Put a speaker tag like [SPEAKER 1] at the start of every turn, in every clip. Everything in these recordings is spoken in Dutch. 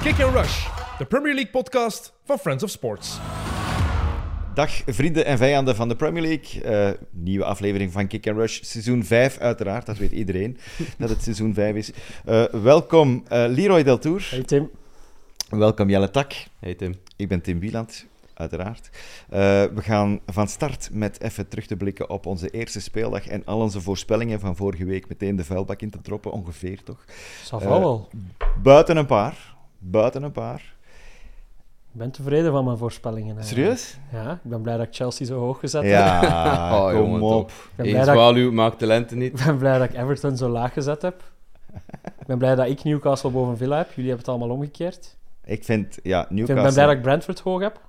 [SPEAKER 1] Kick and Rush, de Premier League podcast van Friends of Sports.
[SPEAKER 2] Dag vrienden en vijanden van de Premier League. Eh, nieuwe aflevering van Kick and Rush, seizoen 5 uiteraard. Dat weet iedereen dat het seizoen 5 is. Eh, welkom eh, Leroy Deltour.
[SPEAKER 3] Hey Tim.
[SPEAKER 2] Welkom Jelle Tak.
[SPEAKER 4] Hey Tim.
[SPEAKER 2] Ik ben Tim Wieland, uiteraard. Eh, we gaan van start met even terug te blikken op onze eerste speeldag en al onze voorspellingen van vorige week meteen de vuilbak in te droppen, ongeveer toch? Eh,
[SPEAKER 3] Ça va wel.
[SPEAKER 2] Buiten een paar. Buiten een paar.
[SPEAKER 3] Ik ben tevreden van mijn voorspellingen. eigenlijk. Ja, ik ben blij dat ik Chelsea zo hoog gezet heb.
[SPEAKER 2] Ja,
[SPEAKER 4] Oh,
[SPEAKER 2] Ah, kom
[SPEAKER 4] jongen,
[SPEAKER 2] op.
[SPEAKER 3] Ik ben, blij
[SPEAKER 4] Eens
[SPEAKER 3] dat ik,
[SPEAKER 4] waluw maakt talenten niet.
[SPEAKER 3] ik ben blij dat ik Everton zo laag gezet heb. Ik ben blij dat ik Newcastle boven Villa heb. Jullie hebben het allemaal omgekeerd.
[SPEAKER 2] Ik vind, ja,
[SPEAKER 3] Ik
[SPEAKER 2] Newcastle...
[SPEAKER 3] ben blij dat ik Brentford hoog heb.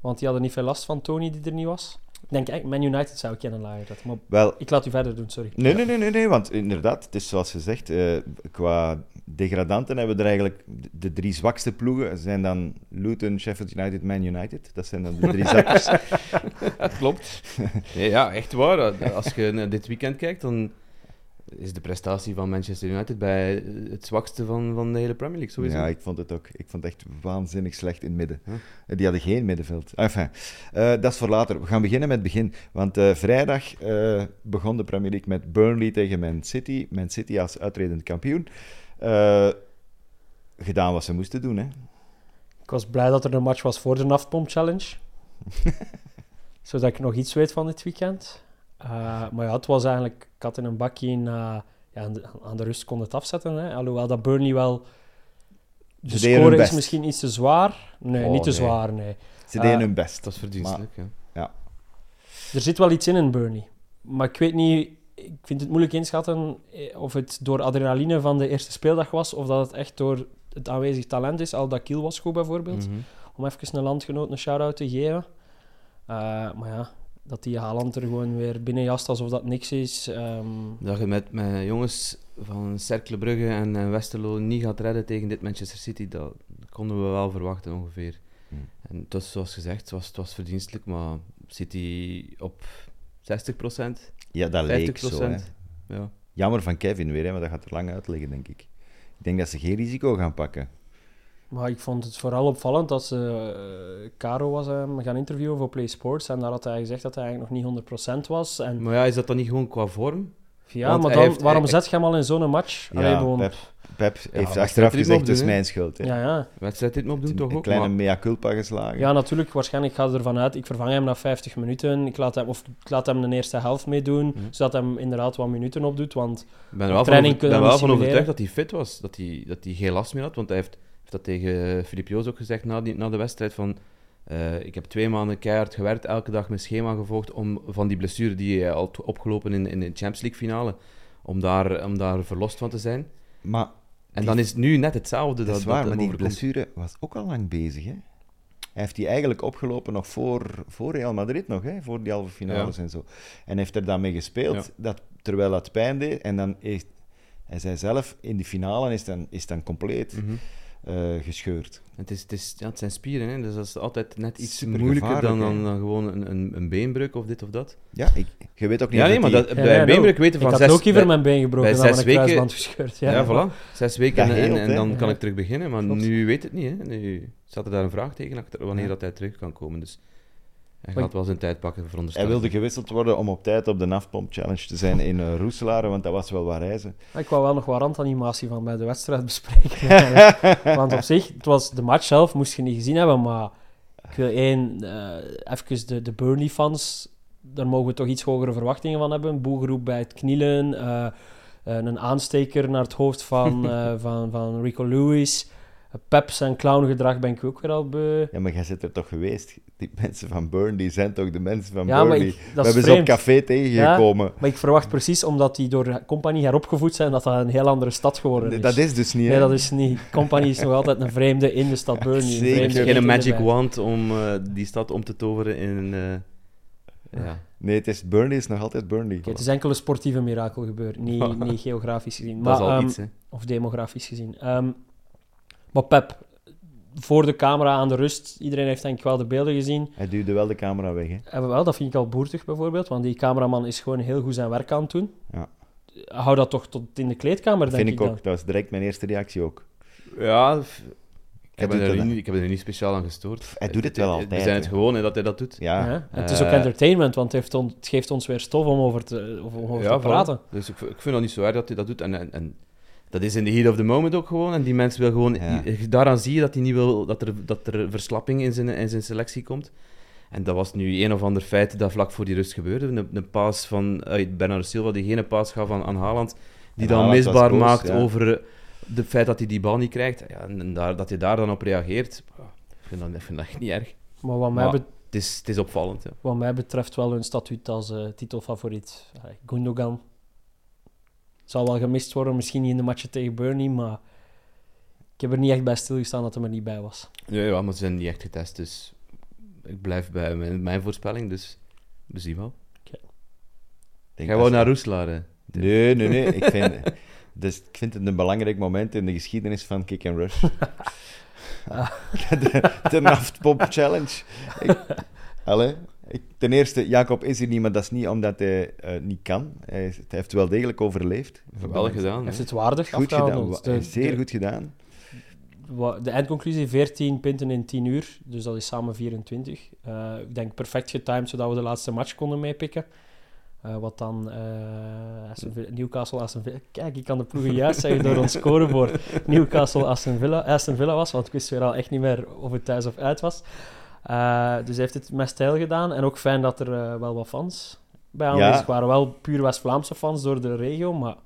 [SPEAKER 3] Want die hadden niet veel last van Tony die er niet was. Ik denk, eh, Man United zou ik kennen lager zetten. Maar
[SPEAKER 2] Wel,
[SPEAKER 3] ik laat u verder doen, sorry.
[SPEAKER 2] Nee, nee, nee, nee, nee, want inderdaad, het is zoals gezegd, eh, qua degradanten hebben we er eigenlijk de, de drie zwakste ploegen zijn dan Luton, Sheffield United, Man United. Dat zijn dan de drie zakkers.
[SPEAKER 4] Dat klopt. Nee, ja, echt waar. Als je naar dit weekend kijkt, dan is de prestatie van Manchester United bij het zwakste van, van de hele Premier League, sowieso.
[SPEAKER 2] ja, ik vond het ook. Ik vond het echt waanzinnig slecht in het midden.
[SPEAKER 4] Huh?
[SPEAKER 2] Eh, Die hadden geen middenveld. Enfin, eh, dat is voor later. We gaan beginnen met het begin. Want eh, vrijdag eh, begon de Premier League met Burnley tegen Man City. Man City als uitredend kampioen. Eh, gedaan wat ze moesten doen, hè.
[SPEAKER 3] Ik was blij dat er een match was voor de Nafpomp Challenge. Zodat ik nog iets weet van dit weekend. Eh, maar ja, het was eigenlijk kat in een bakje. na ja, aan, de, aan de rust kon het afzetten. Hè. Alhoewel dat Burnley wel... De
[SPEAKER 2] Ze deden hun
[SPEAKER 3] score is
[SPEAKER 2] best.
[SPEAKER 3] misschien iets te zwaar. Nee,
[SPEAKER 4] Oh,
[SPEAKER 3] niet te
[SPEAKER 4] nee.
[SPEAKER 3] zwaar, nee.
[SPEAKER 2] Ze deden
[SPEAKER 3] Ah,
[SPEAKER 2] hun best.
[SPEAKER 4] Dat is verdienstelijk, ja.
[SPEAKER 3] Er zit wel iets in in Burnley. Maar ik weet niet... Ik vind het moeilijk inschatten eh, of het door adrenaline van de eerste speeldag was... of dat het echt door het aanwezig talent is. Al dat Kiel was goed,
[SPEAKER 2] Mm.
[SPEAKER 3] bijvoorbeeld.
[SPEAKER 4] Mhm.
[SPEAKER 3] om even een landgenoot een shout-out te geven. Eh, maar ja, dat die Haaland er gewoon weer binnenjast alsof dat niks is. ehm,
[SPEAKER 4] Dat je met, met jongens van Cercle Brugge en, en Westerlo niet gaat redden tegen dit Manchester City, dat konden we wel verwachten ongeveer.
[SPEAKER 2] Hm.
[SPEAKER 4] En het was, zoals gezegd, het was, het was verdienstelijk, maar City op 60 procent,
[SPEAKER 2] Ja, dat
[SPEAKER 4] 50
[SPEAKER 2] leek zo, hè.
[SPEAKER 4] procent. Ja.
[SPEAKER 2] Jammer van Kevin weer, hè, maar dat gaat er lang uitleggen, denk ik. Ik denk dat ze geen risico gaan pakken.
[SPEAKER 3] maar ik vond het vooral opvallend dat ze eh, Caro was hem gaan interviewen voor Play Sports. En daar had hij gezegd dat hij eigenlijk nog niet 100% was. En,
[SPEAKER 4] Maar ja, is dat dan niet gewoon qua vorm?
[SPEAKER 3] ja,
[SPEAKER 4] want
[SPEAKER 3] maar
[SPEAKER 4] hij
[SPEAKER 3] dan,
[SPEAKER 4] heeft-
[SPEAKER 3] waarom
[SPEAKER 4] hij-
[SPEAKER 3] zet je hem al in zo'n match?
[SPEAKER 2] Ja,
[SPEAKER 3] Allee, gewoon-
[SPEAKER 2] Pep, Pep heeft
[SPEAKER 4] maar
[SPEAKER 2] achteraf
[SPEAKER 4] het is
[SPEAKER 2] gezegd,
[SPEAKER 4] opdoen,
[SPEAKER 2] het is
[SPEAKER 4] hè.
[SPEAKER 2] mijn schuld. Hè.
[SPEAKER 3] ja, ja.
[SPEAKER 4] Wedstrijd dit maar opdoen
[SPEAKER 2] Een-
[SPEAKER 4] toch
[SPEAKER 2] een
[SPEAKER 4] ook?
[SPEAKER 2] kleine
[SPEAKER 4] maar-
[SPEAKER 2] mea culpa geslagen.
[SPEAKER 3] ja, natuurlijk. Waarschijnlijk gaat ervan uit. Ik vervang hem na 50 minuten. Ik laat hem, of ik laat hem de eerste helft meedoen.
[SPEAKER 4] Mhm.
[SPEAKER 3] Zodat hij hem inderdaad wat minuten opdoet. Want
[SPEAKER 4] Ik ben er
[SPEAKER 3] Op
[SPEAKER 4] wel van,
[SPEAKER 3] training
[SPEAKER 4] over-
[SPEAKER 3] kunnen
[SPEAKER 4] ben
[SPEAKER 3] we
[SPEAKER 4] wel van
[SPEAKER 3] simuleren.
[SPEAKER 4] overtuigd dat hij fit was. Dat hij, dat hij geen last meer had. Want hij heeft, heeft dat tegen Filip Joos ook gezegd na, die, na de wedstrijd. Van, eh, ik heb twee maanden keihard gewerkt, elke dag mijn schema gevolgd. Om van die blessure die hij had opgelopen in, in de Champions League finale. Om daar, om daar verlost van te zijn.
[SPEAKER 2] Maar
[SPEAKER 4] En
[SPEAKER 2] Die-
[SPEAKER 4] dan is het nu net hetzelfde.
[SPEAKER 2] dat,
[SPEAKER 4] Dat,
[SPEAKER 2] is waar,
[SPEAKER 4] dat
[SPEAKER 2] maar
[SPEAKER 4] hem
[SPEAKER 2] die
[SPEAKER 4] overkomt.
[SPEAKER 2] blessure was ook al lang bezig. Hè? Hij heeft die eigenlijk opgelopen nog voor, voor Real Madrid, nog, hè? voor die halve finales en zo. En heeft er dan mee gespeeld,
[SPEAKER 4] Ja.
[SPEAKER 2] dat, terwijl dat pijn deed. En dan heeft, hij zei zelf, in die finale is dan, is dan compleet
[SPEAKER 4] Mhm.
[SPEAKER 2] eh, gescheurd.
[SPEAKER 4] Het, is, het, is, ja, het zijn spieren, hè? dus dat is altijd net iets
[SPEAKER 2] Super
[SPEAKER 4] moeilijker dan,
[SPEAKER 2] gevaarlijk,
[SPEAKER 4] dan,
[SPEAKER 2] hè.
[SPEAKER 4] dan gewoon een, een, een beenbreuk of dit of dat.
[SPEAKER 2] Ja, ik, je weet ook niet
[SPEAKER 4] Ja,
[SPEAKER 2] of
[SPEAKER 4] nee, maar
[SPEAKER 2] die-
[SPEAKER 4] dat,
[SPEAKER 3] Ja,
[SPEAKER 4] bij
[SPEAKER 3] ja,
[SPEAKER 4] een beenbreuk weten
[SPEAKER 3] ik
[SPEAKER 4] van
[SPEAKER 3] had
[SPEAKER 4] zes...
[SPEAKER 3] ook hier
[SPEAKER 4] bij-
[SPEAKER 3] mijn been gebroken en
[SPEAKER 4] bij
[SPEAKER 3] dan mijn
[SPEAKER 4] zes weken-
[SPEAKER 3] kruisband gescheurd.
[SPEAKER 4] Ja,
[SPEAKER 3] Ja.
[SPEAKER 4] voilà. Zes weken
[SPEAKER 2] Dat
[SPEAKER 4] en,
[SPEAKER 2] heelt,
[SPEAKER 4] en,
[SPEAKER 2] hè?
[SPEAKER 4] en dan kan
[SPEAKER 3] Ja.
[SPEAKER 4] ik terug beginnen. Maar
[SPEAKER 3] Klopt.
[SPEAKER 4] nu weet het niet. Hè? Nu staat er daar een vraagteken achter wanneer
[SPEAKER 2] Ja.
[SPEAKER 4] dat hij terug kan komen. Dus hij
[SPEAKER 3] Maar
[SPEAKER 4] gaat wel zijn tijd pakken, veronderstel
[SPEAKER 2] Hij
[SPEAKER 4] ik.
[SPEAKER 2] wilde gewisseld worden om op tijd op de NAFPOMP Challenge te zijn in eh, Roeselare, want dat was wel waar reizen.
[SPEAKER 3] Maar Ik wou wel nog wat randanimatie van bij de wedstrijd bespreken. eigenlijk. Want op zich, het was de match zelf moest je niet gezien hebben, maar ik wil één, eh, even de, de Burnley-fans, daar mogen we toch iets hogere verwachtingen van hebben. Boegeroep bij het knielen, eh, een aansteker naar het hoofd van, eh, van, van Rico Lewis. Peps en clowngedrag ben ik ook weer al beu.
[SPEAKER 2] Ja, maar jij zit er toch geweest? Die mensen van Burnley zijn toch de mensen van
[SPEAKER 3] Ja, maar
[SPEAKER 2] Burnley?
[SPEAKER 3] ik,
[SPEAKER 2] We
[SPEAKER 3] dat
[SPEAKER 2] hebben
[SPEAKER 3] is
[SPEAKER 2] ze op
[SPEAKER 3] vreemd.
[SPEAKER 2] café tegengekomen.
[SPEAKER 3] Maar ik verwacht precies, omdat die door Company heropgevoed zijn, dat dat een heel andere stad geworden
[SPEAKER 2] Nee,
[SPEAKER 3] is.
[SPEAKER 2] dat is dus niet,
[SPEAKER 3] Nee,
[SPEAKER 2] hè?
[SPEAKER 3] dat is niet. Company is nog altijd een vreemde in de stad Burnley.
[SPEAKER 2] Zeker.
[SPEAKER 3] vreemde
[SPEAKER 4] Hij heeft
[SPEAKER 2] Zeker.
[SPEAKER 3] niet
[SPEAKER 4] geen
[SPEAKER 3] in de
[SPEAKER 4] magic
[SPEAKER 3] wijk.
[SPEAKER 4] wand om eh, die stad om te toveren in... eh, ja.
[SPEAKER 2] Nee, het is Burnley is nog altijd Burnley.
[SPEAKER 3] Oké, het is enkel een sportieve mirakel gebeurd, niet, niet geografisch gezien.
[SPEAKER 4] Dat is
[SPEAKER 3] Maar,
[SPEAKER 4] al
[SPEAKER 3] ehm,
[SPEAKER 4] iets, hè.
[SPEAKER 3] Of demografisch gezien. Ehm, maar Pep, voor de camera aan de rust, iedereen heeft denk ik wel de beelden gezien.
[SPEAKER 2] Hij duwde wel de camera weg, hè?
[SPEAKER 3] En wel, dat vind ik al boertig bijvoorbeeld, want die cameraman is gewoon heel goed zijn werk aan het doen.
[SPEAKER 2] Ja.
[SPEAKER 3] Hou dat toch tot in de kleedkamer,
[SPEAKER 2] Dat
[SPEAKER 3] denk
[SPEAKER 2] vind ik
[SPEAKER 3] ik
[SPEAKER 2] ook. Dat was direct mijn eerste reactie ook.
[SPEAKER 4] Ja, f-
[SPEAKER 2] Hij
[SPEAKER 4] heb,
[SPEAKER 2] doet
[SPEAKER 4] er
[SPEAKER 2] dat, hè.
[SPEAKER 4] niet, ik heb er niet speciaal aan gestoord.
[SPEAKER 2] Hij doet het wel
[SPEAKER 4] We
[SPEAKER 2] altijd,
[SPEAKER 4] zijn het
[SPEAKER 2] hè.
[SPEAKER 4] gewoon hè, dat hij dat doet.
[SPEAKER 2] Ja,
[SPEAKER 3] Ja, en het is ook
[SPEAKER 4] Eh.
[SPEAKER 3] entertainment, want het, heeft on- het geeft ons weer stof om over te, om over te
[SPEAKER 4] voilà.
[SPEAKER 3] praten.
[SPEAKER 4] Dus ik, v- ik vind dat niet zo erg dat hij dat doet. En, en, en dat is in the heat of the moment ook gewoon. En die mens wil gewoon...
[SPEAKER 2] Ja.
[SPEAKER 4] i- eh, Daaraan zie je dat hij niet wil dat er, dat er verslapping in zijn, in zijn selectie komt. En dat was nu een of ander feit dat vlak voor die rust gebeurde. Een, een paas van uit Bernardo Silva, die geen paas gaf aan, aan Haaland.
[SPEAKER 2] En
[SPEAKER 4] Die dan
[SPEAKER 2] Haaland was
[SPEAKER 4] misbaar
[SPEAKER 2] boos,
[SPEAKER 4] maakt
[SPEAKER 2] ja.
[SPEAKER 4] over eh, de feit dat hij die bal niet krijgt. Ja, en en daar, dat hij daar dan op reageert. ja, Ik vind dat, ik vind dat echt niet erg.
[SPEAKER 3] Maar wat mij,
[SPEAKER 4] Maar-
[SPEAKER 3] bet-
[SPEAKER 4] Het is, het is opvallend. Ja.
[SPEAKER 3] wat mij betreft wel hun statuut als eh, titelfavoriet. Allee, Gundogan zal wel gemist worden, misschien niet in de matchen tegen Burnley, maar ik heb er niet echt bij stilgestaan dat hij er niet bij was.
[SPEAKER 4] Ja, ja, maar ze zijn niet echt getest, dus ik blijf bij mijn, mijn voorspelling, dus we zien wel.
[SPEAKER 2] ik denk
[SPEAKER 4] Jij
[SPEAKER 2] dat
[SPEAKER 4] wou
[SPEAKER 2] ze-
[SPEAKER 4] naar Roeselaar, hè?
[SPEAKER 2] Nee, nee, nee. Ik vind, dus, ik vind het een belangrijk moment in de geschiedenis van Kick and Rush. de de Naftpop Challenge. Ik, allee, ik- ten eerste, Jacob is hier niet, maar dat is niet omdat hij eh, niet kan. Hij, is- hij heeft wel degelijk overleefd.
[SPEAKER 4] Geweldig gedaan,
[SPEAKER 3] Heeft
[SPEAKER 4] hè?
[SPEAKER 3] het waardig
[SPEAKER 2] Goed
[SPEAKER 3] afgehouden
[SPEAKER 2] gedaan.
[SPEAKER 3] ons.
[SPEAKER 2] wa- Zeer goed gedaan.
[SPEAKER 3] wa- de eindconclusie 14 punten in 10 uur, dus dat is samen 24. Eh, ik denk perfect getimed zodat we de laatste match konden meepikken. Eh, wat dan eh, Aston Villa- Newcastle Aston Villa. Kijk, ik kan de ploegen juist zeggen door ons scorebord. Newcastle Aston Villa, Aston Villa was, want ik wist weer al echt niet meer of het thuis of uit was. Eh, dus hij heeft het met stijl gedaan en ook fijn dat er eh, wel wat fans bij aanwezig waren. Wel puur West-Vlaamse fans door de regio, maar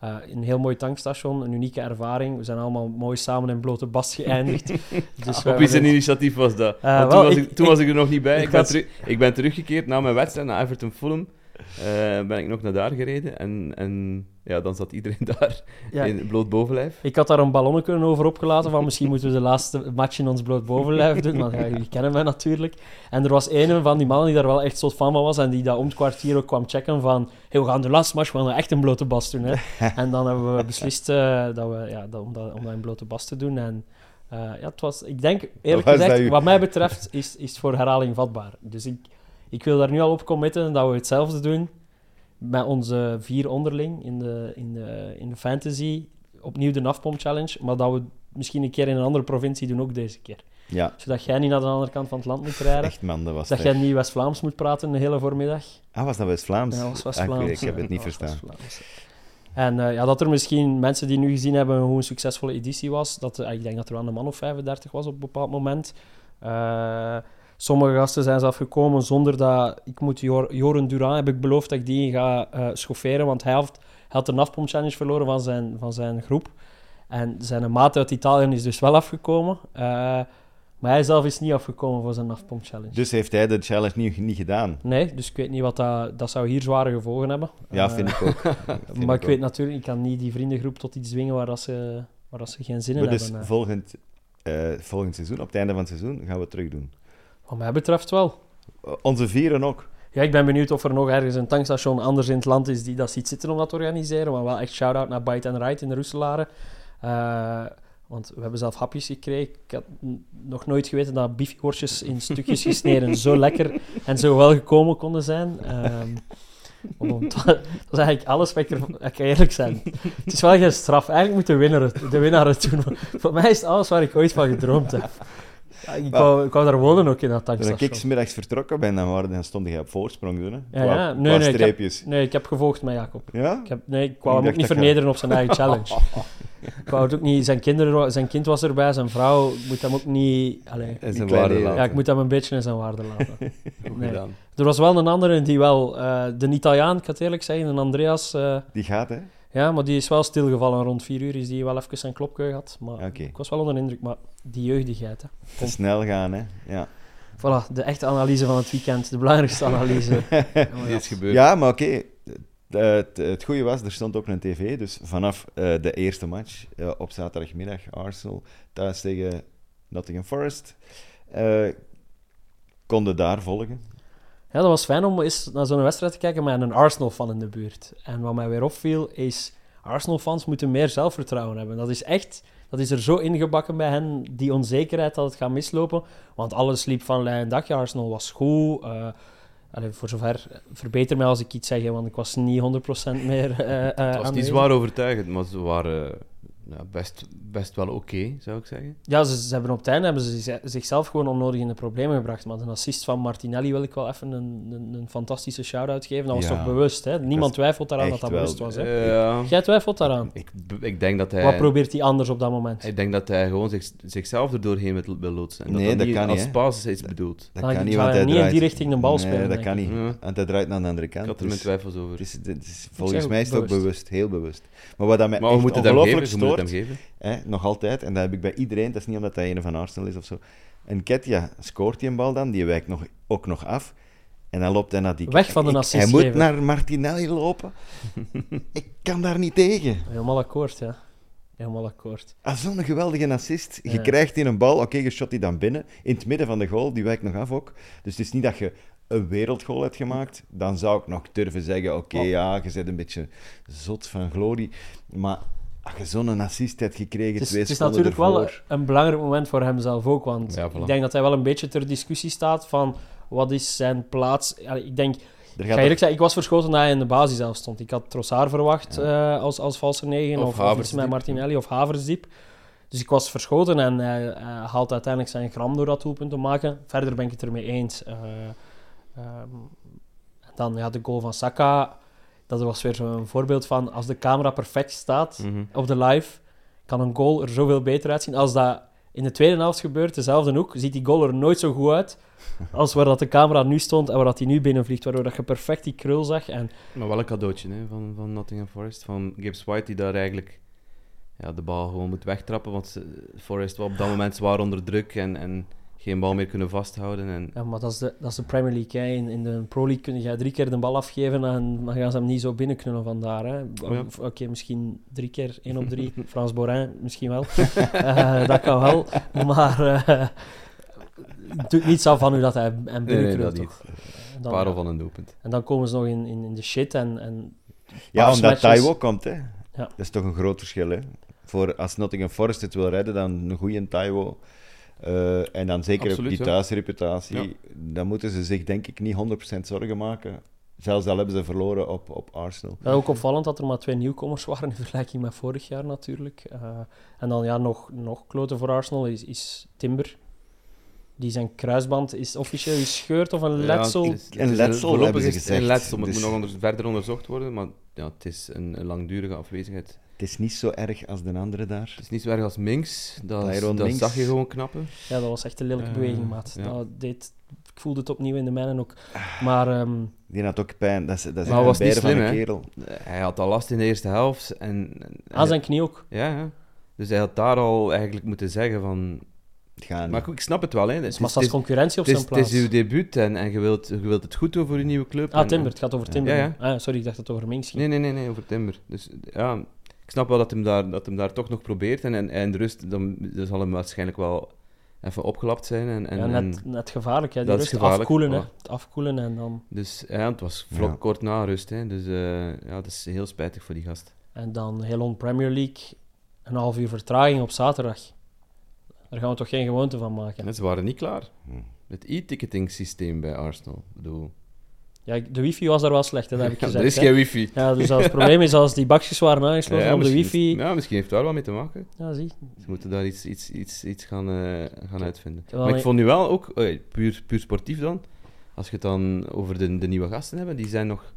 [SPEAKER 3] eh, een heel mooi tankstation, een unieke ervaring. We zijn allemaal mooi samen in blote bast geëindigd. dus wij
[SPEAKER 4] Op wie zijn
[SPEAKER 3] waren-
[SPEAKER 4] initiatief was dat?
[SPEAKER 3] Eh,
[SPEAKER 4] Want
[SPEAKER 3] wel,
[SPEAKER 4] toen was
[SPEAKER 3] ik-
[SPEAKER 4] ik, toen
[SPEAKER 3] ik-
[SPEAKER 4] was ik er nog niet bij.
[SPEAKER 3] ik
[SPEAKER 4] Ik, ben,
[SPEAKER 3] was-
[SPEAKER 4] teru- ik ben teruggekeerd na mijn wedstrijd naar Everton Fulham. Eh, ben ik nog naar daar gereden en, en ja, dan zat iedereen daar
[SPEAKER 3] Ja.
[SPEAKER 4] in bloot bovenlijf.
[SPEAKER 3] Ik had daar een ballonnetje over opgelaten van misschien moeten we de laatste match in ons bloot bovenlijf doen, want ja, jullie kennen mij natuurlijk. En er was een van die mannen die daar wel echt zo fan van was en die dat om het kwartier ook kwam checken van hey, we gaan de laatste match, we gaan echt een blote bas doen. Hè. En dan hebben we beslist eh, dat we, ja, dat, om, dat, om dat in blote bas te doen. En eh, ja, het was, ik denk eerlijk
[SPEAKER 2] was dat
[SPEAKER 3] gezegd,
[SPEAKER 2] u-
[SPEAKER 3] wat mij betreft is, is het voor herhaling vatbaar. Dus ik, ik wil daar nu al op committen dat we hetzelfde doen met onze vier onderling in de, in de, in de fantasy. Opnieuw de NAFPOM Challenge, maar dat we misschien een keer in een andere provincie doen, ook deze keer.
[SPEAKER 2] Ja,
[SPEAKER 3] Zodat jij niet naar de andere kant van het land moet rijden.
[SPEAKER 2] echt man, dat was
[SPEAKER 3] dat
[SPEAKER 2] het.
[SPEAKER 3] jij niet West-Vlaams moet praten de hele voormiddag.
[SPEAKER 2] Ah, was dat West-Vlaams?
[SPEAKER 3] Ja, dat was
[SPEAKER 2] Ah, ik
[SPEAKER 3] West-Vlaams.
[SPEAKER 2] weet- Ik heb het niet
[SPEAKER 3] Ja, dat was
[SPEAKER 2] verstaan.
[SPEAKER 3] West-Vlaams. En eh, ja, dat er misschien mensen die nu gezien hebben hoe een succesvolle editie was, dat, eh, ik denk dat er wel een man of 35 was op een bepaald moment. Eh, sommige gasten zijn zelf gekomen zonder dat... Ik moet Jor- Joren Duran, heb ik beloofd dat ik die ga eh schofferen, want hij had, hij had de NAFPOM Challenge verloren van zijn, van zijn groep. En zijn maat uit Italië is dus wel afgekomen. eh, maar hij zelf is niet afgekomen voor zijn NAFPOM Challenge.
[SPEAKER 2] Dus heeft hij de challenge niet, niet gedaan.
[SPEAKER 3] Nee, dus ik weet niet wat dat... Dat zou hier zware gevolgen hebben.
[SPEAKER 2] Ja,
[SPEAKER 3] Eh,
[SPEAKER 2] vind ik ook. Vind
[SPEAKER 3] maar ik,
[SPEAKER 2] ook.
[SPEAKER 3] weet natuurlijk, ik kan niet die vriendengroep tot iets dwingen waar, dat ze, waar dat ze geen zin in
[SPEAKER 2] Maar dus
[SPEAKER 3] hebben. eh. hè.
[SPEAKER 2] volgend, eh, volgend seizoen, op het einde van het seizoen, gaan we het terug doen.
[SPEAKER 3] Wat mij betreft wel.
[SPEAKER 2] Eh, Onze vieren ook.
[SPEAKER 3] Ja, ik ben benieuwd of er nog ergens een tankstation anders in het land is die dat ziet zitten om dat te organiseren. Maar wel echt shout-out naar Bite and Ride in de Roeselare. Eh, want we hebben zelf hapjes gekregen. Ik had n- nog nooit geweten dat biefworstjes in stukjes gesneden zo lekker en zo wel gekomen konden zijn. Ehm, om- om- dat is eigenlijk alles wat ik er... Ik kan eerlijk zijn. Het is wel geen straf. Eigenlijk moet de winnaar het, de winnaar het doen. Want Voor mij is het alles waar ik ooit van gedroomd heb. Ja, Ik wou, ik wou daar wonen ook in dat
[SPEAKER 2] Toen ik
[SPEAKER 3] tankstation.
[SPEAKER 2] smiddags vertrokken ben, dan, waren, dan stond jij op voorsprong. Doen, hè?
[SPEAKER 3] Ja, ja. Nee, nee, ik heb-
[SPEAKER 2] streepjes.
[SPEAKER 3] Nee, ik heb gevolgd met Jacob.
[SPEAKER 2] Ja?
[SPEAKER 3] Ik, heb, nee, ik wou
[SPEAKER 2] Ik
[SPEAKER 3] hem ook
[SPEAKER 2] dacht dat
[SPEAKER 3] niet
[SPEAKER 2] je-
[SPEAKER 3] vernederen op zijn eigen challenge. ik wou het ook niet... Zijn, kinderen, wa- zijn kind was erbij, zijn vrouw. Ik moet hem ook niet... Allee,
[SPEAKER 4] En zijn
[SPEAKER 2] kleine
[SPEAKER 4] waarde
[SPEAKER 2] eeuw.
[SPEAKER 4] laten.
[SPEAKER 3] ja, ik moet hem een beetje in zijn waarde laten.
[SPEAKER 4] Goed
[SPEAKER 3] nee.
[SPEAKER 4] gedaan.
[SPEAKER 3] Er was wel een andere die wel... eh, de Italiaan, ik ga het eerlijk zeggen, een Andreas... eh,
[SPEAKER 2] Die gaat, hè?
[SPEAKER 3] ja, maar die is wel stilgevallen. Rond vier uur is die wel even zijn klopje gehad. Maar
[SPEAKER 2] Oké.
[SPEAKER 3] ik was wel onder de indruk. Maar die jeugdigheid, hè.
[SPEAKER 2] Te snel gaan, hè? Ja,
[SPEAKER 3] Voilà, de echte analyse van het weekend. De belangrijkste analyse.
[SPEAKER 4] Dit is gebeurd.
[SPEAKER 2] ja maar oké. Eh, Het, het goede was, er stond ook een tv, dus vanaf eh, de eerste match eh, op zaterdagmiddag, Arsenal thuis tegen Nottingham Forest, eh, konden daar volgen.
[SPEAKER 3] Ja, dat was fijn om eens naar zo'n wedstrijd te kijken met een Arsenal-fan in de buurt. En wat mij weer opviel is, Arsenal-fans moeten meer zelfvertrouwen hebben. Dat is echt, dat is er zo ingebakken bij hen, die onzekerheid dat het gaat mislopen. Want alles liep van lijn dakje, Arsenal was goed. eh, allee, voor zover, eh, verbeter mij als ik iets zeg, hè, want ik was niet 100% meer eh eh,
[SPEAKER 4] Het was niet
[SPEAKER 3] aanwezig.
[SPEAKER 4] zwaar overtuigend, maar ze waren, ja, best, best wel oké, zou ik zeggen.
[SPEAKER 3] Ja, ze, ze hebben op het einde hebben ze zich- zichzelf gewoon onnodig in de problemen gebracht. Maar de assist van Martinelli wil ik wel even een, een, een fantastische shout-out geven. Dat was
[SPEAKER 2] Ja.
[SPEAKER 3] toch bewust, hè? Niemand
[SPEAKER 2] Dat is
[SPEAKER 3] twijfelt daaraan dat
[SPEAKER 2] echt
[SPEAKER 3] dat
[SPEAKER 2] wel-
[SPEAKER 3] bewust was, hè?
[SPEAKER 2] eh,
[SPEAKER 4] Ja,
[SPEAKER 3] Jij twijfelt daaraan.
[SPEAKER 4] ik, ik denk dat hij...
[SPEAKER 3] Wat probeert hij anders op dat moment?
[SPEAKER 4] Ik denk dat hij gewoon zich, zichzelf er doorheen wil, wil loodsen. En
[SPEAKER 2] Nee,
[SPEAKER 4] dat,
[SPEAKER 2] dat
[SPEAKER 4] niet
[SPEAKER 2] kan niet,
[SPEAKER 4] als
[SPEAKER 2] hè.
[SPEAKER 4] basis is bedoeld.
[SPEAKER 2] Dat
[SPEAKER 3] Dan
[SPEAKER 2] kan niet,
[SPEAKER 3] zou
[SPEAKER 2] want
[SPEAKER 3] hij
[SPEAKER 2] hij
[SPEAKER 3] niet in
[SPEAKER 2] draait...
[SPEAKER 3] Ah, die richting een bal
[SPEAKER 2] Nee,
[SPEAKER 3] spelen,
[SPEAKER 2] dat
[SPEAKER 3] denk
[SPEAKER 2] kan niet.
[SPEAKER 4] Ja.
[SPEAKER 2] Want hij draait naar de andere
[SPEAKER 4] Ik
[SPEAKER 2] kant.
[SPEAKER 4] had er mijn
[SPEAKER 2] dus-
[SPEAKER 4] twijfels over.
[SPEAKER 2] het is, het is
[SPEAKER 3] zeg
[SPEAKER 2] volgens
[SPEAKER 3] ook
[SPEAKER 2] mij is het ook
[SPEAKER 3] bewust.
[SPEAKER 2] bewust, heel bewust. Maar wat dat mij
[SPEAKER 4] Maar we
[SPEAKER 2] echt
[SPEAKER 4] moeten het hem
[SPEAKER 2] ongelooflijk
[SPEAKER 4] geven. ze moeten
[SPEAKER 2] stoort,
[SPEAKER 4] het hem geven.
[SPEAKER 2] hè, nog altijd, en dat heb ik bij iedereen, dat is niet omdat hij een van Arsenal is of zo. En Ketja scoort die een bal dan, die wijkt nog, ook nog af. En dan loopt hij naar die...
[SPEAKER 3] Weg van de
[SPEAKER 2] Ik- Hij
[SPEAKER 3] assistgever.
[SPEAKER 2] moet naar Martinelli lopen. ik kan daar niet tegen.
[SPEAKER 3] Helemaal akkoord, ja. Helemaal akkoord.
[SPEAKER 2] Ah, Zo'n geweldige assist. Je
[SPEAKER 3] Ja.
[SPEAKER 2] krijgt in een bal, oké, je shot die dan binnen. In het midden van de goal, die wijkt nog af ook. Dus het is niet dat je een wereldgoal hebt gemaakt. Dan zou ik nog durven zeggen, oké,
[SPEAKER 3] Oh.
[SPEAKER 2] ja, je bent een beetje zot van glorie. Maar als je zo'n assist hebt gekregen,
[SPEAKER 3] Het is,
[SPEAKER 2] twee
[SPEAKER 3] het is
[SPEAKER 2] seconden
[SPEAKER 3] natuurlijk wel
[SPEAKER 2] ervoor.
[SPEAKER 3] een belangrijk moment voor hemzelf ook, want
[SPEAKER 4] Ja, voilà.
[SPEAKER 3] ik denk dat hij wel een beetje ter discussie staat van wat is zijn plaats. Allee, Ik denk,
[SPEAKER 2] Er
[SPEAKER 3] ik
[SPEAKER 2] gaat
[SPEAKER 3] ga eerlijk zeggen, ik was verschoten dat hij in de basis zelf stond. Ik had Trossard verwacht eh, als, als valse negen,
[SPEAKER 4] Of
[SPEAKER 3] of, of, iets
[SPEAKER 4] Haversdiep.
[SPEAKER 3] met Martinelli of Haversdiep. Dus ik was verschoten en hij eh, haalt uiteindelijk zijn gram door dat doelpunt te maken. Verder ben ik het ermee eens. Eh, ehm, dan ja, de goal van Saka, dat was weer zo'n voorbeeld van als de camera perfect staat
[SPEAKER 4] Mhm.
[SPEAKER 3] op de live kan een goal er zoveel beter uitzien. Als dat in de tweede helft gebeurt, dezelfde hoek, ziet die goal er nooit zo goed uit als waar dat de camera nu stond en waar dat hij nu binnenvliegt. Waardoor dat je perfect die krul zag. En
[SPEAKER 4] Maar wel een cadeautje hè, van, van Nottingham Forest. Van Gibbs White, die daar eigenlijk ja, de bal gewoon moet wegtrappen. Want ze- Forest was op dat moment zwaar onder druk en, en geen bal meer kunnen vasthouden. En,
[SPEAKER 3] ja, maar dat is de, dat is de Premier League. Hè. In, in de Pro League kun je drie keer de bal afgeven en dan gaan ze hem niet zo binnenknullen vandaar. hè.
[SPEAKER 4] Oh ja.
[SPEAKER 3] Of, Oké, misschien drie keer, één op drie. Frans Borin, misschien wel. Eh, dat kan wel. Maar eh, het doet niets af van hoe dat hij hem
[SPEAKER 4] nee, nee,
[SPEAKER 3] binnenknult.
[SPEAKER 4] dat
[SPEAKER 3] toch?
[SPEAKER 4] niet.
[SPEAKER 3] Dan-
[SPEAKER 4] Parel van een doelpunt.
[SPEAKER 3] En dan komen ze nog in, in, in de shit en, en
[SPEAKER 2] Ja, omdat
[SPEAKER 3] paasmatches.
[SPEAKER 2] Taiwo komt, hè. Dat is toch een groot verschil, hè. Voor, als Nottingham Forest het wil redden, dan een goede Taiwo. Eh, en dan zeker
[SPEAKER 4] Absoluut,
[SPEAKER 2] op die
[SPEAKER 4] ja.
[SPEAKER 2] thuisreputatie.
[SPEAKER 4] Ja.
[SPEAKER 2] Dan moeten ze zich, denk ik, niet 100% zorgen maken. Zelfs al hebben ze verloren op, op Arsenal.
[SPEAKER 3] Ja, ook opvallend dat er maar twee nieuwkomers waren in vergelijking met vorig jaar natuurlijk. Eh, en dan ja, nog, nog kloten voor Arsenal is, is Timber. Die zijn kruisband is officieel gescheurd of een letsel.
[SPEAKER 4] Ja, het is- het
[SPEAKER 2] Een
[SPEAKER 4] is
[SPEAKER 2] letsel,
[SPEAKER 4] voorlopig
[SPEAKER 2] hebben ze
[SPEAKER 4] is het Een
[SPEAKER 2] gezegd.
[SPEAKER 4] letsel, maar het
[SPEAKER 2] Dus-
[SPEAKER 4] moet nog onder- verder onderzocht worden. Maar ja, het is een, een langdurige afwezigheid.
[SPEAKER 2] Het is niet zo erg als de andere daar.
[SPEAKER 4] Het is niet zo erg als Minx. Dat, is-
[SPEAKER 2] Tyrone
[SPEAKER 4] dat
[SPEAKER 2] Mings.
[SPEAKER 4] zag je gewoon knappen.
[SPEAKER 3] Ja, dat was echt een lelijke
[SPEAKER 4] Eh,
[SPEAKER 3] beweging, maat.
[SPEAKER 4] ja.
[SPEAKER 3] Dat deed, ik voelde het opnieuw in de mijnen ook. Maar ehm,
[SPEAKER 4] Eh,
[SPEAKER 2] Die had ook pijn. Dat is, dat is
[SPEAKER 4] Maar
[SPEAKER 2] echt
[SPEAKER 4] was
[SPEAKER 2] een
[SPEAKER 4] niet
[SPEAKER 2] beer van
[SPEAKER 4] slim,
[SPEAKER 2] een
[SPEAKER 4] hè?
[SPEAKER 2] kerel.
[SPEAKER 4] Hij had al last in de eerste helft. En, en-
[SPEAKER 3] aan zijn knie ook.
[SPEAKER 4] Ja, ja. Dus hij had daar al eigenlijk moeten zeggen van...
[SPEAKER 2] Het gaat
[SPEAKER 4] Maar
[SPEAKER 2] niet.
[SPEAKER 4] goed, ik snap het wel, hè. Het
[SPEAKER 3] Dus
[SPEAKER 4] is-
[SPEAKER 3] was
[SPEAKER 4] het
[SPEAKER 3] als
[SPEAKER 4] is-
[SPEAKER 3] concurrentie op
[SPEAKER 4] Het
[SPEAKER 3] zijn
[SPEAKER 4] is, het is
[SPEAKER 3] plaats.
[SPEAKER 4] uw debuut en, en je, wilt, je wilt het goed doen voor je nieuwe club.
[SPEAKER 3] Ah,
[SPEAKER 4] en-
[SPEAKER 3] Timber. Het gaat over Timber.
[SPEAKER 4] Ja,
[SPEAKER 3] nu. Ah, sorry, ik dacht dat het over Minks ging.
[SPEAKER 4] Nee, nee, nee, nee, over Timber. Dus ja, ik snap wel dat hem daar, dat hem daar toch nog probeert. En, en, en de rust, dan, dan zal hem waarschijnlijk wel even opgelapt zijn. En, en,
[SPEAKER 3] ja,
[SPEAKER 4] en-
[SPEAKER 3] net, net gevaarlijk, hè. Die
[SPEAKER 4] Dat is
[SPEAKER 3] rust
[SPEAKER 4] gevaarlijk,
[SPEAKER 3] afkoelen, hè.
[SPEAKER 4] voilà.
[SPEAKER 3] Het afkoelen en dan...
[SPEAKER 4] dus ja, het was vlot
[SPEAKER 2] Ja.
[SPEAKER 4] kort na rust. Hè. Dus eh, ja, dat is heel spijtig voor die gast.
[SPEAKER 3] En dan heel on Premier League, een half uur vertraging op zaterdag. Daar gaan we toch geen gewoonte van maken.
[SPEAKER 4] En ze waren niet klaar.
[SPEAKER 2] Hm.
[SPEAKER 4] Het e-ticketing systeem bij Arsenal. Ik bedoel,
[SPEAKER 3] Ja, ik- de wifi was daar wel slecht, hè, dat heb ik
[SPEAKER 4] ja,
[SPEAKER 3] gezegd.
[SPEAKER 4] er is
[SPEAKER 3] hè.
[SPEAKER 4] geen wifi.
[SPEAKER 3] Ja, dus als het probleem is als die bakjes waren aangesloten op de
[SPEAKER 4] misschien-
[SPEAKER 3] wifi... Ja.
[SPEAKER 4] Ja, misschien heeft daar wel mee te maken.
[SPEAKER 3] zie.
[SPEAKER 4] Ze moeten daar iets, iets, iets, iets gaan, eh, gaan uitvinden.
[SPEAKER 3] wel
[SPEAKER 4] maar ik
[SPEAKER 3] een-
[SPEAKER 4] vond nu wel ook, eh, puur, puur sportief dan, als je het dan over de, de nieuwe gasten hebben, die zijn nog,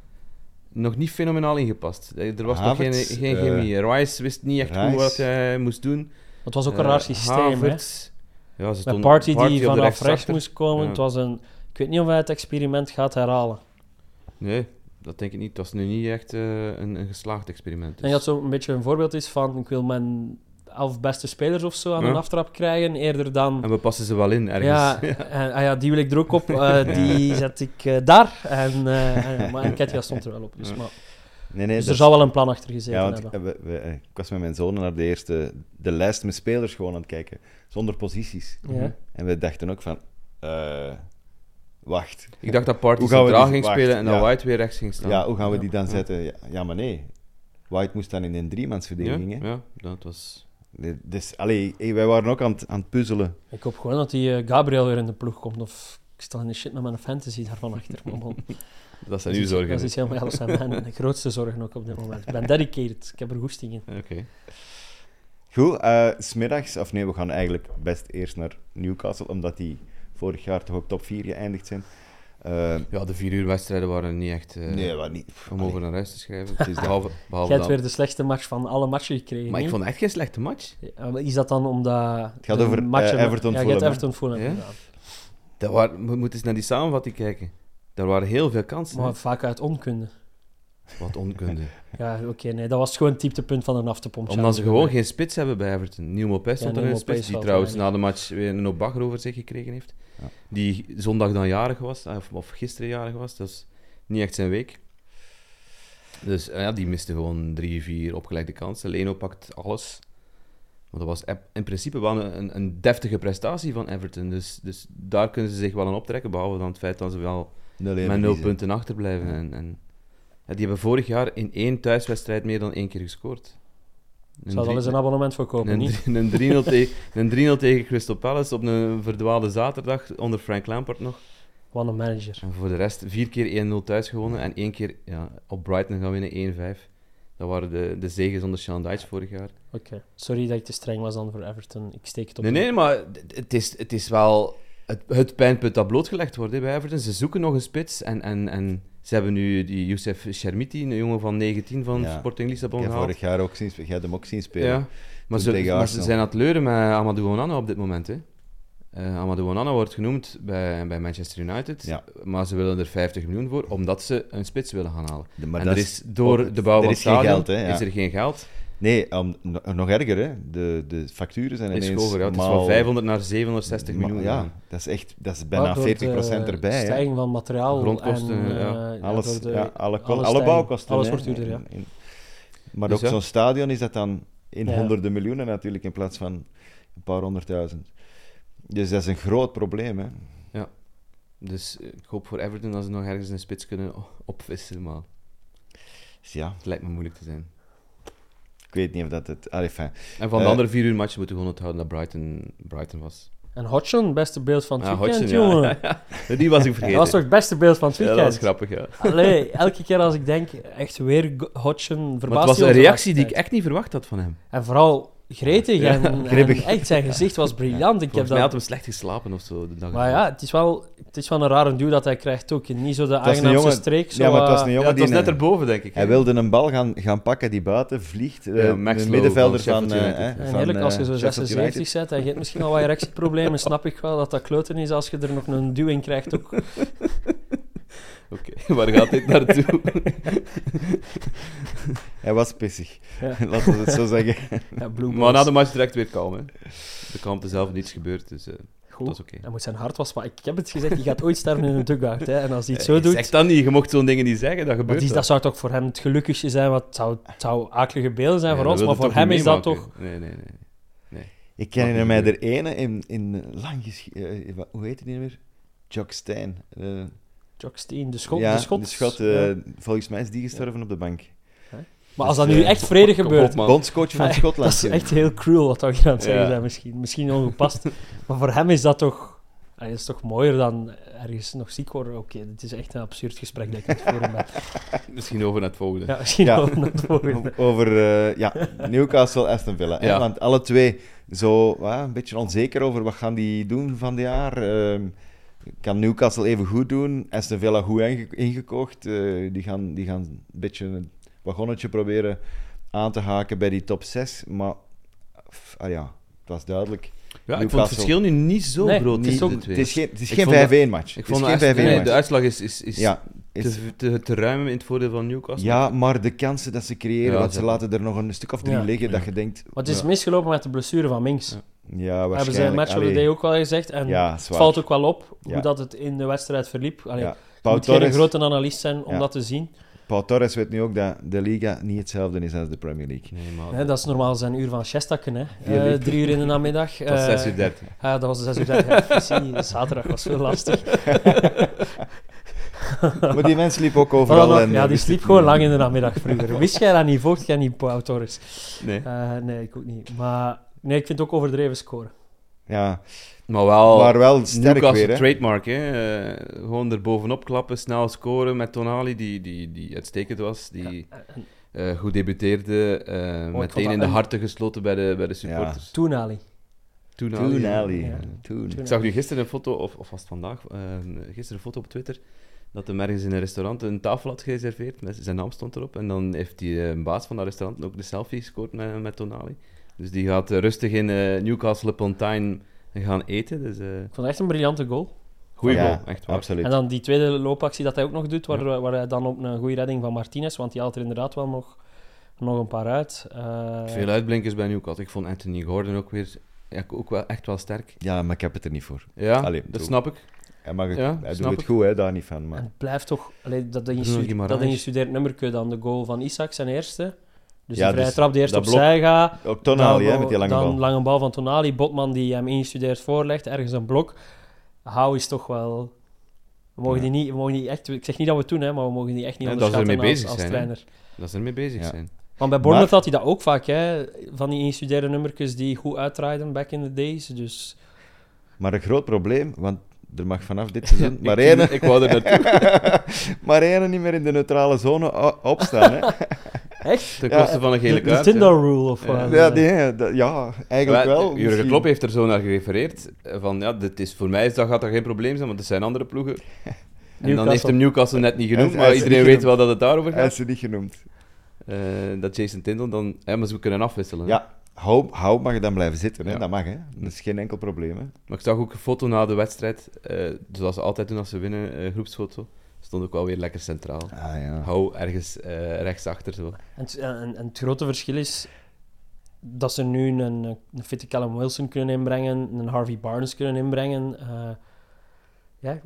[SPEAKER 4] nog niet fenomenaal ingepast. Eh, Er was nog
[SPEAKER 2] Havertz,
[SPEAKER 4] geen, geen
[SPEAKER 2] eh,
[SPEAKER 4] chemie. Rice wist niet echt
[SPEAKER 2] Rice.
[SPEAKER 4] goed wat hij moest doen.
[SPEAKER 3] Het was ook een
[SPEAKER 4] Eh,
[SPEAKER 3] raar systeem, hè.
[SPEAKER 4] Havertz. Ja, ze
[SPEAKER 3] Met
[SPEAKER 4] stond,
[SPEAKER 3] Party
[SPEAKER 4] Partey
[SPEAKER 3] die
[SPEAKER 4] op de
[SPEAKER 3] vanaf rechts
[SPEAKER 4] rechtsachter.
[SPEAKER 3] moest komen.
[SPEAKER 4] Ja.
[SPEAKER 3] Het was een... Ik weet niet of hij het experiment gaat herhalen.
[SPEAKER 4] Nee, dat denk ik niet. Het was nu niet echt eh, een, een geslaagd experiment. dus.
[SPEAKER 3] Ik denk dat zo een beetje een voorbeeld is van... Ik wil mijn elf beste spelers of zo aan
[SPEAKER 4] Ja.
[SPEAKER 3] een aftrap krijgen, eerder dan...
[SPEAKER 4] En we passen ze wel in ergens.
[SPEAKER 3] Ja, en, ah ja, die wil ik er ook op. eh, die zet ik eh, daar. En, eh, en- maar en Ketja stond er wel op. Dus,
[SPEAKER 4] Ja.
[SPEAKER 3] maar,
[SPEAKER 2] Nee, nee,
[SPEAKER 3] dus
[SPEAKER 2] dat-
[SPEAKER 3] er zal wel een plan achter gezeten
[SPEAKER 2] Ja, want
[SPEAKER 3] hebben.
[SPEAKER 2] we- we- eh, ik was met mijn zonen naar de eerste... De lijst met spelers gewoon aan het kijken. Zonder posities.
[SPEAKER 4] Mhm.
[SPEAKER 3] Ja.
[SPEAKER 2] En we dachten ook van... eh, wacht.
[SPEAKER 4] Ik dacht dat Party
[SPEAKER 2] Hoe gaan we
[SPEAKER 4] centraal
[SPEAKER 2] die-
[SPEAKER 4] ging
[SPEAKER 2] wacht,
[SPEAKER 4] spelen en dat
[SPEAKER 2] ja.
[SPEAKER 4] White weer rechts ging staan.
[SPEAKER 2] Ja, hoe gaan we
[SPEAKER 3] Ja.
[SPEAKER 2] die dan zetten? Ja, ja, maar nee. White moest dan in een driemansverdediging, hè.
[SPEAKER 4] ja, ja, dat was...
[SPEAKER 2] Nee, Dus, allee, hey, wij waren ook aan het, aan het puzzelen.
[SPEAKER 3] Ik hoop gewoon dat die eh, Gabriel weer in de ploeg komt. Of ik sta in de shit met mijn fantasy daarvan achter. Maar bon,
[SPEAKER 4] Dat
[SPEAKER 3] dat
[SPEAKER 4] zijn
[SPEAKER 3] is
[SPEAKER 4] uw
[SPEAKER 3] iets-
[SPEAKER 4] zorgen.
[SPEAKER 3] Dat is helemaal dat zijn mijn grootste zorgen ook op dit moment. Ik ben dedicated. Ik heb er goesting in.
[SPEAKER 4] Oké.
[SPEAKER 2] Goed, eh, s smiddags, of nee, we gaan eigenlijk best eerst naar Newcastle, omdat die vorig jaar toch ook top 4 geëindigd zijn. Eh,
[SPEAKER 4] Ja, de vier uur wedstrijden waren niet echt eh,
[SPEAKER 2] nee, wat niet.
[SPEAKER 4] om over naar huis te schrijven. Het is behalve, behalve
[SPEAKER 3] Jij hebt
[SPEAKER 4] dan-
[SPEAKER 3] weer de slechtste match van alle matchen gekregen.
[SPEAKER 4] Maar ik
[SPEAKER 3] niet?
[SPEAKER 4] vond het echt geen slechte match.
[SPEAKER 3] Ja, maar Is dat dan omdat... Het
[SPEAKER 2] gaat over, eh, Everton
[SPEAKER 3] ja, je
[SPEAKER 2] Fulham,
[SPEAKER 3] hebt
[SPEAKER 2] hè?
[SPEAKER 3] Everton Fulham
[SPEAKER 4] Ja?
[SPEAKER 3] gedaan.
[SPEAKER 4] Dat waren, we moeten eens naar die samenvatting kijken. Daar waren heel veel kansen.
[SPEAKER 3] Maar
[SPEAKER 4] hè.
[SPEAKER 3] vaak uit onkunde.
[SPEAKER 4] Wat onkunde.
[SPEAKER 3] Ja, oké, nee, dat was gewoon het dieptepunt van een aftepompje.
[SPEAKER 4] Omdat ze gewoon geen spits hebben bij Everton. Nieuw Mopes stond
[SPEAKER 3] Ja,
[SPEAKER 4] er in de
[SPEAKER 3] Neil Maupay
[SPEAKER 4] spits, die
[SPEAKER 3] zat
[SPEAKER 4] trouwens
[SPEAKER 3] er
[SPEAKER 4] na de match weer een op bagger over zich gekregen heeft.
[SPEAKER 2] Ja.
[SPEAKER 4] Die zondag dan jarig was, of, of gisteren jarig was. Dat is niet echt zijn week. Dus eh, ja, die miste gewoon drie, vier opgelegde kansen. Leno pakt alles. Want dat was ep- in principe wel een, een, een deftige prestatie van Everton. Dus, dus daar kunnen ze zich wel aan optrekken, behalve dan het feit dat ze wel met nul punten achterblijven. En, en, ja, die hebben vorig jaar in één thuiswedstrijd meer dan één keer gescoord. Een
[SPEAKER 3] Zou
[SPEAKER 4] drie-
[SPEAKER 3] wel eens een abonnement voor kopen,
[SPEAKER 4] een,
[SPEAKER 3] niet?
[SPEAKER 4] drie- een 3-0 tegen- een 3-0 tegen Crystal Palace op een verdwaalde zaterdag onder Frank Lampard nog.
[SPEAKER 3] Wat een manager.
[SPEAKER 4] En voor de rest vier keer 1-0 thuis gewonnen en één keer ja, op Brighton gaan winnen 1-5. Dat waren de, de zegens onder Sean Dyche vorig jaar.
[SPEAKER 3] Oké. Sorry dat ik te streng was dan voor Everton. Ik steek het op.
[SPEAKER 4] Nee, nee, maar d- het is, het is wel het, het pijnpunt dat blootgelegd wordt hè, bij Everton. Ze zoeken nog een spits en, en, en ze hebben nu die Youssef Shermiti, een jongen van 19 van
[SPEAKER 2] Ja.
[SPEAKER 4] Sporting Lissabon
[SPEAKER 2] Ik heb
[SPEAKER 4] gehaald.
[SPEAKER 2] vorig jaar ook zien, jij hebt hem ook zien spelen.
[SPEAKER 4] Ja, maar, ze,
[SPEAKER 2] tegen
[SPEAKER 4] maar ze
[SPEAKER 2] Arsenal.
[SPEAKER 4] zijn aan het leuren met Amadou Onana op dit moment. Hè. Eh, Amadou Onana wordt genoemd bij, bij Manchester United,
[SPEAKER 2] Ja.
[SPEAKER 4] maar ze willen er 50 miljoen voor, omdat ze een spits willen gaan halen.
[SPEAKER 2] De- maar
[SPEAKER 4] en
[SPEAKER 2] dat
[SPEAKER 4] er is, door
[SPEAKER 2] ook-
[SPEAKER 4] de bouw
[SPEAKER 2] er
[SPEAKER 4] van
[SPEAKER 2] is
[SPEAKER 4] het
[SPEAKER 2] geen
[SPEAKER 4] stadion
[SPEAKER 2] geld, hè, ja.
[SPEAKER 4] is er geen geld.
[SPEAKER 2] Nee, om- no- nog erger, hè. De, de facturen zijn
[SPEAKER 4] Is
[SPEAKER 2] ineens
[SPEAKER 4] over, ja. Het is
[SPEAKER 2] maal-
[SPEAKER 4] van 500 naar 760
[SPEAKER 2] ma-
[SPEAKER 4] miljoen.
[SPEAKER 2] Ja,
[SPEAKER 4] gegaan.
[SPEAKER 2] dat is echt dat is
[SPEAKER 3] Maar
[SPEAKER 2] bijna 40%
[SPEAKER 3] door de
[SPEAKER 2] erbij. hè.
[SPEAKER 3] eh, stijging van materiaal.
[SPEAKER 4] Grondkosten,
[SPEAKER 3] en,
[SPEAKER 4] ja.
[SPEAKER 3] eh,
[SPEAKER 2] Alles,
[SPEAKER 3] door de-
[SPEAKER 2] ja, alle, ko-
[SPEAKER 3] alle
[SPEAKER 2] alle
[SPEAKER 3] stijgen.
[SPEAKER 2] bouwkosten.
[SPEAKER 3] Alles
[SPEAKER 2] hè.
[SPEAKER 3] wordt duurder, ja.
[SPEAKER 2] En- en- Maar
[SPEAKER 4] Dus
[SPEAKER 2] ook
[SPEAKER 4] ja.
[SPEAKER 2] zo'n stadion is dat dan in
[SPEAKER 3] Ja.
[SPEAKER 2] honderden miljoenen natuurlijk, in plaats van een paar honderdduizend. Dus dat is een groot probleem. Hè.
[SPEAKER 4] Dus eh, ik hoop voor Everton dat ze nog ergens een spits kunnen o- opvissen, maar
[SPEAKER 2] Dus ja,
[SPEAKER 4] het lijkt me moeilijk te zijn.
[SPEAKER 2] ik weet niet of dat het... Allee, fijn.
[SPEAKER 4] En van de
[SPEAKER 2] Eh.
[SPEAKER 4] andere vier uur matchen moeten we gewoon onthouden dat Brighton, Brighton was.
[SPEAKER 3] En Hodgson, beste beeld van het
[SPEAKER 4] Ah,
[SPEAKER 3] weekend,
[SPEAKER 4] Hodgson, ja.
[SPEAKER 3] jongen.
[SPEAKER 4] Die was ik
[SPEAKER 3] Dat
[SPEAKER 4] vergeten.
[SPEAKER 3] was toch het beste beeld van het
[SPEAKER 4] ja,
[SPEAKER 3] weekend?
[SPEAKER 4] dat was grappig, ja.
[SPEAKER 3] Allee, elke keer als ik denk, echt weer go- Hodgson,
[SPEAKER 4] Maar het
[SPEAKER 3] verbaasd
[SPEAKER 4] was een reactie die ik echt niet verwacht had van hem.
[SPEAKER 3] En vooral gretig en, en
[SPEAKER 2] Grippig.
[SPEAKER 3] echt, zijn gezicht was briljant. Ik heb
[SPEAKER 4] Volgens mij had
[SPEAKER 3] dat...
[SPEAKER 4] hem slecht geslapen of zo de dag
[SPEAKER 3] Maar ja, het is, wel, het is wel een rare duw dat hij krijgt ook. Niet zo de
[SPEAKER 2] was een
[SPEAKER 3] aangenaamste
[SPEAKER 2] jongen-
[SPEAKER 3] streek. Zo,
[SPEAKER 2] ja, maar het was
[SPEAKER 3] eh,
[SPEAKER 2] een
[SPEAKER 4] Ja,
[SPEAKER 2] jongen
[SPEAKER 4] het was
[SPEAKER 2] die...
[SPEAKER 4] net
[SPEAKER 2] een-
[SPEAKER 4] erboven, denk ik. hè.
[SPEAKER 2] Hij wilde een bal gaan, gaan pakken die buiten vliegt. eh,
[SPEAKER 4] Ja, Max
[SPEAKER 2] de
[SPEAKER 4] Lowe
[SPEAKER 2] middenvelder
[SPEAKER 4] van
[SPEAKER 2] van...
[SPEAKER 4] Sheffield
[SPEAKER 2] eh,
[SPEAKER 4] United.
[SPEAKER 2] hè,
[SPEAKER 3] En
[SPEAKER 2] van,
[SPEAKER 3] eerlijk, als
[SPEAKER 2] eh,
[SPEAKER 3] je zo
[SPEAKER 2] Sheffield
[SPEAKER 3] 76 bent en je hebt misschien al wat erectieproblemen, snap ik wel dat dat kloten is als je er nog een duw in krijgt. Ook.
[SPEAKER 4] Oké, waar gaat dit naartoe?
[SPEAKER 2] United. Hij was pissig,
[SPEAKER 3] Ja.
[SPEAKER 2] laten we het zo zeggen.
[SPEAKER 3] Ja, Blue
[SPEAKER 4] maar na
[SPEAKER 3] Balls.
[SPEAKER 4] de match direct weer kalm, hè. De kalmte zelf niets gebeurd, dus eh, dat is oké.
[SPEAKER 3] Hij moet zijn hart was, maar ik heb het gezegd, die gaat ooit sterven in een dugout. Hè. En als hij
[SPEAKER 4] Eh,
[SPEAKER 3] iets zo doet,
[SPEAKER 4] Zeg dat niet, je mocht zo'n dingen niet zeggen, dat
[SPEAKER 3] Maar
[SPEAKER 4] gebeurt
[SPEAKER 3] die, dat zou toch voor hem het gelukkigste zijn, want het zou, het zou akelige beelden zijn
[SPEAKER 4] Ja,
[SPEAKER 3] voor
[SPEAKER 4] dat
[SPEAKER 3] ons,
[SPEAKER 4] wil
[SPEAKER 3] maar
[SPEAKER 4] je
[SPEAKER 3] voor
[SPEAKER 4] toch
[SPEAKER 3] hem
[SPEAKER 4] niet
[SPEAKER 3] is dat toch...
[SPEAKER 4] meemaken? Nee, nee, nee.
[SPEAKER 2] Ik herinner mij er ene in, in lang gesch- eh, wa- Hoe heet die nu weer? Jock Stein. eh,
[SPEAKER 3] Jock Steen, de schot.
[SPEAKER 2] ja,
[SPEAKER 3] de schot,
[SPEAKER 2] eh,
[SPEAKER 3] Ja.
[SPEAKER 2] volgens mij is die gestorven op de bank.
[SPEAKER 3] Maar als dat
[SPEAKER 4] dus,
[SPEAKER 3] nu
[SPEAKER 4] eh,
[SPEAKER 3] echt vredig
[SPEAKER 4] kom op,
[SPEAKER 3] gebeurt,
[SPEAKER 4] man.
[SPEAKER 2] Bondscoach van
[SPEAKER 3] Nee,
[SPEAKER 2] Schotland.
[SPEAKER 3] Ah, dat is echt heel cruel wat we hier aan het zeggen
[SPEAKER 4] Ja.
[SPEAKER 3] zijn misschien. Misschien ongepast, maar voor hem is dat toch... Allee, dat is toch mooier dan ergens nog ziek worden. Oké, dit is echt een absurd gesprek dat ik aan het voeren ben.
[SPEAKER 4] Misschien over naar het volgende.
[SPEAKER 3] Ja, misschien
[SPEAKER 2] Ja.
[SPEAKER 3] wel het volgende.
[SPEAKER 2] Over eh, ja, Newcastle, Aston Villa. hè.
[SPEAKER 4] Ja.
[SPEAKER 2] Want alle twee zo wa, een beetje onzeker over wat gaan die doen van dit jaar. Ehm, kan Newcastle even goed doen? Aston Villa goed inge- ingekocht. Eh, die, gaan, die gaan een beetje een wagonnetje proberen aan te haken bij die top 6. Maar f- ah ja, het was duidelijk.
[SPEAKER 4] Ja, ik vond het
[SPEAKER 2] Newcastle.
[SPEAKER 4] verschil nu niet zo
[SPEAKER 3] Nee,
[SPEAKER 4] groot
[SPEAKER 3] het is
[SPEAKER 4] tussen
[SPEAKER 3] ook-
[SPEAKER 4] de twee.
[SPEAKER 2] Het is geen, het is
[SPEAKER 4] Ik
[SPEAKER 2] geen
[SPEAKER 4] vond dat-
[SPEAKER 2] 5-1 match.
[SPEAKER 4] Ik
[SPEAKER 2] het
[SPEAKER 4] vond
[SPEAKER 2] is geen
[SPEAKER 4] de, nee,
[SPEAKER 2] 5-1 match.
[SPEAKER 4] de uitslag is, is, is
[SPEAKER 2] ja, is-
[SPEAKER 4] te, te, te ruim in het voordeel van Newcastle.
[SPEAKER 2] ja, maar de kansen dat ze creëren,
[SPEAKER 4] Ja,
[SPEAKER 2] want ze
[SPEAKER 4] ze-
[SPEAKER 2] laten er nog een stuk of drie
[SPEAKER 3] Ja.
[SPEAKER 2] liggen, dat
[SPEAKER 4] Ja.
[SPEAKER 2] je denkt...
[SPEAKER 3] Maar het is
[SPEAKER 2] ja.
[SPEAKER 3] misgelopen met de blessure van Minks.
[SPEAKER 4] Ja,
[SPEAKER 2] Ja,
[SPEAKER 3] hebben ze in
[SPEAKER 2] waarschijnlijk.
[SPEAKER 3] Match of the
[SPEAKER 2] Allee,
[SPEAKER 3] Day ook wel gezegd. En
[SPEAKER 2] ja,
[SPEAKER 3] het
[SPEAKER 2] zwaar.
[SPEAKER 3] valt ook wel op hoe
[SPEAKER 2] Ja.
[SPEAKER 3] dat het in de wedstrijd verliep. Allee,
[SPEAKER 2] Ja.
[SPEAKER 3] Je
[SPEAKER 2] Pau
[SPEAKER 3] moet geen
[SPEAKER 2] Torres,
[SPEAKER 3] grote analist zijn om
[SPEAKER 2] Ja.
[SPEAKER 3] dat te zien.
[SPEAKER 2] Pau Torres weet nu ook dat de Liga niet hetzelfde is als de Premier League.
[SPEAKER 4] Nee, maar...
[SPEAKER 3] Hè, dat is normaal zijn uur van Shestakken, hè?
[SPEAKER 2] Die
[SPEAKER 3] Eh,
[SPEAKER 2] liep.
[SPEAKER 3] drie uur in de namiddag.
[SPEAKER 4] dat
[SPEAKER 3] Eh,
[SPEAKER 4] is 6 uur 30.
[SPEAKER 3] Ja, dat was 6 uur 30. Ja, precies. zaterdag was veel lastig.
[SPEAKER 2] Maar die mens liep ook
[SPEAKER 3] Maar dan
[SPEAKER 2] overal.
[SPEAKER 3] nog,
[SPEAKER 2] en, eh,
[SPEAKER 3] ja, die sliep gewoon lang in de namiddag vroeger. Wist jij dat niet? Volgt jij niet, Pau Torres?
[SPEAKER 4] Nee.
[SPEAKER 3] Eh, nee, ik ook niet. Maar nee, ik vind het ook overdreven scoren.
[SPEAKER 2] Ja,
[SPEAKER 4] Maar wel...
[SPEAKER 2] maar wel sterk
[SPEAKER 4] Newcastle
[SPEAKER 2] weer. Hè.
[SPEAKER 4] trademark, hè. Eh, gewoon er bovenop klappen, snel scoren met Tonali, die, die, die uitstekend was. Die,
[SPEAKER 3] En- en
[SPEAKER 4] eh, goed debuteerde. eh,
[SPEAKER 3] vond
[SPEAKER 4] meteen
[SPEAKER 3] dat
[SPEAKER 4] in de
[SPEAKER 3] een-
[SPEAKER 4] harten gesloten bij de, bij de supporters.
[SPEAKER 3] Toen Ali.
[SPEAKER 4] Toen al.
[SPEAKER 2] Toen, Ali.
[SPEAKER 3] Ja.
[SPEAKER 2] Toen.
[SPEAKER 3] Toen
[SPEAKER 4] Ik zag nu gisteren een foto, of, of was het vandaag, eh, gisteren een foto op Twitter, dat hem ergens in een restaurant een tafel had gereserveerd. Met, zijn naam stond erop. En dan heeft die eh, baas van dat restaurant ook de selfie gescoord met, met Tonali. Dus die gaat eh, rustig in eh, Newcastle upon Tyne gaan eten. Dus, eh
[SPEAKER 3] Ik vond het echt een briljante goal.
[SPEAKER 4] goeie
[SPEAKER 2] Ah, Ja,
[SPEAKER 4] goal, echt waar.
[SPEAKER 2] Absoluut.
[SPEAKER 3] En dan die tweede loopactie dat hij ook nog doet, waar, waar hij dan op een goede redding van Martinez, want die haalt er inderdaad wel nog, nog een paar uit. Eh,
[SPEAKER 4] Veel uitblinkers bij Newcastle. Ik vond Anthony Gordon ook weer ja, ook wel, echt wel sterk.
[SPEAKER 2] Ja, maar ik heb het er niet voor.
[SPEAKER 4] Ja,
[SPEAKER 2] Allee,
[SPEAKER 4] dat
[SPEAKER 2] doe.
[SPEAKER 4] snap ik.
[SPEAKER 2] Hij, mag het,
[SPEAKER 4] Ja,
[SPEAKER 2] hij doet
[SPEAKER 4] snap
[SPEAKER 2] het
[SPEAKER 4] ik.
[SPEAKER 2] goed, hè, daar niet van.
[SPEAKER 3] en
[SPEAKER 2] Maar...
[SPEAKER 3] het blijft toch, allee, dat, dat, ingestudeerd,
[SPEAKER 4] Guimaraes.
[SPEAKER 3] dat ingestudeerd nummerke dan, de goal van Isaac, zijn eerste. Dus
[SPEAKER 2] Ja,
[SPEAKER 3] die vrije
[SPEAKER 2] dus
[SPEAKER 3] trap die eerst
[SPEAKER 4] dat
[SPEAKER 3] opzij gaat.
[SPEAKER 2] Ook Tonali,
[SPEAKER 3] dan,
[SPEAKER 2] hè, met die lange
[SPEAKER 3] dan
[SPEAKER 2] bal.
[SPEAKER 3] lange bal van Tonali, Botman die hem ingestudeerd voorlegt, ergens een blok. Hou is toch wel... We mogen,
[SPEAKER 2] Ja.
[SPEAKER 3] die niet, we mogen die echt... Ik zeg niet dat we het doen, hè, maar we mogen die echt niet
[SPEAKER 4] Nee, dat ze
[SPEAKER 3] onderschatten
[SPEAKER 4] ermee
[SPEAKER 3] als,
[SPEAKER 4] bezig
[SPEAKER 3] als
[SPEAKER 4] zijn, hè.
[SPEAKER 3] trainer.
[SPEAKER 4] Dat ze ermee bezig
[SPEAKER 2] Ja.
[SPEAKER 4] zijn.
[SPEAKER 3] Want bij Bournemouth
[SPEAKER 2] Maar-
[SPEAKER 3] had hij dat ook vaak, hè? Van die ingestudeerde nummertjes die goed uitdraaiden back in the days. Dus
[SPEAKER 2] Maar een groot probleem, want er mag vanaf dit seizoen maar
[SPEAKER 4] ik,
[SPEAKER 2] één
[SPEAKER 4] ik wou er naartoe.
[SPEAKER 2] maar één niet meer in de neutrale zone o- opstaan. Hè.
[SPEAKER 3] echt?
[SPEAKER 4] Ten
[SPEAKER 2] Ja,
[SPEAKER 4] koste van een gele
[SPEAKER 3] De, de
[SPEAKER 4] kaart. eh. hè.
[SPEAKER 3] Tinder rule of eh, wat?
[SPEAKER 2] Ja, die- dat- ja, eigenlijk
[SPEAKER 4] Ja,
[SPEAKER 2] wel.
[SPEAKER 4] eh, Jurgen
[SPEAKER 2] misschien.
[SPEAKER 4] Klopp heeft er zo naar gerefereerd. eh, Van, ja, dit is, voor mij is, dat gaat dat geen probleem zijn, want het zijn andere ploegen. En dan
[SPEAKER 3] Newcastle.
[SPEAKER 4] heeft hem Newcastle net niet
[SPEAKER 2] Hij
[SPEAKER 4] genoemd,
[SPEAKER 2] is-
[SPEAKER 4] maar
[SPEAKER 2] hij is
[SPEAKER 4] iedereen
[SPEAKER 2] niet
[SPEAKER 4] weet wel
[SPEAKER 2] genoemd.
[SPEAKER 4] dat het daarover
[SPEAKER 2] Hij is
[SPEAKER 4] gaat.
[SPEAKER 2] ze niet genoemd.
[SPEAKER 4] Eh, dat Jason Tindall dan... Ja, maar ze kunnen afwisselen. hè.
[SPEAKER 2] Ja, hou, hou mag dan blijven zitten. Hè.
[SPEAKER 4] Ja.
[SPEAKER 2] Dat mag, hè. Dat is geen enkel probleem. Hè.
[SPEAKER 4] Maar ik zag ook een foto na de wedstrijd, eh, zoals ze altijd doen als ze winnen, eh, groepsfoto. Stond ook wel weer lekker centraal.
[SPEAKER 2] Ah, ja.
[SPEAKER 4] Hou ergens eh, rechtsachter zo.
[SPEAKER 3] En, het- en, en het grote verschil is dat ze nu een, een fitte Callum Wilson kunnen inbrengen, een Harvey Barnes kunnen inbrengen. eh,
[SPEAKER 4] Ja, ze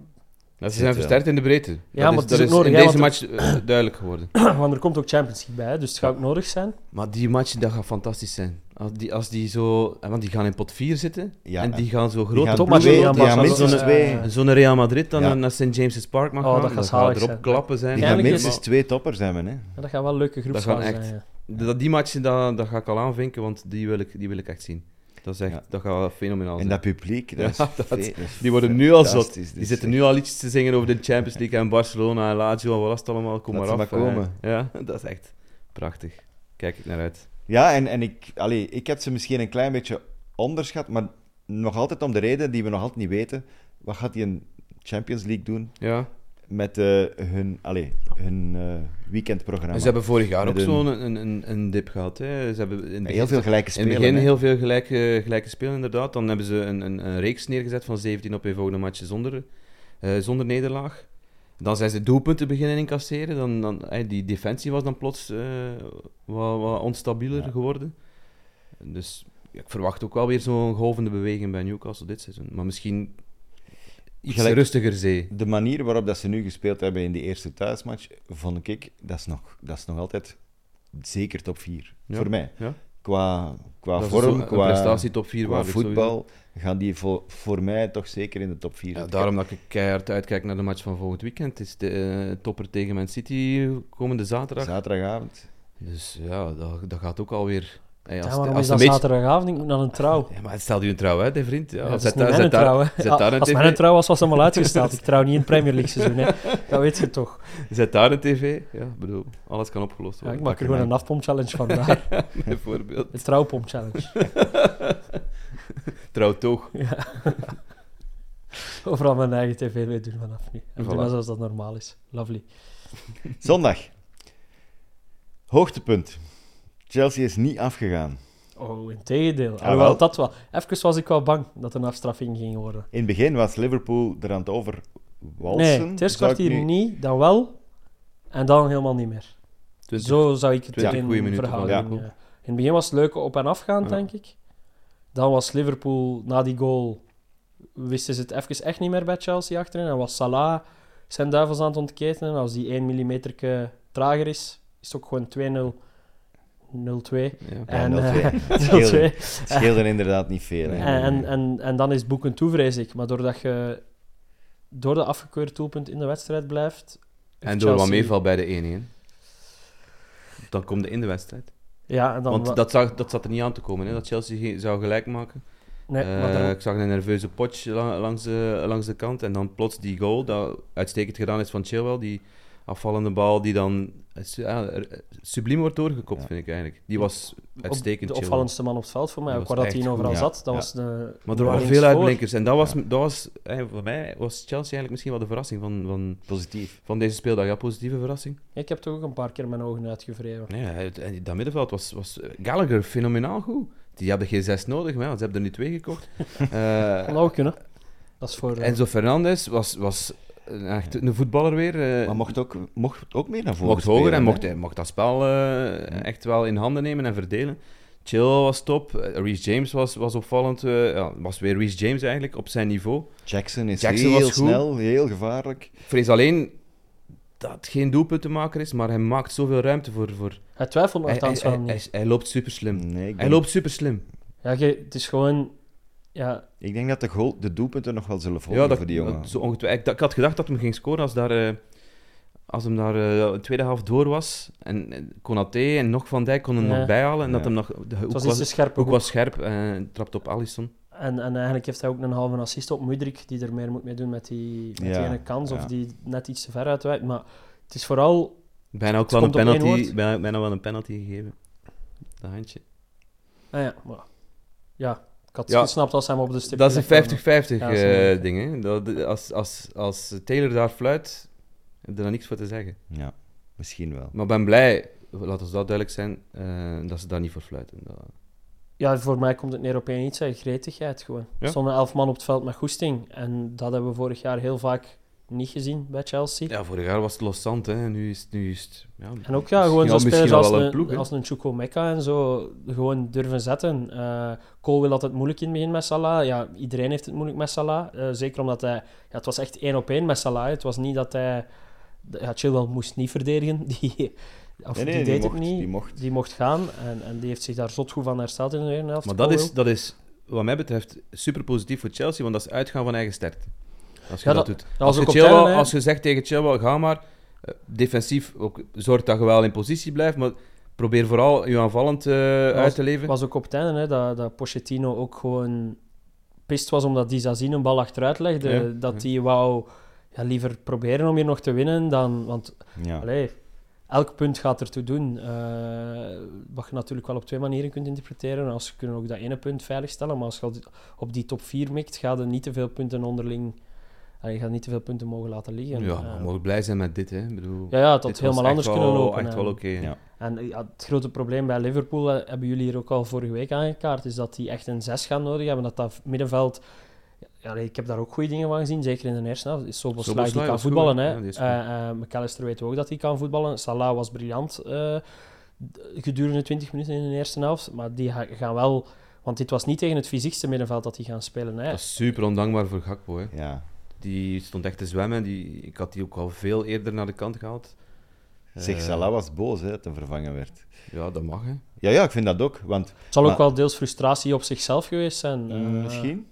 [SPEAKER 2] Zit wel.
[SPEAKER 4] zijn versterkt in de breedte.
[SPEAKER 3] Ja,
[SPEAKER 4] dat
[SPEAKER 3] maar
[SPEAKER 4] is,
[SPEAKER 3] het
[SPEAKER 4] dat
[SPEAKER 3] is ook
[SPEAKER 4] in
[SPEAKER 3] nodig,
[SPEAKER 4] deze
[SPEAKER 3] hè,
[SPEAKER 4] match eh, duidelijk geworden.
[SPEAKER 3] want er komt ook Champions League bij, hè, dus het gaat ook nodig zijn.
[SPEAKER 4] Maar die match dat gaat fantastisch zijn. Als die, als die zo... eh, Want die gaan in pot 4 zitten.
[SPEAKER 2] Ja,
[SPEAKER 4] en
[SPEAKER 2] en
[SPEAKER 4] die gaan zo
[SPEAKER 2] Die
[SPEAKER 4] groot
[SPEAKER 2] gaan
[SPEAKER 3] Tot maar
[SPEAKER 2] twee-
[SPEAKER 3] Julian
[SPEAKER 2] die gaan
[SPEAKER 3] Barcelona,
[SPEAKER 2] minstens
[SPEAKER 3] eh,
[SPEAKER 2] twee.
[SPEAKER 4] En Zo'n Real Madrid dan
[SPEAKER 2] Ja.
[SPEAKER 4] naar St. James's Park mag
[SPEAKER 3] Oh,
[SPEAKER 4] gaan.
[SPEAKER 3] dat gaat
[SPEAKER 4] dan
[SPEAKER 3] zalig
[SPEAKER 4] erop
[SPEAKER 3] zijn.
[SPEAKER 4] klappen zijn.
[SPEAKER 2] Die
[SPEAKER 3] Ja,
[SPEAKER 2] gaan
[SPEAKER 3] eigenlijk
[SPEAKER 2] minstens
[SPEAKER 4] Maar
[SPEAKER 2] twee toppers hebben, hè.
[SPEAKER 3] En dat gaat wel een leuke
[SPEAKER 4] gaan
[SPEAKER 3] groepsfase zijn.
[SPEAKER 4] echt-
[SPEAKER 3] ja.
[SPEAKER 4] dat- Die match dat, dat ga ik al aanvinken, want die wil ik, die wil ik echt zien. Dat, is echt,
[SPEAKER 2] Ja.
[SPEAKER 4] dat gaat fenomenaal
[SPEAKER 2] En
[SPEAKER 4] zijn.
[SPEAKER 2] dat publiek, dat is
[SPEAKER 4] Ja,
[SPEAKER 2] fe-
[SPEAKER 4] dat-
[SPEAKER 2] dat is
[SPEAKER 4] Die worden nu al zot.
[SPEAKER 2] fantastisch.
[SPEAKER 4] Die zitten nu al liedjes te zingen over de Champions League en Barcelona en Lazio en wat was het allemaal. Kom
[SPEAKER 2] Laat
[SPEAKER 4] maar
[SPEAKER 2] ze
[SPEAKER 4] af.
[SPEAKER 2] maar komen.
[SPEAKER 4] Eh, Ja, dat is echt prachtig. Kijk ik naar uit.
[SPEAKER 2] Ja, en, en ik, allee, ik heb ze misschien een klein beetje onderschat, maar nog altijd om de reden die we nog altijd niet weten. Wat gaat die een Champions League doen
[SPEAKER 4] Ja.
[SPEAKER 2] met eh, hun, allee, hun eh, weekendprogramma?
[SPEAKER 4] En ze hebben vorig jaar
[SPEAKER 2] Met
[SPEAKER 4] ook
[SPEAKER 2] een-
[SPEAKER 4] zo'n een, een, een dip gehad. Hè. Ze hebben in het begin-
[SPEAKER 2] heel veel gelijke
[SPEAKER 4] In
[SPEAKER 2] spelen.
[SPEAKER 4] het begin
[SPEAKER 2] hè.
[SPEAKER 4] heel veel gelijke, gelijke spelen, inderdaad. Dan hebben ze een, een, een reeks neergezet van 17 op een volgende match zonder, eh, zonder nederlaag. Dan zijn ze doelpunten beginnen incasseren. Dan, dan, eh, die defensie was dan plots eh, wat, wat onstabieler
[SPEAKER 2] Ja.
[SPEAKER 4] geworden. Dus ja, ik verwacht ook wel weer zo'n golvende beweging bij Newcastle dit seizoen. Maar misschien iets
[SPEAKER 2] Gelijk-
[SPEAKER 4] rustiger zee.
[SPEAKER 2] De manier waarop dat ze nu gespeeld hebben in die eerste thuismatch, vond ik, dat is nog, dat is nog altijd zeker top 4.
[SPEAKER 4] Ja.
[SPEAKER 2] Voor mij.
[SPEAKER 4] Ja.
[SPEAKER 2] Qua, qua
[SPEAKER 4] Dat is
[SPEAKER 2] vorm,
[SPEAKER 4] een
[SPEAKER 2] qua,
[SPEAKER 4] prestatie top 4
[SPEAKER 2] qua voetbal, gaan die voor, voor mij toch zeker in de top 4.
[SPEAKER 4] Ja, daarom dat ik keihard uitkijk naar de match van volgend weekend. Het is de eh, topper tegen Man City komende zaterdag.
[SPEAKER 2] Zaterdagavond.
[SPEAKER 4] Dus ja, dat, dat gaat ook alweer. Hey,
[SPEAKER 3] Ja,
[SPEAKER 4] als,
[SPEAKER 3] waarom
[SPEAKER 4] als
[SPEAKER 3] is dat
[SPEAKER 4] een beetje-
[SPEAKER 3] zaterdagavond? Ik moet naar een trouw.
[SPEAKER 4] Ja, maar stel je een trouw uit, hè, vriend. Ja,
[SPEAKER 3] Ja, dat is
[SPEAKER 4] zet
[SPEAKER 3] niet
[SPEAKER 4] daar,
[SPEAKER 3] mijn
[SPEAKER 4] zet daar,
[SPEAKER 3] trouw, hè.
[SPEAKER 4] zet
[SPEAKER 3] Ah,
[SPEAKER 4] daar een
[SPEAKER 3] Als
[SPEAKER 4] tv.
[SPEAKER 3] mijn trouw was, was hem al uitgesteld. Ik trouw niet in het Premier League seizoen, hè. Dat weet je toch.
[SPEAKER 4] zet daar een tv. Ja, ik bedoel, alles kan opgelost
[SPEAKER 3] Ja, ik
[SPEAKER 4] worden.
[SPEAKER 3] maak er gewoon een afpomp-challenge van daar.
[SPEAKER 4] Bijvoorbeeld.
[SPEAKER 3] De trouwpomp-challenge.
[SPEAKER 4] Trouw toch.
[SPEAKER 3] Ja. Overal mijn eigen tv mee doen vanaf nu. En
[SPEAKER 4] Voilà.
[SPEAKER 3] doen maar zoals dat normaal is. Lovely.
[SPEAKER 2] Zondag. Hoogtepunt. Chelsea is niet afgegaan.
[SPEAKER 3] Oh, in tegendeel.
[SPEAKER 2] wel.
[SPEAKER 3] Alhoewel, dat wel. Even was ik wel bang dat er een afstraffing ging worden.
[SPEAKER 2] In het begin was Liverpool er aan het over walsen.
[SPEAKER 3] nee, het eerste
[SPEAKER 2] Zou ik
[SPEAKER 3] kwartier
[SPEAKER 2] nu-
[SPEAKER 3] niet, dan wel. En dan helemaal niet meer.
[SPEAKER 4] 20,
[SPEAKER 3] Zo zou ik het
[SPEAKER 4] 20
[SPEAKER 3] in
[SPEAKER 4] goeie minuten
[SPEAKER 3] verhouding...
[SPEAKER 4] van
[SPEAKER 3] ja.
[SPEAKER 4] Liverpool.
[SPEAKER 3] In het begin was het leuk op- en afgaan,
[SPEAKER 4] Ja.
[SPEAKER 3] denk ik. Dan was Liverpool, na die goal, wisten ze het even echt niet meer bij Chelsea achterin. En was Salah zijn duivels aan het ontketenen. Als die 1 mm trager is, is het ook gewoon 2-0, 0-2.
[SPEAKER 4] Ja.
[SPEAKER 2] Ja,
[SPEAKER 3] En,
[SPEAKER 2] 0-2.
[SPEAKER 3] eh,
[SPEAKER 2] Het scheelde,
[SPEAKER 3] 0-2.
[SPEAKER 2] het scheelde inderdaad niet veel. hè.
[SPEAKER 3] En, en, en, en dan is het boeken toe, vrees ik. Maar doordat je door de afgekeurde doelpunt in de wedstrijd blijft...
[SPEAKER 4] En
[SPEAKER 3] heeft
[SPEAKER 4] door wat
[SPEAKER 3] Chelsea-
[SPEAKER 4] meeval bij de 1-1. Dan komt de in de wedstrijd.
[SPEAKER 3] Ja, en dan... wa-
[SPEAKER 4] Want dat, zag, dat zat er niet aan te komen, hè, dat Chelsea ge- zou gelijk maken.
[SPEAKER 3] nee,
[SPEAKER 4] Eh,
[SPEAKER 3] maar dan-
[SPEAKER 4] ik zag een nerveuze potch la- langs, de, langs de kant. En dan plots die goal, dat uitstekend gedaan is van Chilwell, die afvallende bal die dan eh, su- ja, er- eh, subliem wordt doorgekopt,
[SPEAKER 2] Ja.
[SPEAKER 4] vind ik eigenlijk. Die was
[SPEAKER 3] Op-
[SPEAKER 4] uitstekend
[SPEAKER 3] de
[SPEAKER 4] chill.
[SPEAKER 3] opvallendste man op het veld voor mij,
[SPEAKER 4] Die
[SPEAKER 3] ook
[SPEAKER 4] was
[SPEAKER 3] waar dat hij
[SPEAKER 4] echt
[SPEAKER 3] in overal
[SPEAKER 2] goed, ja.
[SPEAKER 3] zat. Dat
[SPEAKER 2] Ja.
[SPEAKER 3] was de,
[SPEAKER 4] Maar er waren
[SPEAKER 3] links
[SPEAKER 4] veel
[SPEAKER 3] voor.
[SPEAKER 4] uitblinkers. En dat was,
[SPEAKER 2] Ja.
[SPEAKER 4] dat was eh, voor mij was Chelsea eigenlijk misschien wel de verrassing van, van,
[SPEAKER 2] Positief.
[SPEAKER 4] van deze speeldag. Ja, positieve verrassing.
[SPEAKER 3] Ik heb toch ook een paar keer mijn ogen uitgevreven.
[SPEAKER 4] Nee, het- en dat middenveld was, was eh, Gallagher fenomenaal goed. Die hadden geen zes nodig, maar ja, ze hebben er nu twee gekocht. Eh,
[SPEAKER 3] Kan ook kunnen. Dat is voor... eh,
[SPEAKER 4] Enzo Fernandez was, was een- echt een voetballer weer. eh,
[SPEAKER 2] Maar mocht ook, mocht ook meer naar voren
[SPEAKER 4] mocht hoger
[SPEAKER 2] spelen,
[SPEAKER 4] en
[SPEAKER 2] hè.
[SPEAKER 4] mocht, hij- mocht dat spel eh, echt wel in handen nemen en verdelen. Chill was top. eh, Reece James was, was opvallend. eh, ja, was weer Reece James eigenlijk op zijn niveau.
[SPEAKER 2] Jackson is
[SPEAKER 4] Jackson
[SPEAKER 2] heel
[SPEAKER 4] was goed.
[SPEAKER 2] snel, heel gevaarlijk.
[SPEAKER 4] Ik vrees alleen dat het geen doelpunt te maken is, maar hij maakt zoveel ruimte voor. voor...
[SPEAKER 3] Hij twijfelt
[SPEAKER 4] Hij, hij,
[SPEAKER 3] nogthans wel
[SPEAKER 4] hij,
[SPEAKER 3] niet.
[SPEAKER 4] hij, hij loopt super slim.
[SPEAKER 2] Nee, ik,
[SPEAKER 4] Hij
[SPEAKER 2] denk,
[SPEAKER 4] loopt super slim.
[SPEAKER 3] Ja, ge- het is gewoon... Ja,
[SPEAKER 2] ik denk dat de, goal, de doelpunten nog wel zullen volgen voor die jongen.
[SPEAKER 4] dat- zo ongetwijfeld. Ik, dat- ik had gedacht dat hij hem ging scoren als daar... eh, als hem daar eh, de tweede helft door was en en Konaté en nog Van Dijk konden hem
[SPEAKER 3] Ja.
[SPEAKER 4] nog bijhalen en dat
[SPEAKER 2] Ja.
[SPEAKER 4] hem nog de hoek
[SPEAKER 3] het was
[SPEAKER 4] was,
[SPEAKER 3] iets te scherp.
[SPEAKER 4] hoek was scherp en trapt op Allison.
[SPEAKER 3] En, en eigenlijk heeft hij ook een halve assist op Mudrik, die er meer moet mee doen met die, met die
[SPEAKER 2] Ja,
[SPEAKER 3] ene kans, of
[SPEAKER 2] ja.
[SPEAKER 3] die net iets te ver uitwijkt. Maar het is vooral...
[SPEAKER 4] Bijna ook
[SPEAKER 3] Het
[SPEAKER 4] wel een
[SPEAKER 3] komt op één
[SPEAKER 4] penalty,
[SPEAKER 3] woord.
[SPEAKER 4] bijna, bijna wel een penalty gegeven. Dat handje.
[SPEAKER 3] Ah ja, maar, ja, ik had het
[SPEAKER 4] Ja.
[SPEAKER 3] gesnapt als hij hem op de stip
[SPEAKER 4] Dat is een
[SPEAKER 3] gelegd had,
[SPEAKER 4] 50-50
[SPEAKER 3] Ja, dat is een-
[SPEAKER 4] eh, ding. Hè. Dat, als, als, als Taylor daar fluit, heb je daar niks voor te zeggen.
[SPEAKER 2] Ja, misschien wel.
[SPEAKER 4] Maar ik ben blij, laat ons dat duidelijk zijn, eh, dat ze daar niet voor fluiten. Dat-
[SPEAKER 3] Ja, voor mij komt het neer op één iets, hè, gretigheid gewoon.
[SPEAKER 4] Ja.
[SPEAKER 3] Er stonden elf man op het veld met goesting. En dat hebben we vorig jaar heel vaak niet gezien bij Chelsea.
[SPEAKER 4] Ja, vorig jaar was het loszand, hè. Nu is het... Nu is het ja,
[SPEAKER 3] En ook
[SPEAKER 4] misschien
[SPEAKER 3] ja, gewoon
[SPEAKER 4] al-
[SPEAKER 3] zo'n
[SPEAKER 4] misschien
[SPEAKER 3] spelers
[SPEAKER 4] al
[SPEAKER 3] als
[SPEAKER 4] wel
[SPEAKER 3] een,
[SPEAKER 4] ploeg, hè.
[SPEAKER 3] als een Chuko Mekka en zo gewoon durven zetten. Eh Cole wil altijd moeilijk in het begin met Salah. Ja, iedereen heeft het moeilijk met Salah. Eh, zeker omdat hij... Ja, het was echt één op één met Salah. Het was niet dat hij... Ja, Chilwell moest niet verdedigen. Die, of
[SPEAKER 2] Nee, nee,
[SPEAKER 3] die
[SPEAKER 2] die
[SPEAKER 3] deed
[SPEAKER 2] mocht,
[SPEAKER 3] het niet.
[SPEAKER 2] die mocht.
[SPEAKER 3] gaan. En, en die heeft zich daar zot goed van hersteld in de eerste helft.
[SPEAKER 4] Maar dat is,
[SPEAKER 3] Cole.
[SPEAKER 4] dat is, wat mij betreft, super positief voor Chelsea, want dat is uitgaan van eigen sterkte. Als je
[SPEAKER 3] Ja,
[SPEAKER 4] dat,
[SPEAKER 3] dat-
[SPEAKER 4] doet.
[SPEAKER 3] dat was
[SPEAKER 4] Als je,
[SPEAKER 3] ook op
[SPEAKER 4] Chilwell-
[SPEAKER 3] Tellen, hè.
[SPEAKER 4] als je zegt tegen Chilwell, ga maar eh, defensief, ook, zorg dat je wel in positie blijft, maar probeer vooral je aanvallend eh, uit te leven.
[SPEAKER 3] Het was ook op het einde hè, dat, dat Pochettino ook gewoon pist was omdat die Zazin een bal achteruit legde.
[SPEAKER 4] Ja, ja.
[SPEAKER 3] dat hij wou ja, liever proberen om hier nog te winnen dan... Want
[SPEAKER 2] Ja.
[SPEAKER 3] allee, elk punt gaat ertoe doen. Eh, wat je natuurlijk wel op twee manieren kunt interpreteren. Als je kunnen ook dat ene punt veiligstellen. Maar als je al die- op die top 4 mikt, ga je niet te veel punten onderling... allee, je gaat niet te veel punten mogen laten
[SPEAKER 4] ja,
[SPEAKER 3] liggen.
[SPEAKER 4] we
[SPEAKER 3] Eh,
[SPEAKER 4] mogen blij zijn met dit, hè. Ik bedoel,
[SPEAKER 3] ja, ja, het had
[SPEAKER 4] dit was
[SPEAKER 3] helemaal
[SPEAKER 4] echt
[SPEAKER 3] anders
[SPEAKER 4] wel-
[SPEAKER 3] kunnen lopen.
[SPEAKER 4] Echt wel
[SPEAKER 3] en-
[SPEAKER 4] oké.
[SPEAKER 2] Ja.
[SPEAKER 3] en eh, ja, het grote probleem bij Liverpool, eh, hebben jullie hier ook al vorige week aangekaart, is dat die echt een 6 gaan nodig hebben. Dat dat middenveld... Ja, nee, ik heb daar ook goede dingen van gezien, zeker in de eerste helft. Is Soboslai, die
[SPEAKER 4] Szoboszlai
[SPEAKER 3] kan
[SPEAKER 4] was goed,
[SPEAKER 3] voetballen.
[SPEAKER 4] hè.
[SPEAKER 3] hè.
[SPEAKER 4] Ja, die is goed.
[SPEAKER 3] Eh, eh, McAllister weet ook dat hij kan voetballen. Salah was briljant eh, d- gedurende 20 minuten in de eerste helft. Maar die ga- gaan wel... Want dit was niet tegen het fysiekste middenveld dat die gaan spelen. Hè.
[SPEAKER 4] Dat is super ondankbaar voor Gakpo, hè.
[SPEAKER 2] Ja.
[SPEAKER 4] Die stond echt te zwemmen. Die, ik had die ook al veel eerder naar de kant gehaald.
[SPEAKER 2] Zeg,
[SPEAKER 4] Eh,
[SPEAKER 2] Salah was boos hè, dat hij vervangen werd.
[SPEAKER 4] Ja, dat mag, hè.
[SPEAKER 2] Ja, ja, ik vind dat ook. Want,
[SPEAKER 3] Het zal ook
[SPEAKER 2] maar-
[SPEAKER 3] wel deels frustratie op zichzelf geweest zijn. eh.
[SPEAKER 2] mm, misschien?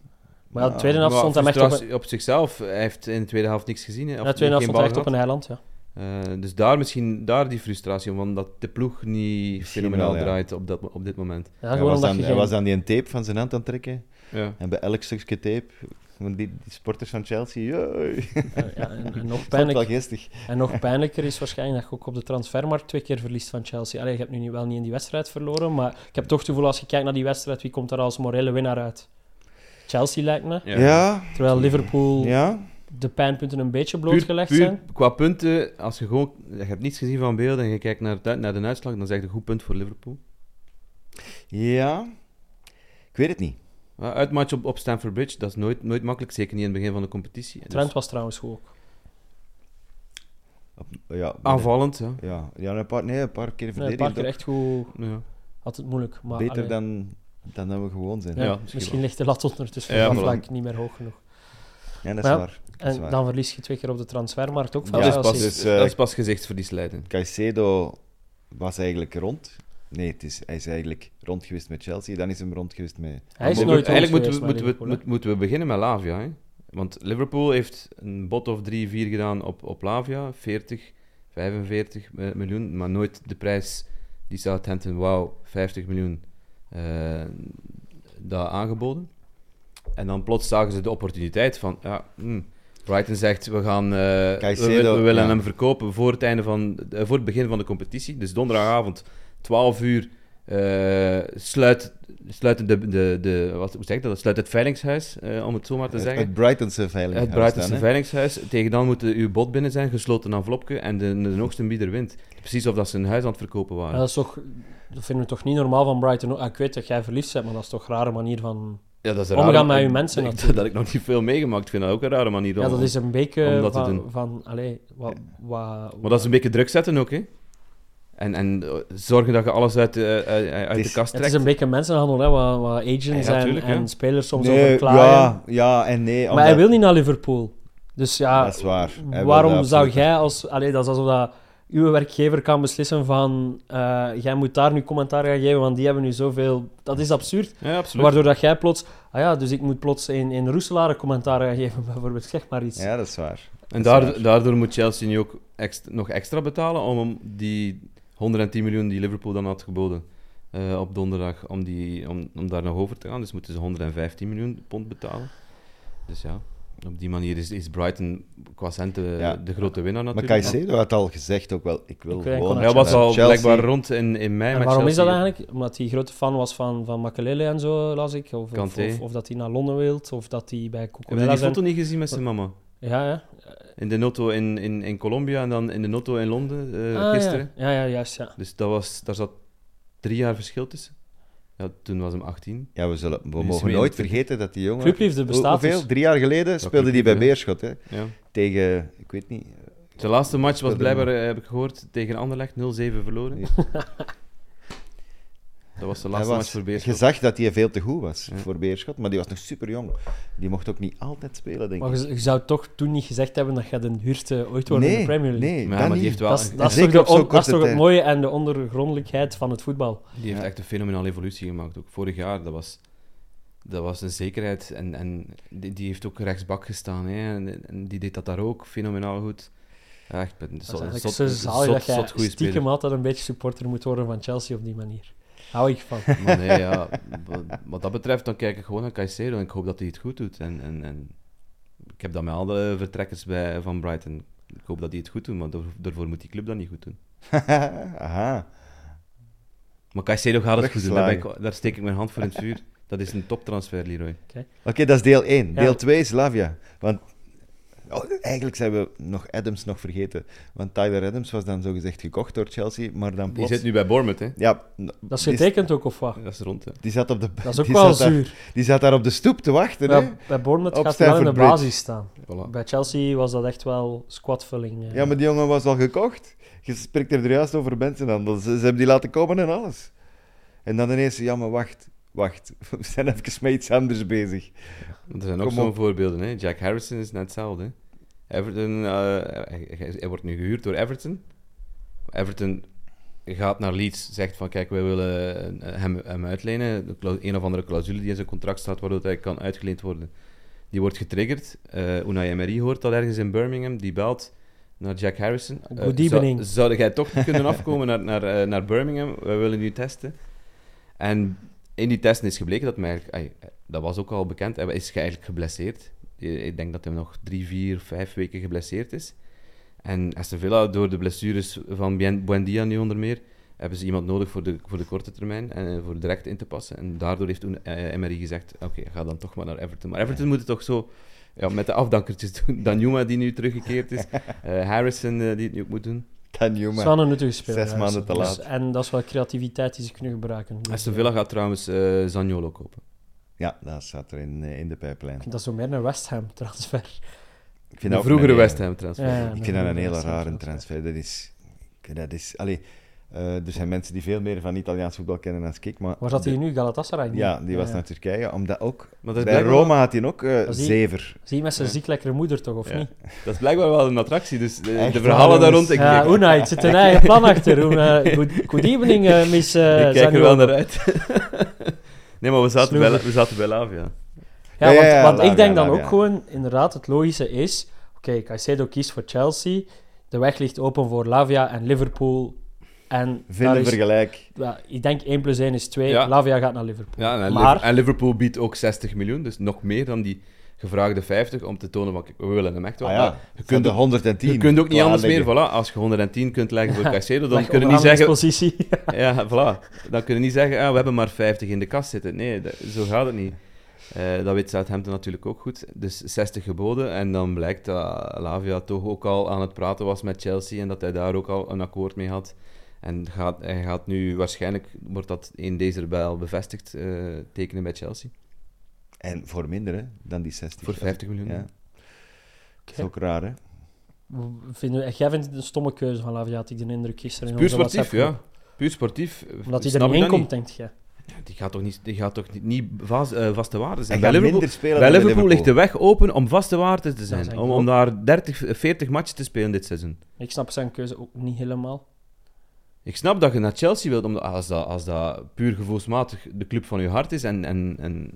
[SPEAKER 3] Maar ja, de
[SPEAKER 2] Ja,
[SPEAKER 3] tweede helft
[SPEAKER 4] Maar
[SPEAKER 3] stond hem echt op een,
[SPEAKER 4] frustratie op zichzelf. Hij heeft in de tweede helft niks gezien. Hè,
[SPEAKER 3] ja,
[SPEAKER 4] of
[SPEAKER 3] de tweede helft
[SPEAKER 4] geen
[SPEAKER 3] stond hij echt
[SPEAKER 4] bal
[SPEAKER 3] op een eiland, ja.
[SPEAKER 4] gehad. Eh, dus daar misschien daar die frustratie, omdat de ploeg niet
[SPEAKER 2] Misschien
[SPEAKER 4] fenomenaal
[SPEAKER 2] wel, ja.
[SPEAKER 4] draait op, dat, op dit moment.
[SPEAKER 3] Ja,
[SPEAKER 2] Hij
[SPEAKER 3] gewoon
[SPEAKER 2] was,
[SPEAKER 3] omdat
[SPEAKER 2] dan,
[SPEAKER 3] je
[SPEAKER 2] hij
[SPEAKER 3] geen-
[SPEAKER 2] was dan die een tape van zijn hand aan het trekken.
[SPEAKER 4] Ja.
[SPEAKER 2] En bij elk stukje tape... Want die, die sporters van Chelsea, jee.
[SPEAKER 3] Ja, ja, en, en nog
[SPEAKER 2] Dat is wel
[SPEAKER 3] pijnlijk,
[SPEAKER 2] geestig.
[SPEAKER 3] en nog pijnlijker is waarschijnlijk dat je ook op de transfermarkt twee keer verliest van Chelsea. Allee, je hebt nu niet- wel niet in die wedstrijd verloren, maar ik heb toch het gevoel als je kijkt naar die wedstrijd, wie komt er als morele winnaar uit? Chelsea lijkt me.
[SPEAKER 2] Ja, ja.
[SPEAKER 3] Terwijl Liverpool
[SPEAKER 2] ja. Dus
[SPEAKER 3] de pijnpunten een beetje
[SPEAKER 4] Puur-
[SPEAKER 3] blootgelegd
[SPEAKER 4] puur
[SPEAKER 3] zijn.
[SPEAKER 4] Qua punten, als je gewoon... Je hebt niets gezien van beelden en je kijkt naar, het uit- naar de uitslag, dan zeg je een goed punt voor Liverpool.
[SPEAKER 2] Ik weet het niet.
[SPEAKER 4] Ja, uitmatch op, op Stamford Bridge, dat is nooit, nooit makkelijk. Zeker niet in het begin van de competitie. Dus
[SPEAKER 3] Trent was trouwens goed ook.
[SPEAKER 2] Op- Ja,
[SPEAKER 4] aanvallend, ja.
[SPEAKER 2] Ja, ja een, paar, nee, een paar keer
[SPEAKER 3] Nee, een
[SPEAKER 2] verdedigd.
[SPEAKER 3] paar keer
[SPEAKER 2] ook.
[SPEAKER 3] echt goed,
[SPEAKER 4] ja.
[SPEAKER 3] had het moeilijk. Maar,
[SPEAKER 2] Beter
[SPEAKER 3] allee,
[SPEAKER 2] dan, dan dat we gewoon zijn.
[SPEAKER 3] ja,
[SPEAKER 2] Ja,
[SPEAKER 4] Ja, misschien
[SPEAKER 3] misschien,
[SPEAKER 4] wel.
[SPEAKER 3] ligt de lat ondertussen
[SPEAKER 4] Ja,
[SPEAKER 3] ja,
[SPEAKER 4] voilà.
[SPEAKER 3] vlak niet meer hoog genoeg.
[SPEAKER 2] dat is
[SPEAKER 3] Maar ja,
[SPEAKER 2] waar. Dat is
[SPEAKER 3] En
[SPEAKER 2] waar.
[SPEAKER 3] dan verlies je twee keer op de transfermarkt ook van
[SPEAKER 4] Dat,
[SPEAKER 2] Ja,
[SPEAKER 4] is
[SPEAKER 3] Chelsea.
[SPEAKER 4] pas,
[SPEAKER 2] Dus, eh,
[SPEAKER 4] dat is pas gezichtsverlies leiden.
[SPEAKER 2] Caicedo was eigenlijk rond. Nee, het is, hij is eigenlijk rond geweest met Chelsea. Dan is hem rond geweest met...
[SPEAKER 3] Hij is
[SPEAKER 4] Maar
[SPEAKER 3] nooit
[SPEAKER 4] we-
[SPEAKER 3] rond
[SPEAKER 4] Eigenlijk moeten we,
[SPEAKER 3] geweest
[SPEAKER 4] moeten,
[SPEAKER 3] met
[SPEAKER 4] we,
[SPEAKER 3] Liverpool,
[SPEAKER 4] moet- moeten we beginnen met Lavia. Hè? Want Liverpool heeft een bot of 3, 4 gedaan op, op Lavia. 40, 45 mi- miljoen. Maar nooit de prijs die Southampton wou, 50 miljoen, eh daar aangeboden. En dan plots zagen ze de opportuniteit van... Ja, hm, Brighton zegt, we, gaan, eh, we,
[SPEAKER 2] Caicedo,
[SPEAKER 4] wil- we willen
[SPEAKER 2] ja.
[SPEAKER 4] hem verkopen voor het, einde van, eh, voor het begin van de competitie. Dus donderdagavond, 12 uur, eh, sluit, sluiten de, de, de, wat, hoe zeg ik dat? sluit het veilingshuis, eh, om het zo maar te
[SPEAKER 2] Het,
[SPEAKER 4] zeggen.
[SPEAKER 2] het Brightonse veiling.
[SPEAKER 4] Het Brightonse veilingshuis. Tegen dan moet uw bod binnen zijn, gesloten envelopje, en de, de hoogste bieder wint. Precies of dat ze een huis aan het verkopen
[SPEAKER 3] Maar
[SPEAKER 4] waren.
[SPEAKER 3] dat, is toch, dat vinden we toch niet normaal van Brighton? Ah, ik weet dat jij verliefd bent, maar dat is toch een rare manier van...
[SPEAKER 4] Ja, dat is
[SPEAKER 3] Omgaan
[SPEAKER 4] raar.
[SPEAKER 3] met
[SPEAKER 4] Ik
[SPEAKER 3] uw mensen
[SPEAKER 4] denk
[SPEAKER 3] natuurlijk.
[SPEAKER 4] Dat ik nog niet veel meegemaakt vind, dat ook een rare manier.
[SPEAKER 3] Ja,
[SPEAKER 4] om-
[SPEAKER 3] dat is een beetje
[SPEAKER 4] om dat te
[SPEAKER 3] van...
[SPEAKER 4] doen.
[SPEAKER 3] van allee, wat, wat,
[SPEAKER 4] Maar dat is een beetje druk zetten ook, hè. En, en eh, zorgen dat je alles uit, de- eh, eh, uit
[SPEAKER 2] Het
[SPEAKER 4] de
[SPEAKER 2] is-
[SPEAKER 4] kast
[SPEAKER 3] Het is
[SPEAKER 4] trekt.
[SPEAKER 3] een beetje mensenhandel, hè, wat, wat agents
[SPEAKER 4] Ja,
[SPEAKER 3] en-
[SPEAKER 4] tuurlijk, hè.
[SPEAKER 3] en, spelers soms
[SPEAKER 2] Nee,
[SPEAKER 3] overklaaien.
[SPEAKER 2] ja, ja en nee.
[SPEAKER 3] maar
[SPEAKER 2] omdat-
[SPEAKER 3] hij wil niet naar Liverpool. Dus ja,
[SPEAKER 2] Dat is waar. Hij wil
[SPEAKER 3] waarom
[SPEAKER 2] dat
[SPEAKER 3] zou
[SPEAKER 2] absoluut
[SPEAKER 3] jij als... Allee, dat is alsof dat uw werkgever kan beslissen van... eh, jij moet daar nu commentaar gaan geven, want die hebben nu zoveel... Dat is absurd.
[SPEAKER 4] Ja, absoluut.
[SPEAKER 3] Waardoor dat jij plots... Ah ja, dus ik moet plots in, in Roeselaar een commentaar gaan geven, bijvoorbeeld. Zeg maar iets.
[SPEAKER 2] Ja, dat is waar.
[SPEAKER 4] En
[SPEAKER 2] Dat is
[SPEAKER 4] daardoor,
[SPEAKER 2] waar.
[SPEAKER 4] daardoor moet Chelsea nu ook ext- nog extra betalen om hem die 110 miljoen die Liverpool dan had geboden eh, op donderdag, om, die, om, om daar nog over te gaan. Dus moeten ze 115 miljoen pond betalen. Dus ja, op die manier is, is Brighton qua centen
[SPEAKER 2] Ja.
[SPEAKER 4] de grote winnaar
[SPEAKER 2] Maar
[SPEAKER 4] natuurlijk.
[SPEAKER 2] Caicedo had al gezegd ook wel, ik wil
[SPEAKER 3] Ik wil
[SPEAKER 2] gewoon...
[SPEAKER 3] enkel
[SPEAKER 4] Hij was
[SPEAKER 2] naar
[SPEAKER 4] al
[SPEAKER 2] Chelsea.
[SPEAKER 4] blijkbaar rond in, in mei
[SPEAKER 3] En
[SPEAKER 4] met
[SPEAKER 3] waarom is
[SPEAKER 4] Chelsea.
[SPEAKER 3] dat eigenlijk? Omdat hij grote fan was van, van Makelele en zo, las ik. Of, of,
[SPEAKER 4] Kanté.
[SPEAKER 3] of, of dat hij naar Londen wilt, of dat hij bij
[SPEAKER 4] Heb je
[SPEAKER 3] Cucurella
[SPEAKER 4] die
[SPEAKER 3] zijn.
[SPEAKER 4] foto niet gezien met zijn mama?
[SPEAKER 3] Ja, ja.
[SPEAKER 4] In de notto in, in, in Colombia en dan in de notto in Londen eh,
[SPEAKER 3] Ah,
[SPEAKER 4] gisteren.
[SPEAKER 3] Ja. ja, ja, juist, ja.
[SPEAKER 4] Dus dat was, daar zat drie jaar verschil tussen. Ja, toen was hem 18.
[SPEAKER 2] Ja, we, zullen, we
[SPEAKER 4] is
[SPEAKER 2] mogen
[SPEAKER 4] hij
[SPEAKER 2] nooit
[SPEAKER 4] in-
[SPEAKER 2] vergeten dat die jongen...
[SPEAKER 3] Clubliefde
[SPEAKER 2] Hoe-
[SPEAKER 3] bestaat
[SPEAKER 2] Hoeveel?
[SPEAKER 3] dus.
[SPEAKER 2] Drie jaar geleden speelde hij bij
[SPEAKER 4] clubliefde.
[SPEAKER 2] Beerschot, hè?
[SPEAKER 4] Ja.
[SPEAKER 2] Tegen, ik weet niet...
[SPEAKER 4] Zijn laatste match was
[SPEAKER 2] Speelde
[SPEAKER 4] blijkbaar, eh, heb ik gehoord, tegen Anderlecht 0-7 verloren.
[SPEAKER 2] Ja.
[SPEAKER 4] Dat was de
[SPEAKER 2] Hij
[SPEAKER 4] laatste
[SPEAKER 2] was-
[SPEAKER 4] match voor Beerschot.
[SPEAKER 2] Je zag dat hij veel te goed was
[SPEAKER 4] Ja.
[SPEAKER 2] voor Beerschot, maar die was nog super jong. Die mocht ook niet altijd spelen, denk ik.
[SPEAKER 3] Maar je, je zou toch toen niet gezegd hebben dat je de huurte ooit wordt in de Premier League?
[SPEAKER 2] Nee,
[SPEAKER 4] Maar
[SPEAKER 2] dat
[SPEAKER 4] ja, maar
[SPEAKER 2] niet.
[SPEAKER 4] die heeft wel
[SPEAKER 3] Dat is, dat is
[SPEAKER 2] Zeker
[SPEAKER 3] toch, de
[SPEAKER 2] op zo'n
[SPEAKER 3] on- dat is
[SPEAKER 2] korte
[SPEAKER 3] toch het
[SPEAKER 2] tijd.
[SPEAKER 3] mooie en de ondergrondelijkheid van het voetbal.
[SPEAKER 4] Die heeft
[SPEAKER 2] Ja.
[SPEAKER 4] echt een fenomenale evolutie gemaakt. Ook vorig jaar, dat was, dat was een zekerheid. En, en die, die heeft ook rechtsbak gestaan. Hè. En, en die deed dat daar ook fenomenaal goed. Ja, Echt, een
[SPEAKER 3] Dat is
[SPEAKER 4] zot,
[SPEAKER 3] eigenlijk
[SPEAKER 4] zot,
[SPEAKER 3] zo
[SPEAKER 4] zot,
[SPEAKER 3] zalig dat jij
[SPEAKER 4] zot goede
[SPEAKER 3] stiekem
[SPEAKER 4] speler.
[SPEAKER 3] altijd een beetje supporter moet worden van Chelsea op die manier. Hou ik van.
[SPEAKER 4] Maar nee, ja, wat, wat dat betreft, dan kijk ik gewoon naar Caicedo en ik hoop dat hij het goed doet. En, en, en ik heb dat met alle vertrekkers bij, van Brighton. Ik hoop dat hij het goed doet, maar daar- daarvoor moet die club dat niet goed doen.
[SPEAKER 2] Aha.
[SPEAKER 4] Maar Caicedo gaat het goed doen, daar, ben
[SPEAKER 2] Teruggeslagen.
[SPEAKER 4] ik, daar steek ik mijn hand voor in het vuur. Dat is een toptransfer, Leroy.
[SPEAKER 2] Oké, dat is deel 1.
[SPEAKER 3] Ja.
[SPEAKER 2] Deel 2 is Lavia. Want oh, eigenlijk zijn we nog Adams nog vergeten. Want Tyler Adams was dan zogezegd gekocht door Chelsea, maar dan
[SPEAKER 4] Die
[SPEAKER 2] plots...
[SPEAKER 4] zit nu bij Bournemouth, hè?
[SPEAKER 2] Ja,
[SPEAKER 3] Dat is
[SPEAKER 2] die-
[SPEAKER 3] getekend ook, of wat?
[SPEAKER 4] Dat is rond, hè?
[SPEAKER 2] Die zat, op de,
[SPEAKER 3] Dat is ook
[SPEAKER 2] die
[SPEAKER 3] wel
[SPEAKER 2] zat daar-
[SPEAKER 3] zuur.
[SPEAKER 2] die zat daar op de stoep te wachten. hè?
[SPEAKER 3] Bij, bij Bournemouth
[SPEAKER 2] Op
[SPEAKER 3] gaat hij wel in de
[SPEAKER 2] Stamford Bridge.
[SPEAKER 3] basis staan.
[SPEAKER 4] Voilà.
[SPEAKER 3] Bij Chelsea was dat echt wel squadvulling. eh.
[SPEAKER 2] Ja, maar die jongen was al gekocht. Je spreekt er juist over mensenhandel. Ze, ze hebben die laten komen en alles. En dan ineens, ja, maar wacht, wacht. We zijn even met iets anders bezig.
[SPEAKER 4] Er zijn ook
[SPEAKER 2] Kom
[SPEAKER 4] zo'n
[SPEAKER 2] op.
[SPEAKER 4] voorbeelden, hè? Jack Harrison is net hetzelfde. hè. Everton, eh, hij, hij- hij wordt nu gehuurd door Everton. Everton gaat naar Leeds, zegt van kijk, wij willen eh, hem, hem uitlenen. De clau- Een of andere clausule die in zijn contract staat, waardoor hij kan uitgeleend worden. Die wordt getriggerd. Eh Unai Emery hoort dat ergens in Birmingham. Die belt naar Jack Harrison. Eh,
[SPEAKER 3] Good
[SPEAKER 4] zou-
[SPEAKER 3] evening.
[SPEAKER 4] zou jij toch niet kunnen afkomen naar, naar, eh, naar Birmingham? Wij willen nu testen. En in die testen is gebleken dat hij eigenlijk... ai, eh, dat was ook al bekend. Hij is eigenlijk geblesseerd. Eh, Ik denk dat hij nog drie, vier, vijf weken geblesseerd is. En Aston Villa, door de blessures van Bien- Buendia nu onder meer, hebben ze iemand nodig voor de, voor de korte termijn en eh, voor direct in te passen. En daardoor heeft toen eh, Emery gezegd, oké, ga dan toch maar naar Everton. Maar Everton moet het toch zo ja, met de afdankertjes doen. Danjuma, die nu teruggekeerd is. eh, Harrison, eh, die het nu ook moet doen.
[SPEAKER 2] Dan
[SPEAKER 3] Het is
[SPEAKER 2] jongen.
[SPEAKER 3] wel een nuttige speler.
[SPEAKER 2] Zes
[SPEAKER 3] ja,
[SPEAKER 2] maanden
[SPEAKER 3] dus-
[SPEAKER 2] te
[SPEAKER 3] dus-
[SPEAKER 2] laat.
[SPEAKER 3] En dat is wel creativiteit die ze kunnen gebruiken. Dus,
[SPEAKER 4] Aston
[SPEAKER 3] eh,
[SPEAKER 4] Villa gaat trouwens eh Zaniolo kopen.
[SPEAKER 2] Ja, dat zat er in, eh, in de pijplijn.
[SPEAKER 3] Dat is zo meer naar West Ham transfer.
[SPEAKER 2] Ik
[SPEAKER 4] De
[SPEAKER 2] dat ook
[SPEAKER 4] vroegere
[SPEAKER 2] een- eh,
[SPEAKER 4] West Ham transfer.
[SPEAKER 3] Ja, ja.
[SPEAKER 2] Ik vind dat een hele
[SPEAKER 3] West Ham
[SPEAKER 2] rare
[SPEAKER 3] transfer.
[SPEAKER 2] transfer. Dat is... Dat is allee, eh, er zijn mensen die veel meer van Italiaans voetbal kennen dan ik, maar...
[SPEAKER 3] Waar zat hij
[SPEAKER 2] de-
[SPEAKER 3] nu? Galatasaray? niet?
[SPEAKER 2] Ja, die was
[SPEAKER 3] Ja.
[SPEAKER 2] naar Turkije, omdat ook...
[SPEAKER 4] Maar dat
[SPEAKER 2] Bij
[SPEAKER 4] is blijkbaar
[SPEAKER 2] Roma had hij ook eh,
[SPEAKER 3] Dat is die-
[SPEAKER 2] zever.
[SPEAKER 3] Zie je met zijn ziek lekkere moeder toch, of
[SPEAKER 4] Ja.
[SPEAKER 3] niet?
[SPEAKER 4] Dat is blijkbaar wel een attractie, dus de,
[SPEAKER 2] Echt
[SPEAKER 4] de
[SPEAKER 2] waar,
[SPEAKER 4] verhalen daar
[SPEAKER 2] jongens.
[SPEAKER 4] rond, ik,
[SPEAKER 3] ja,
[SPEAKER 4] ik,
[SPEAKER 3] eh, Unai, het zit een eigen plan achter. Una, good, good evening, eh, miss eh,
[SPEAKER 4] ik kijk er
[SPEAKER 3] Zaniolo.
[SPEAKER 4] wel naar uit. nee, maar we zaten, bij,
[SPEAKER 3] Snoever.
[SPEAKER 4] we zaten bij Lavia.
[SPEAKER 3] Ja,
[SPEAKER 2] Ja,
[SPEAKER 3] want,
[SPEAKER 2] ja, ja,
[SPEAKER 3] want
[SPEAKER 2] Lavia,
[SPEAKER 3] ik denk dan
[SPEAKER 2] Lavia.
[SPEAKER 3] ook gewoon, inderdaad, het logische is... Oké, Caicedo kiest voor Chelsea. De weg ligt open voor Lavia en Liverpool. En daar
[SPEAKER 2] Vinden
[SPEAKER 3] is-
[SPEAKER 2] vergelijk.
[SPEAKER 3] ja, ik denk 1 plus 1 is 2.
[SPEAKER 4] Ja.
[SPEAKER 3] Lavia gaat naar Liverpool.
[SPEAKER 4] Ja, en, Liv-
[SPEAKER 3] maar
[SPEAKER 4] en Liverpool biedt ook 60 miljoen, dus nog meer dan die gevraagde 50 om te tonen van kijk, we willen hem echt wel.
[SPEAKER 2] Ah
[SPEAKER 4] Maar
[SPEAKER 2] ja, je kunt de 110.
[SPEAKER 4] Je kunt ook niet
[SPEAKER 2] wel
[SPEAKER 4] anders meer.
[SPEAKER 2] aanleggen.
[SPEAKER 4] Voilà, als je 110 kunt leggen voor Caicedo, dan
[SPEAKER 3] Leg
[SPEAKER 4] kun je niet zeggen...
[SPEAKER 3] onderhandelingspositie.
[SPEAKER 4] Ja, voilà. Dan kun je niet zeggen, ah, we hebben maar 50 in de kast zitten. Nee, dat- zo gaat het niet. Eh, dat weet Southampton natuurlijk ook goed. Dus 60 geboden. En dan blijkt dat Lavia toch ook al aan het praten was met Chelsea en dat hij daar ook al een akkoord mee had. En gaat, hij gaat nu waarschijnlijk, wordt dat in deze bel bevestigd, eh, tekenen bij Chelsea.
[SPEAKER 2] En voor minder hè, dan die 60.
[SPEAKER 4] Voor 50 miljoen.
[SPEAKER 2] Ja. Dat is ook raar, hè?
[SPEAKER 3] Vinden, we- jij vindt het een stomme keuze van Lavia, had ik de indruk gisteren. in
[SPEAKER 4] Puur
[SPEAKER 3] onze
[SPEAKER 4] sportief,
[SPEAKER 3] WhatsApp-groep.
[SPEAKER 4] ja. Puur sportief.
[SPEAKER 3] Omdat hij
[SPEAKER 4] Snap
[SPEAKER 3] er
[SPEAKER 4] ik
[SPEAKER 3] niet in
[SPEAKER 4] dat
[SPEAKER 3] komt, denkt jij.
[SPEAKER 4] Die gaat toch niet, die gaat toch niet, niet vast, eh, vaste waarde zijn.
[SPEAKER 2] En
[SPEAKER 4] Bij
[SPEAKER 2] gaat
[SPEAKER 4] Liverpool,
[SPEAKER 2] minder spelen
[SPEAKER 4] bij
[SPEAKER 2] dan bij
[SPEAKER 4] Liverpool ligt de
[SPEAKER 2] Liverpool.
[SPEAKER 4] weg open om vaste waarde te zijn.
[SPEAKER 3] zeg ik
[SPEAKER 4] Om, om
[SPEAKER 3] ook.
[SPEAKER 4] daar 30, 40 matchen te spelen dit seizoen.
[SPEAKER 3] Ik snap zijn keuze ook niet helemaal.
[SPEAKER 4] Ik snap dat je naar Chelsea wilt, omdat, als, dat, als dat puur gevoelsmatig de club van je hart is. En, en, en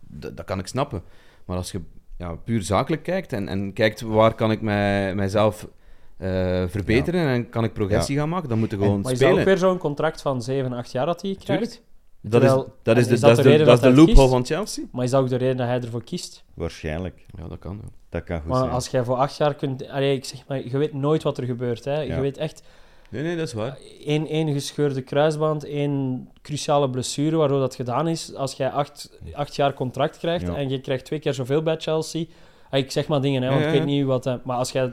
[SPEAKER 4] dat, dat kan ik snappen. Maar als je ja, puur zakelijk kijkt en, en kijkt waar kan ik mij, mijzelf eh, verbeteren en kan ik progressie gaan maken, dan moet je gewoon
[SPEAKER 3] Maar is dat ook
[SPEAKER 4] spelen.
[SPEAKER 3] weer zo'n contract van 7, 8 jaar dat hij krijgt?
[SPEAKER 4] Tuurlijk. Dat is,
[SPEAKER 3] Terwijl-
[SPEAKER 4] dat is
[SPEAKER 3] en
[SPEAKER 4] de,
[SPEAKER 3] is dat de
[SPEAKER 4] dat is de,
[SPEAKER 3] reden
[SPEAKER 4] dat is
[SPEAKER 3] dat hij het
[SPEAKER 4] de loophole
[SPEAKER 3] kiest?
[SPEAKER 4] van Chelsea.
[SPEAKER 3] Maar is dat ook de reden dat hij ervoor kiest?
[SPEAKER 2] Waarschijnlijk.
[SPEAKER 4] Ja, dat kan. ja.
[SPEAKER 2] Dat kan goed
[SPEAKER 3] Maar
[SPEAKER 2] zijn.
[SPEAKER 3] als jij voor acht jaar kunt... Allee, ik zeg maar, je weet nooit wat er gebeurt. Hè. Je
[SPEAKER 2] Ja.
[SPEAKER 3] weet echt
[SPEAKER 4] Nee, nee, dat is waar.
[SPEAKER 3] één, één gescheurde kruisband, één cruciale blessure, waardoor dat gedaan is. Als jij acht, acht jaar contract krijgt
[SPEAKER 2] Ja.
[SPEAKER 3] en je krijgt twee keer zoveel bij Chelsea... Ah, Ik zeg maar dingen, hè, want
[SPEAKER 4] Ja,
[SPEAKER 3] ik
[SPEAKER 4] ja.
[SPEAKER 3] weet niet wat... hè. Maar als jij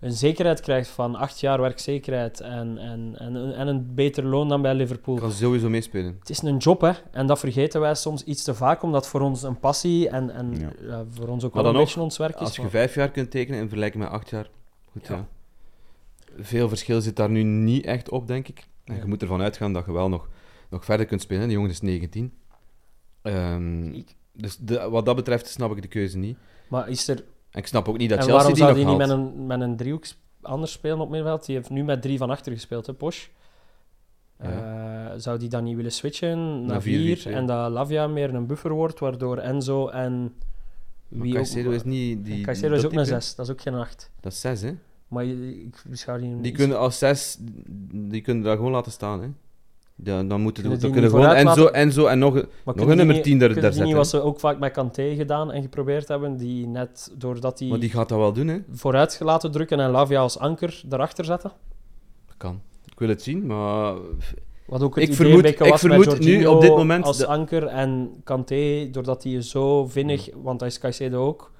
[SPEAKER 3] een zekerheid krijgt van acht jaar werkzekerheid en, en, en, en een beter loon dan bij Liverpool...
[SPEAKER 4] kan sowieso meespelen.
[SPEAKER 3] Het is een job, hè. En dat vergeten wij soms iets te vaak, omdat voor ons een passie en, en
[SPEAKER 2] Ja.
[SPEAKER 3] eh, voor ons ook
[SPEAKER 4] Maar
[SPEAKER 3] wel een
[SPEAKER 4] dan
[SPEAKER 3] beetje ons werk is.
[SPEAKER 4] Als je
[SPEAKER 3] maar-
[SPEAKER 4] vijf jaar kunt tekenen in vergelijking met acht jaar, goed ja.
[SPEAKER 3] Ja.
[SPEAKER 4] Veel verschil zit daar nu niet echt op, denk ik. En je
[SPEAKER 3] Ja.
[SPEAKER 4] moet ervan uitgaan dat je wel nog, nog verder kunt spelen. Die jongen is 19. Ehm,
[SPEAKER 3] Ik-
[SPEAKER 4] dus de- wat dat betreft snap ik de keuze niet.
[SPEAKER 3] Maar is er...
[SPEAKER 4] En ik snap ook niet dat
[SPEAKER 3] en
[SPEAKER 4] Chelsea
[SPEAKER 3] waarom
[SPEAKER 4] die
[SPEAKER 3] zou
[SPEAKER 4] nog
[SPEAKER 3] hij niet
[SPEAKER 4] haalt.
[SPEAKER 3] met een, met een driehoek sp- anders spelen op middenveld? Die heeft nu met drie van achter gespeeld, hè, Posch. Eh, zou die dan niet willen switchen
[SPEAKER 4] Naar
[SPEAKER 3] naar
[SPEAKER 4] vier,
[SPEAKER 3] vier?
[SPEAKER 4] vier, ja.
[SPEAKER 3] en dat Lavia meer een buffer wordt, waardoor Enzo en...
[SPEAKER 4] Maar Caicedo is niet... Die,
[SPEAKER 3] Caicedo
[SPEAKER 4] dat
[SPEAKER 3] is ook
[SPEAKER 4] type.
[SPEAKER 3] een zes, dat is ook geen acht.
[SPEAKER 4] Dat is zes, hè.
[SPEAKER 3] Maar je- ik beschouw die...
[SPEAKER 4] Die kunnen als zes, die kunnen daar gewoon laten staan, hè. Ja, dan moeten
[SPEAKER 3] Kunnen
[SPEAKER 4] dan
[SPEAKER 3] die
[SPEAKER 4] kunnen
[SPEAKER 3] niet
[SPEAKER 4] gewoon
[SPEAKER 3] vooruit
[SPEAKER 4] Enzo, Enzo en nog, een-
[SPEAKER 3] Maar
[SPEAKER 4] nog
[SPEAKER 3] kunnen
[SPEAKER 4] een
[SPEAKER 3] die
[SPEAKER 4] nummer
[SPEAKER 3] niet-
[SPEAKER 4] 10 daar,
[SPEAKER 3] kunnen
[SPEAKER 4] daar
[SPEAKER 3] die niet
[SPEAKER 4] zetten.
[SPEAKER 3] wat ze ook vaak met Kanté gedaan en geprobeerd hebben, die net doordat
[SPEAKER 4] Maar die gaat dat wel doen, hè.
[SPEAKER 3] vooruit laten drukken en Lavia als anker erachter zetten.
[SPEAKER 4] Dat kan. Ik wil het zien, maar
[SPEAKER 3] Wat ook
[SPEAKER 4] Ik
[SPEAKER 3] het idee
[SPEAKER 4] vermoed-
[SPEAKER 3] een beetje
[SPEAKER 4] ik
[SPEAKER 3] was
[SPEAKER 4] vermoed nu
[SPEAKER 3] met Jorginho
[SPEAKER 4] op dit moment
[SPEAKER 3] als
[SPEAKER 4] dat-
[SPEAKER 3] anker en Kanté, doordat hij zo vinnig, want hij is Caicedo ook,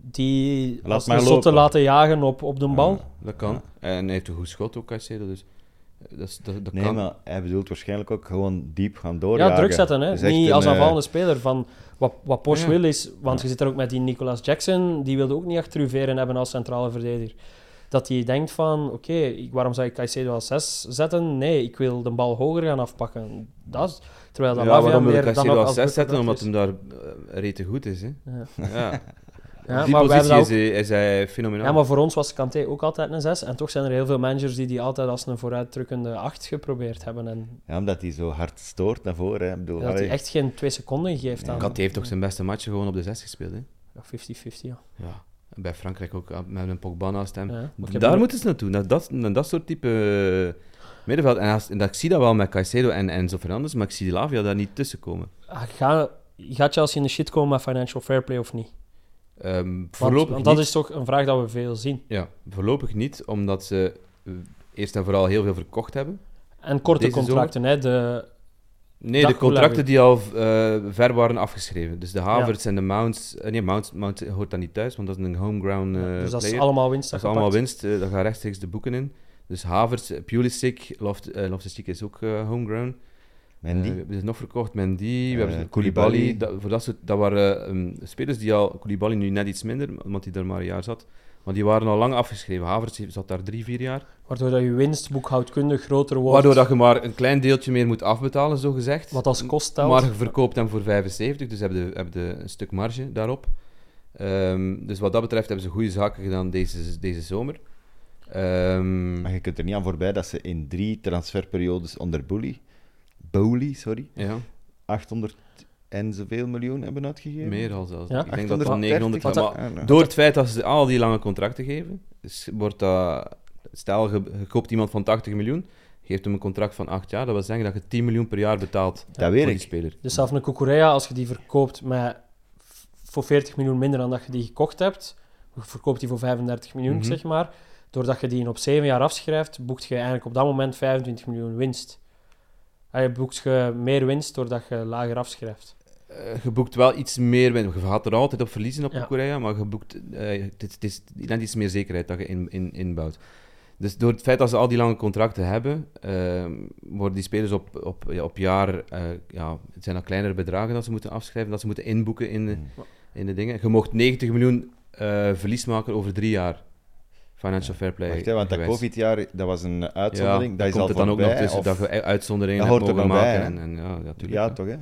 [SPEAKER 3] die
[SPEAKER 2] Laat
[SPEAKER 3] als
[SPEAKER 2] maar
[SPEAKER 3] een zotte
[SPEAKER 2] lopen.
[SPEAKER 3] laten jagen op, op de bal.
[SPEAKER 4] dat kan. En hij heeft een goed schot ook, Caicedo, dus eh, dat, is- dat, dat
[SPEAKER 2] Nee,
[SPEAKER 4] kan.
[SPEAKER 2] maar hij bedoelt waarschijnlijk ook gewoon diep gaan
[SPEAKER 3] Ja,
[SPEAKER 2] doorjagen.
[SPEAKER 3] druk zetten. Hè.
[SPEAKER 2] Dat is echt
[SPEAKER 3] Niet
[SPEAKER 2] een,
[SPEAKER 3] als
[SPEAKER 2] eh,
[SPEAKER 3] aanvallende speler. Van wat, wat Posh
[SPEAKER 4] Ja.
[SPEAKER 3] wil is, want je zit er ook met die Nicolas Jackson, die wilde ook niet achter u veren hebben als centrale verdediger. Dat hij denkt van, oké, ik- waarom zou ik Caicedo als 6 zetten? Nee, ik wil de bal hoger gaan afpakken. Dat is, terwijl dat
[SPEAKER 4] ja,
[SPEAKER 3] Lavia
[SPEAKER 4] waarom wil
[SPEAKER 3] meer
[SPEAKER 4] ik
[SPEAKER 3] dan
[SPEAKER 4] Caicedo
[SPEAKER 3] ook
[SPEAKER 4] als
[SPEAKER 3] als
[SPEAKER 4] 6 zetten?
[SPEAKER 3] buitenland
[SPEAKER 4] Omdat hem
[SPEAKER 3] is.
[SPEAKER 4] daar eh, rete goed is, hè.
[SPEAKER 3] Ja.
[SPEAKER 4] Ja.
[SPEAKER 3] Ja,
[SPEAKER 4] Op die
[SPEAKER 3] maar we hebben
[SPEAKER 4] positie
[SPEAKER 3] dat
[SPEAKER 4] is hij, is hij fenomenaal.
[SPEAKER 3] Ja, maar voor ons was Kanté ook altijd een 6. En toch zijn er heel veel managers die die altijd als een vooruitdrukkende 8 geprobeerd hebben. En
[SPEAKER 2] Ja, omdat hij zo hard stoort naar voren. Hè. Ik bedoel,
[SPEAKER 3] dat hij
[SPEAKER 2] allee,
[SPEAKER 3] echt geen 2 seconden geeft aan.
[SPEAKER 4] Kanté heeft toch zijn beste match gewoon op de 6 gespeeld, hè.
[SPEAKER 3] Ja, 50-50, ja.
[SPEAKER 4] Ja. En bij Frankrijk ook, ah, met een Pogba naast hem.
[SPEAKER 3] Ja, maar ik heb
[SPEAKER 4] Daar
[SPEAKER 3] er-
[SPEAKER 4] moeten ze naartoe, naar dat, naar dat soort type eh, middenveld. En, als, en dat, ik zie dat wel met Caicedo en Enzo Fernandes, maar ik zie Lavia daar niet tussen komen.
[SPEAKER 3] Ah, Ga, gaat Chelsea in de shit komen met financial fair play of niet? Want-
[SPEAKER 4] Ehm, voorlopig
[SPEAKER 3] want dat
[SPEAKER 4] niet.
[SPEAKER 3] is toch een vraag dat we veel zien.
[SPEAKER 4] Ja, voorlopig niet, omdat ze eh, eerst en vooral heel veel verkocht hebben.
[SPEAKER 3] En korte
[SPEAKER 4] Deze
[SPEAKER 3] contracten, hè. De,
[SPEAKER 4] Nee,
[SPEAKER 3] Dag,
[SPEAKER 4] de contracten
[SPEAKER 3] Goulabi.
[SPEAKER 4] die al eh, ver waren afgeschreven. Dus de Havertz en de Mounts... eh, nee, Mounts, Mounts hoort daar niet thuis, want dat is een homegrown eh
[SPEAKER 3] dus dat is
[SPEAKER 4] player.
[SPEAKER 3] allemaal winst.
[SPEAKER 4] dat is
[SPEAKER 3] dat
[SPEAKER 4] allemaal
[SPEAKER 3] gepakt.
[SPEAKER 4] winst. eh, daar gaan rechtstreeks de boeken in. Dus Havertz, eh, Pulisic, Loft- eh, Loftus-Cheek is ook eh, homegrown.
[SPEAKER 2] Mendy.
[SPEAKER 4] Eh, we hebben ze nog verkocht. Mendy, we hebben ze-
[SPEAKER 2] Koulibaly.
[SPEAKER 4] Koulibaly. Dat, voor dat, soort, dat waren ehm, spelers die al... Koulibaly nu net iets minder, omdat hij daar maar een jaar zat. Maar die waren al lang afgeschreven. Havertz zat daar drie, vier jaar.
[SPEAKER 3] Waardoor dat je winst boekhoudkundig groter wordt.
[SPEAKER 4] Waardoor dat je maar een klein deeltje meer moet afbetalen, zo gezegd.
[SPEAKER 3] Wat als kost telt.
[SPEAKER 4] Maar je verkoopt hem voor 75, dus heb je, heb je een stuk marge daarop. Ehm, dus wat dat betreft hebben ze goede zaken gedaan deze, deze zomer. Ehm,
[SPEAKER 2] Maar je kunt er niet aan voorbij dat ze in drie transferperiodes onder Bully, Bowley, sorry,
[SPEAKER 4] ja,
[SPEAKER 2] 800 en zoveel miljoen hebben uitgegeven.
[SPEAKER 4] meer al zelfs.
[SPEAKER 3] Ja.
[SPEAKER 4] Ik denk dat het
[SPEAKER 2] 830.
[SPEAKER 4] 900
[SPEAKER 2] Wat
[SPEAKER 4] maar
[SPEAKER 2] dat-
[SPEAKER 4] Door het feit dat ze al die lange contracten geven, is- wordt dat... Stel, je, je koopt iemand van 80 miljoen, geeft hem een contract van 8 jaar, dat wil zeggen dat je 10 miljoen per jaar betaalt
[SPEAKER 2] Dat
[SPEAKER 4] voor
[SPEAKER 2] weet
[SPEAKER 4] die
[SPEAKER 2] ik.
[SPEAKER 4] speler.
[SPEAKER 3] Dus zelfs een Cucurella, als je die verkoopt met f- voor 40 miljoen minder dan dat je die gekocht hebt. Je verkoopt die voor 35 miljoen,
[SPEAKER 4] Mhm.
[SPEAKER 3] zeg maar. Doordat je die op 7 jaar afschrijft, boekt je eigenlijk op dat moment 25 miljoen winst. Je boekt je meer winst doordat je lager afschrijft.
[SPEAKER 4] Eh, je boekt wel iets meer winst. Je gaat er altijd op verliezen op
[SPEAKER 3] Ja.
[SPEAKER 4] Korea, maar je boekt eh, het is- het is net iets meer zekerheid dat je in, in, inbouwt. Dus door het feit dat ze al die lange contracten hebben, eh, worden die spelers op, op, ja, op jaar, eh, ja, het zijn dan kleinere bedragen dat ze moeten afschrijven, dat ze moeten inboeken in de,
[SPEAKER 2] Hmm.
[SPEAKER 4] in de dingen. Je mocht 90 miljoen eh, verlies maken over drie jaar. Financial fair play.
[SPEAKER 2] Wacht, hè, want dat
[SPEAKER 4] gewijs.
[SPEAKER 2] COVID-jaar, dat was een
[SPEAKER 4] Ja,
[SPEAKER 2] uitzondering. dat is
[SPEAKER 4] komt
[SPEAKER 2] al
[SPEAKER 4] er dan ook nog
[SPEAKER 2] voorbij,
[SPEAKER 4] tussen
[SPEAKER 2] of-
[SPEAKER 4] dat je uitzonderingen
[SPEAKER 2] Dat
[SPEAKER 4] hebt
[SPEAKER 2] hoort er
[SPEAKER 4] mogen
[SPEAKER 2] dan bij,
[SPEAKER 4] maken.
[SPEAKER 2] hè?
[SPEAKER 4] en, en, ja, natuurlijk.
[SPEAKER 2] Ja, toch, hè?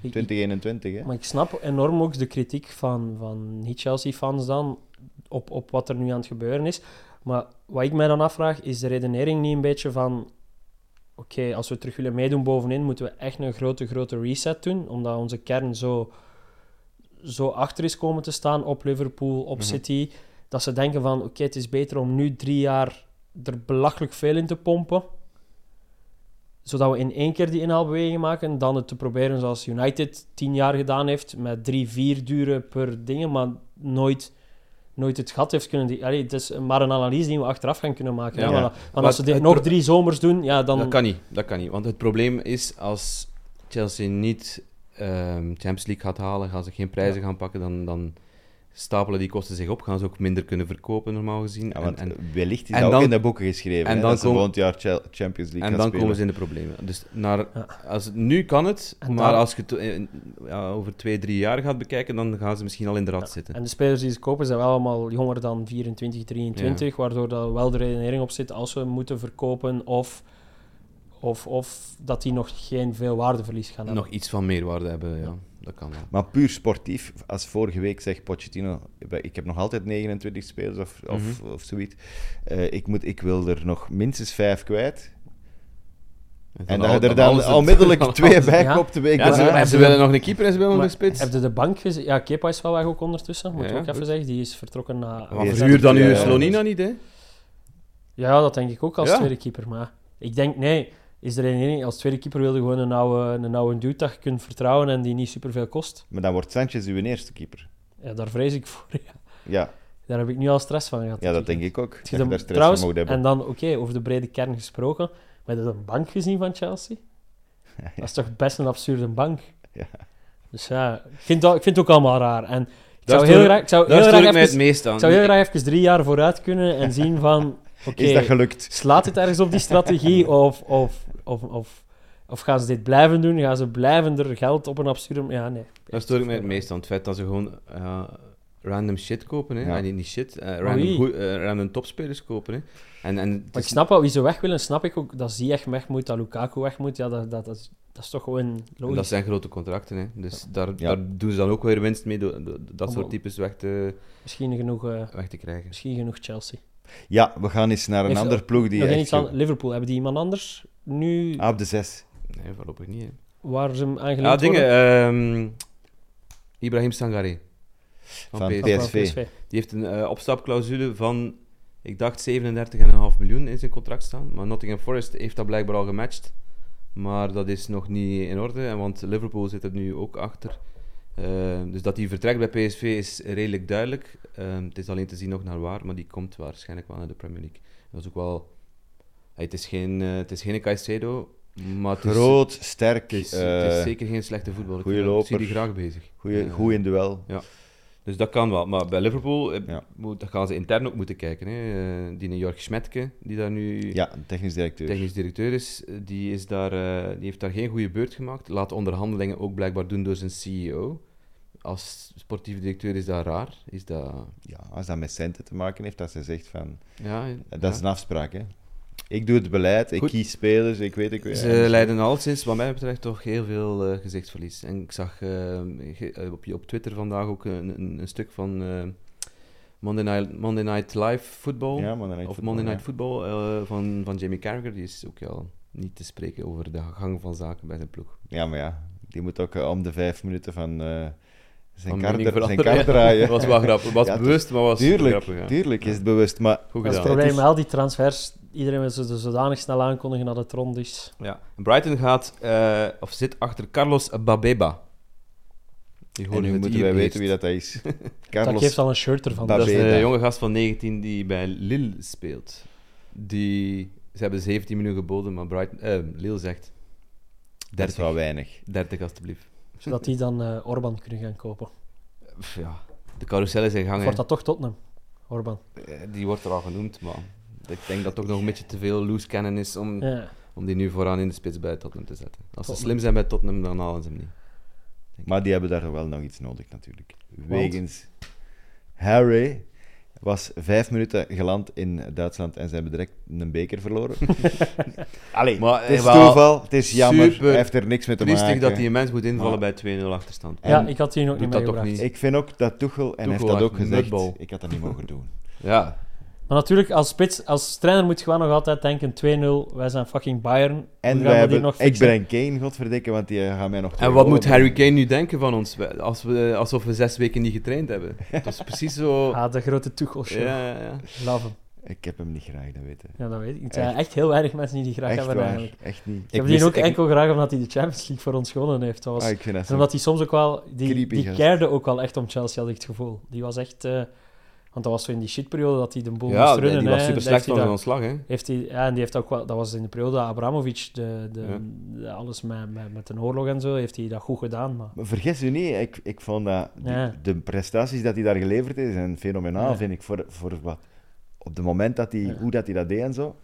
[SPEAKER 3] Ik-
[SPEAKER 2] 2021, hè?
[SPEAKER 3] Maar ik snap enorm ook de kritiek van, van niet-Chelsea-fans dan op, op wat er nu aan het gebeuren is. Maar wat ik mij dan afvraag, is de redenering niet een beetje van... Oké, als we terug willen meedoen bovenin, moeten we echt een grote, grote reset doen. Omdat onze kern zo, zo achter is komen te staan op Liverpool, op
[SPEAKER 4] Mhm.
[SPEAKER 3] City. Dat ze denken van, oké, het is beter om nu drie jaar er belachelijk veel in te pompen zodat we in één keer die inhaalbeweging maken, dan het te proberen zoals United tien jaar gedaan heeft, met drie, vier duren per dingen, maar nooit, nooit het gat heeft kunnen... Die, allee, het is maar een analyse die we achteraf gaan kunnen maken.
[SPEAKER 4] Ja.
[SPEAKER 3] hè,
[SPEAKER 2] Ja.
[SPEAKER 3] want-
[SPEAKER 4] Maar
[SPEAKER 3] Want als ze
[SPEAKER 4] het-
[SPEAKER 3] dit
[SPEAKER 4] het
[SPEAKER 3] nog
[SPEAKER 4] pro-
[SPEAKER 3] drie zomers doen, ja, dan...
[SPEAKER 4] Dat kan niet, dat kan niet. Want het probleem is, als Chelsea niet ehm, Champions League gaat halen, gaan ze geen prijzen gaan pakken, dan, dan stapelen die kosten zich op, gaan ze ook minder kunnen verkopen, normaal gezien.
[SPEAKER 2] Ja,
[SPEAKER 4] En-
[SPEAKER 2] want
[SPEAKER 4] en
[SPEAKER 2] wellicht is
[SPEAKER 4] en
[SPEAKER 2] dat
[SPEAKER 4] dan-
[SPEAKER 2] ook in de boeken geschreven.
[SPEAKER 4] en
[SPEAKER 2] En
[SPEAKER 4] dan
[SPEAKER 2] dat ze
[SPEAKER 4] komen-
[SPEAKER 2] volgend jaar Chel- Champions League
[SPEAKER 4] en
[SPEAKER 2] gaan
[SPEAKER 4] dan
[SPEAKER 2] spelen.
[SPEAKER 4] komen ze in de problemen. Dus naar, als het, nu kan het,
[SPEAKER 3] En
[SPEAKER 4] maar
[SPEAKER 3] dan-
[SPEAKER 4] als je het eh, ja, over twee, drie jaar gaat bekijken, dan gaan ze misschien al in de rat zitten.
[SPEAKER 3] En de spelers die ze kopen zijn wel allemaal jonger dan 24, 23, waardoor dat wel de redenering op zit als we moeten verkopen of, of, of dat die nog geen veel waardeverlies gaan hebben.
[SPEAKER 4] Nog iets van meerwaarde hebben, ja. Dat kan wel.
[SPEAKER 2] Maar puur sportief, als vorige week zegt Pochettino, ik heb nog altijd 29 spelers of, of,
[SPEAKER 4] Mhm.
[SPEAKER 2] of zoiets. Eh, ik, moet, ik wil er nog minstens vijf kwijt. En dat je
[SPEAKER 4] al-
[SPEAKER 2] er
[SPEAKER 4] alles
[SPEAKER 2] dan
[SPEAKER 4] het-
[SPEAKER 2] onmiddellijk
[SPEAKER 4] dan
[SPEAKER 2] twee
[SPEAKER 4] alles-
[SPEAKER 2] bij
[SPEAKER 3] Ja.
[SPEAKER 2] kopt de week
[SPEAKER 4] Ja, ze,
[SPEAKER 2] daarna.
[SPEAKER 4] en ze willen nog een keeper en ze willen nog
[SPEAKER 3] Maar
[SPEAKER 4] een spits.
[SPEAKER 3] Heb je de bank gezien? Ja, Kepa is wel weg ook ondertussen, moet
[SPEAKER 4] Ja,
[SPEAKER 3] ik ook even
[SPEAKER 4] goed.
[SPEAKER 3] zeggen. Die is vertrokken naar...
[SPEAKER 4] Maar
[SPEAKER 2] Ja,
[SPEAKER 4] verhuur dan
[SPEAKER 2] ja,
[SPEAKER 4] nu
[SPEAKER 2] ja.
[SPEAKER 4] Slonina niet, hè?
[SPEAKER 3] Ja, dat denk ik ook als
[SPEAKER 4] Ja.
[SPEAKER 3] tweede keeper. Maar ik denk, nee, is er een enige. Als tweede keeper wilde gewoon een oude, een oude dude dat je kunt vertrouwen en die niet superveel kost.
[SPEAKER 2] Maar dan wordt Sanchez uw eerste keeper.
[SPEAKER 3] Ja, daar vrees ik voor. ja.
[SPEAKER 2] Ja,
[SPEAKER 3] Daar heb ik nu al stress van gehad.
[SPEAKER 2] ja dat
[SPEAKER 3] natuurlijk.
[SPEAKER 2] denk ik ook. Dat je
[SPEAKER 3] Heb je
[SPEAKER 2] daar
[SPEAKER 3] de-
[SPEAKER 2] stress
[SPEAKER 3] trouwens,
[SPEAKER 2] van moet hebben.
[SPEAKER 3] en dan, oké, over de brede kern gesproken. Maar heb je de bank gezien van Chelsea? Dat is toch best een absurde bank?
[SPEAKER 2] Ja.
[SPEAKER 3] Dus ja, ik vind, dat, ik vind het ook allemaal raar. En ik
[SPEAKER 4] Daar
[SPEAKER 3] zou
[SPEAKER 4] stoor-
[SPEAKER 3] heel graag... Ik zou
[SPEAKER 4] Daar
[SPEAKER 3] heel
[SPEAKER 4] stoor
[SPEAKER 3] graag
[SPEAKER 4] ik mij
[SPEAKER 3] even-
[SPEAKER 4] het meest aan.
[SPEAKER 3] Ik zou heel graag even drie jaar vooruit kunnen en zien van... Oké,
[SPEAKER 2] Is dat gelukt?
[SPEAKER 3] slaat het ergens op die strategie? Of, of, of, of, of gaan ze dit blijven doen? Gaan ze blijven er geld op een absurde... Ja, nee.
[SPEAKER 4] Daar stoor ik mij het meest aan. Het feit dat ze gewoon eh, random shit kopen. Hè?
[SPEAKER 2] Ja.
[SPEAKER 4] En niet- niet shit, eh, random,
[SPEAKER 3] Oei.
[SPEAKER 4] goe- eh, random topspelers kopen. Hè? En, en het
[SPEAKER 3] Maar
[SPEAKER 4] is-
[SPEAKER 3] ik snap wel, wie ze weg willen, snap ik ook. Dat Ziyech weg moet, dat Lukaku weg moet. Ja, dat, dat, dat, is- dat is toch gewoon
[SPEAKER 4] en dat
[SPEAKER 3] logisch.
[SPEAKER 4] zijn grote contracten. Hè? Dus daar, daar doen ze dan ook weer winst mee door door dat soort
[SPEAKER 3] Omdat-
[SPEAKER 4] types weg te,
[SPEAKER 3] Misschien, genoeg, eh,
[SPEAKER 4] weg te krijgen.
[SPEAKER 3] misschien genoeg Chelsea.
[SPEAKER 2] Ja, we gaan eens naar een
[SPEAKER 3] Heeft-
[SPEAKER 2] ander ploeg die
[SPEAKER 3] Nog één
[SPEAKER 2] echt
[SPEAKER 3] iets aan Liverpool. Hebben die iemand anders nu
[SPEAKER 2] Ah, op de zes.
[SPEAKER 4] Nee, voorlopig niet. Hè?
[SPEAKER 3] waar ze hem
[SPEAKER 4] Ja,
[SPEAKER 3] aangeleerd
[SPEAKER 4] dingen.
[SPEAKER 3] worden?
[SPEAKER 4] ehm, Ibrahim Sangaré. Van,
[SPEAKER 2] Van
[SPEAKER 4] PSV.
[SPEAKER 2] PSV.
[SPEAKER 3] Of wel
[SPEAKER 4] Die heeft een eh, opstapclausule van, ik dacht 37,5 miljoen in zijn contract staan. Maar Nottingham Forest heeft dat blijkbaar al gematcht. Maar dat is nog niet in orde, en want Liverpool zit er nu ook achter. Eh, dus dat hij vertrekt bij PSV is redelijk duidelijk. Eh, het is alleen te zien nog naar waar, maar die komt waarschijnlijk wel naar de Premier League. Dat is ook wel... Hey, het, is geen, eh, het is geen Caicedo, maar het is,
[SPEAKER 2] Groot, sterk,
[SPEAKER 4] het is,
[SPEAKER 2] eh,
[SPEAKER 4] het is zeker geen slechte voetballer.
[SPEAKER 2] goeie
[SPEAKER 4] Ik zie
[SPEAKER 2] loper.
[SPEAKER 4] die graag bezig.
[SPEAKER 2] goeie-
[SPEAKER 4] Eh,
[SPEAKER 2] goed in duel.
[SPEAKER 4] dus dat kan wel. Maar bij Liverpool eh,
[SPEAKER 2] Ja.
[SPEAKER 4] moet, dat gaan ze intern ook moeten kijken. Hè. Eh, Die Jorg Schmetke, die daar nu
[SPEAKER 2] Ja, een technisch directeur.
[SPEAKER 4] technisch directeur is, eh, die, is daar, eh, die heeft daar geen goede beurt gemaakt. Laat onderhandelingen ook blijkbaar doen door zijn CEO. Als sportief directeur is dat raar. Is dat...
[SPEAKER 2] Ja, als dat met centen te maken heeft, dat ze zegt van... eh,
[SPEAKER 4] Ja,
[SPEAKER 2] Dat
[SPEAKER 4] ja.
[SPEAKER 2] is een afspraak, hè. Ik doe het beleid, ik
[SPEAKER 4] Goed. eh,
[SPEAKER 2] kies spelers, ik weet... dus- Ik, weet
[SPEAKER 4] Ze leiden al sinds, wat mij betreft, toch heel veel eh, gezichtsverlies. En ik zag eh, ge- eh, op, je- op Twitter vandaag ook een, een, een stuk van eh, Monday, Night, Monday Night Live voetbal.
[SPEAKER 2] Ja, Monday Night
[SPEAKER 4] Of
[SPEAKER 2] Football,
[SPEAKER 4] Monday
[SPEAKER 2] ja.
[SPEAKER 4] Night Football eh, van, van Jamie Carragher, die is ook al niet te spreken over de gang van zaken bij zijn ploeg.
[SPEAKER 2] Ja, maar ja, die moet ook eh, om de vijf minuten van eh, zijn
[SPEAKER 4] Van
[SPEAKER 2] kaart
[SPEAKER 4] mening
[SPEAKER 2] dra- zijn
[SPEAKER 4] veranderen.
[SPEAKER 2] kaart draaien.
[SPEAKER 4] was wel grappig, was
[SPEAKER 2] Ja, het is-
[SPEAKER 4] bewust, maar was
[SPEAKER 2] Tuurlijk,
[SPEAKER 4] grappig. Ja.
[SPEAKER 2] tuurlijk is het bewust, maar...
[SPEAKER 4] Goed
[SPEAKER 3] Dat is
[SPEAKER 4] gedaan.
[SPEAKER 3] het probleem,
[SPEAKER 2] Het is-
[SPEAKER 3] al die transfers, iedereen wil ze er zodanig snel aankondigen dat het rond is.
[SPEAKER 4] Ja. Brighton gaat, eh, of zit achter Carlos Babeba. Die
[SPEAKER 2] En
[SPEAKER 4] horen
[SPEAKER 2] nu
[SPEAKER 4] het
[SPEAKER 2] moeten
[SPEAKER 4] hier
[SPEAKER 2] wij
[SPEAKER 4] eerst.
[SPEAKER 2] weten wie dat is.
[SPEAKER 3] Dat
[SPEAKER 2] Carlos.
[SPEAKER 3] geeft al een shirt ervan.
[SPEAKER 2] Dat
[SPEAKER 4] Dat is
[SPEAKER 2] Beta.
[SPEAKER 4] een jonge gast van 19 die bij Lille speelt. Die, ze hebben 17 minuten geboden, maar Brighton, eh, Lille zegt
[SPEAKER 2] Dat is
[SPEAKER 4] 30,
[SPEAKER 2] wel weinig.
[SPEAKER 4] 30 alstublieft.
[SPEAKER 3] Zodat die dan eh, Orban kunnen gaan kopen.
[SPEAKER 4] Pff, Ja, de carousel is in gang.
[SPEAKER 3] Of
[SPEAKER 4] hè.
[SPEAKER 3] wordt dat toch Tottenham? Orban.
[SPEAKER 4] Eh, Die wordt er al genoemd, maar ik denk dat toch nog een beetje te veel loose cannon is om,
[SPEAKER 3] Ja.
[SPEAKER 4] om die nu vooraan in de spits bij Tottenham te zetten. Als ze
[SPEAKER 3] Tottenham.
[SPEAKER 4] slim zijn bij Tottenham, dan halen ze hem niet.
[SPEAKER 2] Maar die hebben daar wel nog iets nodig, natuurlijk. Wegens Harry was vijf minuten geland in Duitsland en ze hebben direct een beker verloren. Allee,
[SPEAKER 4] Maar
[SPEAKER 2] het is
[SPEAKER 4] eh, wel
[SPEAKER 2] toeval, het is jammer,
[SPEAKER 4] super
[SPEAKER 2] hij heeft er niks mee te maken.
[SPEAKER 4] Triestig dat die mens moet invallen
[SPEAKER 2] Maar-
[SPEAKER 4] bij 2-0 achterstand.
[SPEAKER 2] En
[SPEAKER 3] ja, ik had die nog
[SPEAKER 4] doet
[SPEAKER 3] niet
[SPEAKER 4] dat toch
[SPEAKER 3] meegebracht.
[SPEAKER 4] niet.
[SPEAKER 2] Ik vind ook dat Tuchel, en hij heeft
[SPEAKER 4] Tuchel
[SPEAKER 2] dat
[SPEAKER 4] echt
[SPEAKER 2] ook
[SPEAKER 4] een
[SPEAKER 2] gezegd,
[SPEAKER 4] nutbal.
[SPEAKER 2] ik had dat niet mogen doen.
[SPEAKER 4] Ja,
[SPEAKER 3] Maar natuurlijk, als, spits, als trainer moet je wel nog altijd denken: 2-0, wij zijn fucking Bayern.
[SPEAKER 2] En wij
[SPEAKER 3] we gaan dat hier
[SPEAKER 2] hebben,
[SPEAKER 3] nog
[SPEAKER 2] ik
[SPEAKER 3] fixen.
[SPEAKER 2] breng Kane, godverdikke, want die eh, gaat mij nog twee
[SPEAKER 4] En wat
[SPEAKER 2] golen
[SPEAKER 4] moet Harry
[SPEAKER 2] brengen.
[SPEAKER 4] Kane nu denken van ons? Wij- Als we, alsof we zes weken niet getraind hebben. Dat is precies zo...
[SPEAKER 3] Ah, de grote Tuchel-show.
[SPEAKER 4] Ja, ja, ja.
[SPEAKER 3] Love hem.
[SPEAKER 2] Ik heb hem niet graag, dat weten.
[SPEAKER 3] Ja, dat weet ik. Er zijn echt heel weinig mensen die die graag
[SPEAKER 2] Echt
[SPEAKER 3] hebben
[SPEAKER 2] waar,
[SPEAKER 3] eigenlijk.
[SPEAKER 2] echt niet.
[SPEAKER 3] Ik heb
[SPEAKER 4] mis-
[SPEAKER 3] die ook
[SPEAKER 4] ik-
[SPEAKER 3] enkel graag omdat hij de Champions League voor ons gewonnen heeft. Dat was...
[SPEAKER 2] Ah, ik vind dat
[SPEAKER 3] en
[SPEAKER 2] zo
[SPEAKER 3] omdat hij soms ook wel... Die,
[SPEAKER 2] creepy
[SPEAKER 3] die
[SPEAKER 2] gast.
[SPEAKER 3] keerde ook wel echt om Chelsea, had ik het gevoel. Die was echt... eh, Want dat was zo in die shitperiode dat hij de boel moest
[SPEAKER 4] Ja, die,
[SPEAKER 3] runnen.
[SPEAKER 4] die was
[SPEAKER 3] hè.
[SPEAKER 4] super
[SPEAKER 3] Dat
[SPEAKER 4] slecht
[SPEAKER 3] heeft hij
[SPEAKER 4] van zijn
[SPEAKER 3] daar-
[SPEAKER 4] ontslag, hè.
[SPEAKER 3] Heeft hij, ja, en die heeft ook wel, dat was in de periode dat Abramovic, de, de,
[SPEAKER 4] Ja.
[SPEAKER 3] de- alles met, met, met een oorlog en zo, heeft hij dat goed gedaan. Maar
[SPEAKER 2] Maar vergis u niet, ik, ik vond dat die-
[SPEAKER 3] Ja.
[SPEAKER 2] de prestaties dat hij daar geleverd heeft, zijn fenomenaal,
[SPEAKER 3] Ja.
[SPEAKER 2] vind ik, voor, voor wat, op het moment dat hij,
[SPEAKER 3] Ja.
[SPEAKER 2] hoe dat hij dat deed en zo,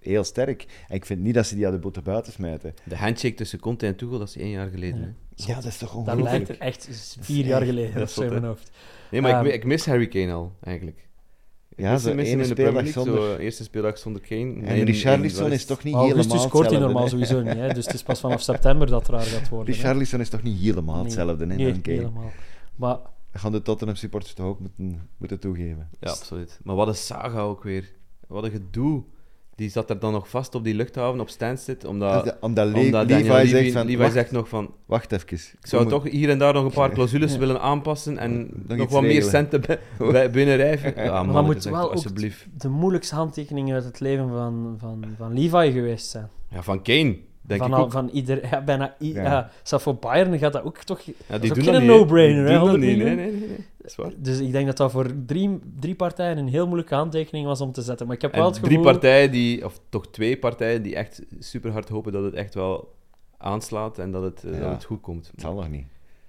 [SPEAKER 2] heel sterk. En ik vind niet dat ze die aan de boete buiten smijten.
[SPEAKER 4] De handshake tussen Conte en Tuchel, dat is één jaar geleden.
[SPEAKER 3] Ja.
[SPEAKER 4] Hè?
[SPEAKER 2] Ja, dat is toch
[SPEAKER 3] dat lijkt
[SPEAKER 2] ongelooflijk.
[SPEAKER 3] er echt vier jaar geleden
[SPEAKER 4] dat
[SPEAKER 3] of
[SPEAKER 4] is
[SPEAKER 3] zo in
[SPEAKER 4] zot, hè.
[SPEAKER 3] mijn hoofd.
[SPEAKER 4] Nee, maar ik
[SPEAKER 3] Ehm.
[SPEAKER 4] mi- ik, mis Harry Kane al, eigenlijk. Ik
[SPEAKER 2] Ja,
[SPEAKER 4] mis
[SPEAKER 2] zo'n
[SPEAKER 4] hem- mis hem
[SPEAKER 2] ene
[SPEAKER 4] in de Premier
[SPEAKER 2] speeldag
[SPEAKER 4] League,
[SPEAKER 2] zonder-
[SPEAKER 4] zo, eerste speeldag zonder Kane.
[SPEAKER 2] En Richarlison is toch niet
[SPEAKER 3] Maar
[SPEAKER 2] helemaal
[SPEAKER 3] augustus scoort hij
[SPEAKER 2] hetzelfde,
[SPEAKER 3] normaal
[SPEAKER 2] hè?
[SPEAKER 3] sowieso niet. Hè? Dus het is pas vanaf september dat raar gaat worden. hè.
[SPEAKER 2] Richarlison is toch niet helemaal
[SPEAKER 3] Nee,
[SPEAKER 2] hetzelfde, hè?
[SPEAKER 3] Nee,
[SPEAKER 2] dan
[SPEAKER 3] niet
[SPEAKER 2] Kane?
[SPEAKER 3] helemaal. Maar
[SPEAKER 2] Dat gaan de Tottenham supporters toch ook moeten, moeten toegeven.
[SPEAKER 4] Ja, absoluut. Maar wat een saga ook weer. Wat een gedoe. Die zat er dan nog vast op die luchthaven, op Stansted, omdat...
[SPEAKER 2] Omdat- omdat Le-
[SPEAKER 4] omdat
[SPEAKER 2] Dus Levi,
[SPEAKER 4] Daniel
[SPEAKER 2] zegt van,
[SPEAKER 4] Levi
[SPEAKER 2] wacht,
[SPEAKER 4] zegt nog van,
[SPEAKER 2] wacht even.
[SPEAKER 4] Ik zou
[SPEAKER 2] Kom,
[SPEAKER 4] toch hier en daar nog een paar clausules willen aanpassen en nog,
[SPEAKER 2] iets
[SPEAKER 4] wat meer
[SPEAKER 2] regelen.
[SPEAKER 4] centen bij, bij binnenrijven. Ja, man,
[SPEAKER 3] Maar moet
[SPEAKER 4] het is echt,
[SPEAKER 3] wel ook-
[SPEAKER 4] alsjeblieft.
[SPEAKER 3] de moeilijkste handtekeningen uit het leven van, van, van Levi geweest zijn.
[SPEAKER 4] Ja, van Kane, denk
[SPEAKER 3] van,
[SPEAKER 4] ik
[SPEAKER 3] al-
[SPEAKER 4] ook.
[SPEAKER 3] van ieder, ja, bijna i-
[SPEAKER 2] Ja.
[SPEAKER 3] ja, zelfs voor Bayern gaat dat ook toch.
[SPEAKER 4] Ja,
[SPEAKER 3] is ook
[SPEAKER 4] doen dat
[SPEAKER 3] geen
[SPEAKER 4] niet, hè.
[SPEAKER 3] no-brainer,
[SPEAKER 4] Die
[SPEAKER 3] hè,
[SPEAKER 4] doen dat
[SPEAKER 3] 100
[SPEAKER 4] niet,
[SPEAKER 3] miljoen.
[SPEAKER 4] Nee, nee, nee, nee. Dat is waar.
[SPEAKER 3] Dus ik denk dat dat voor drie, drie partijen een heel moeilijke handtekening was om te zetten. Maar ik heb wel
[SPEAKER 4] En
[SPEAKER 3] het gevoel.
[SPEAKER 4] drie partijen, die, of toch twee partijen, die echt super hard hopen dat het echt wel aanslaat en dat het, eh,
[SPEAKER 2] Ja.
[SPEAKER 4] dat het goed komt.
[SPEAKER 2] Het zal nog niet.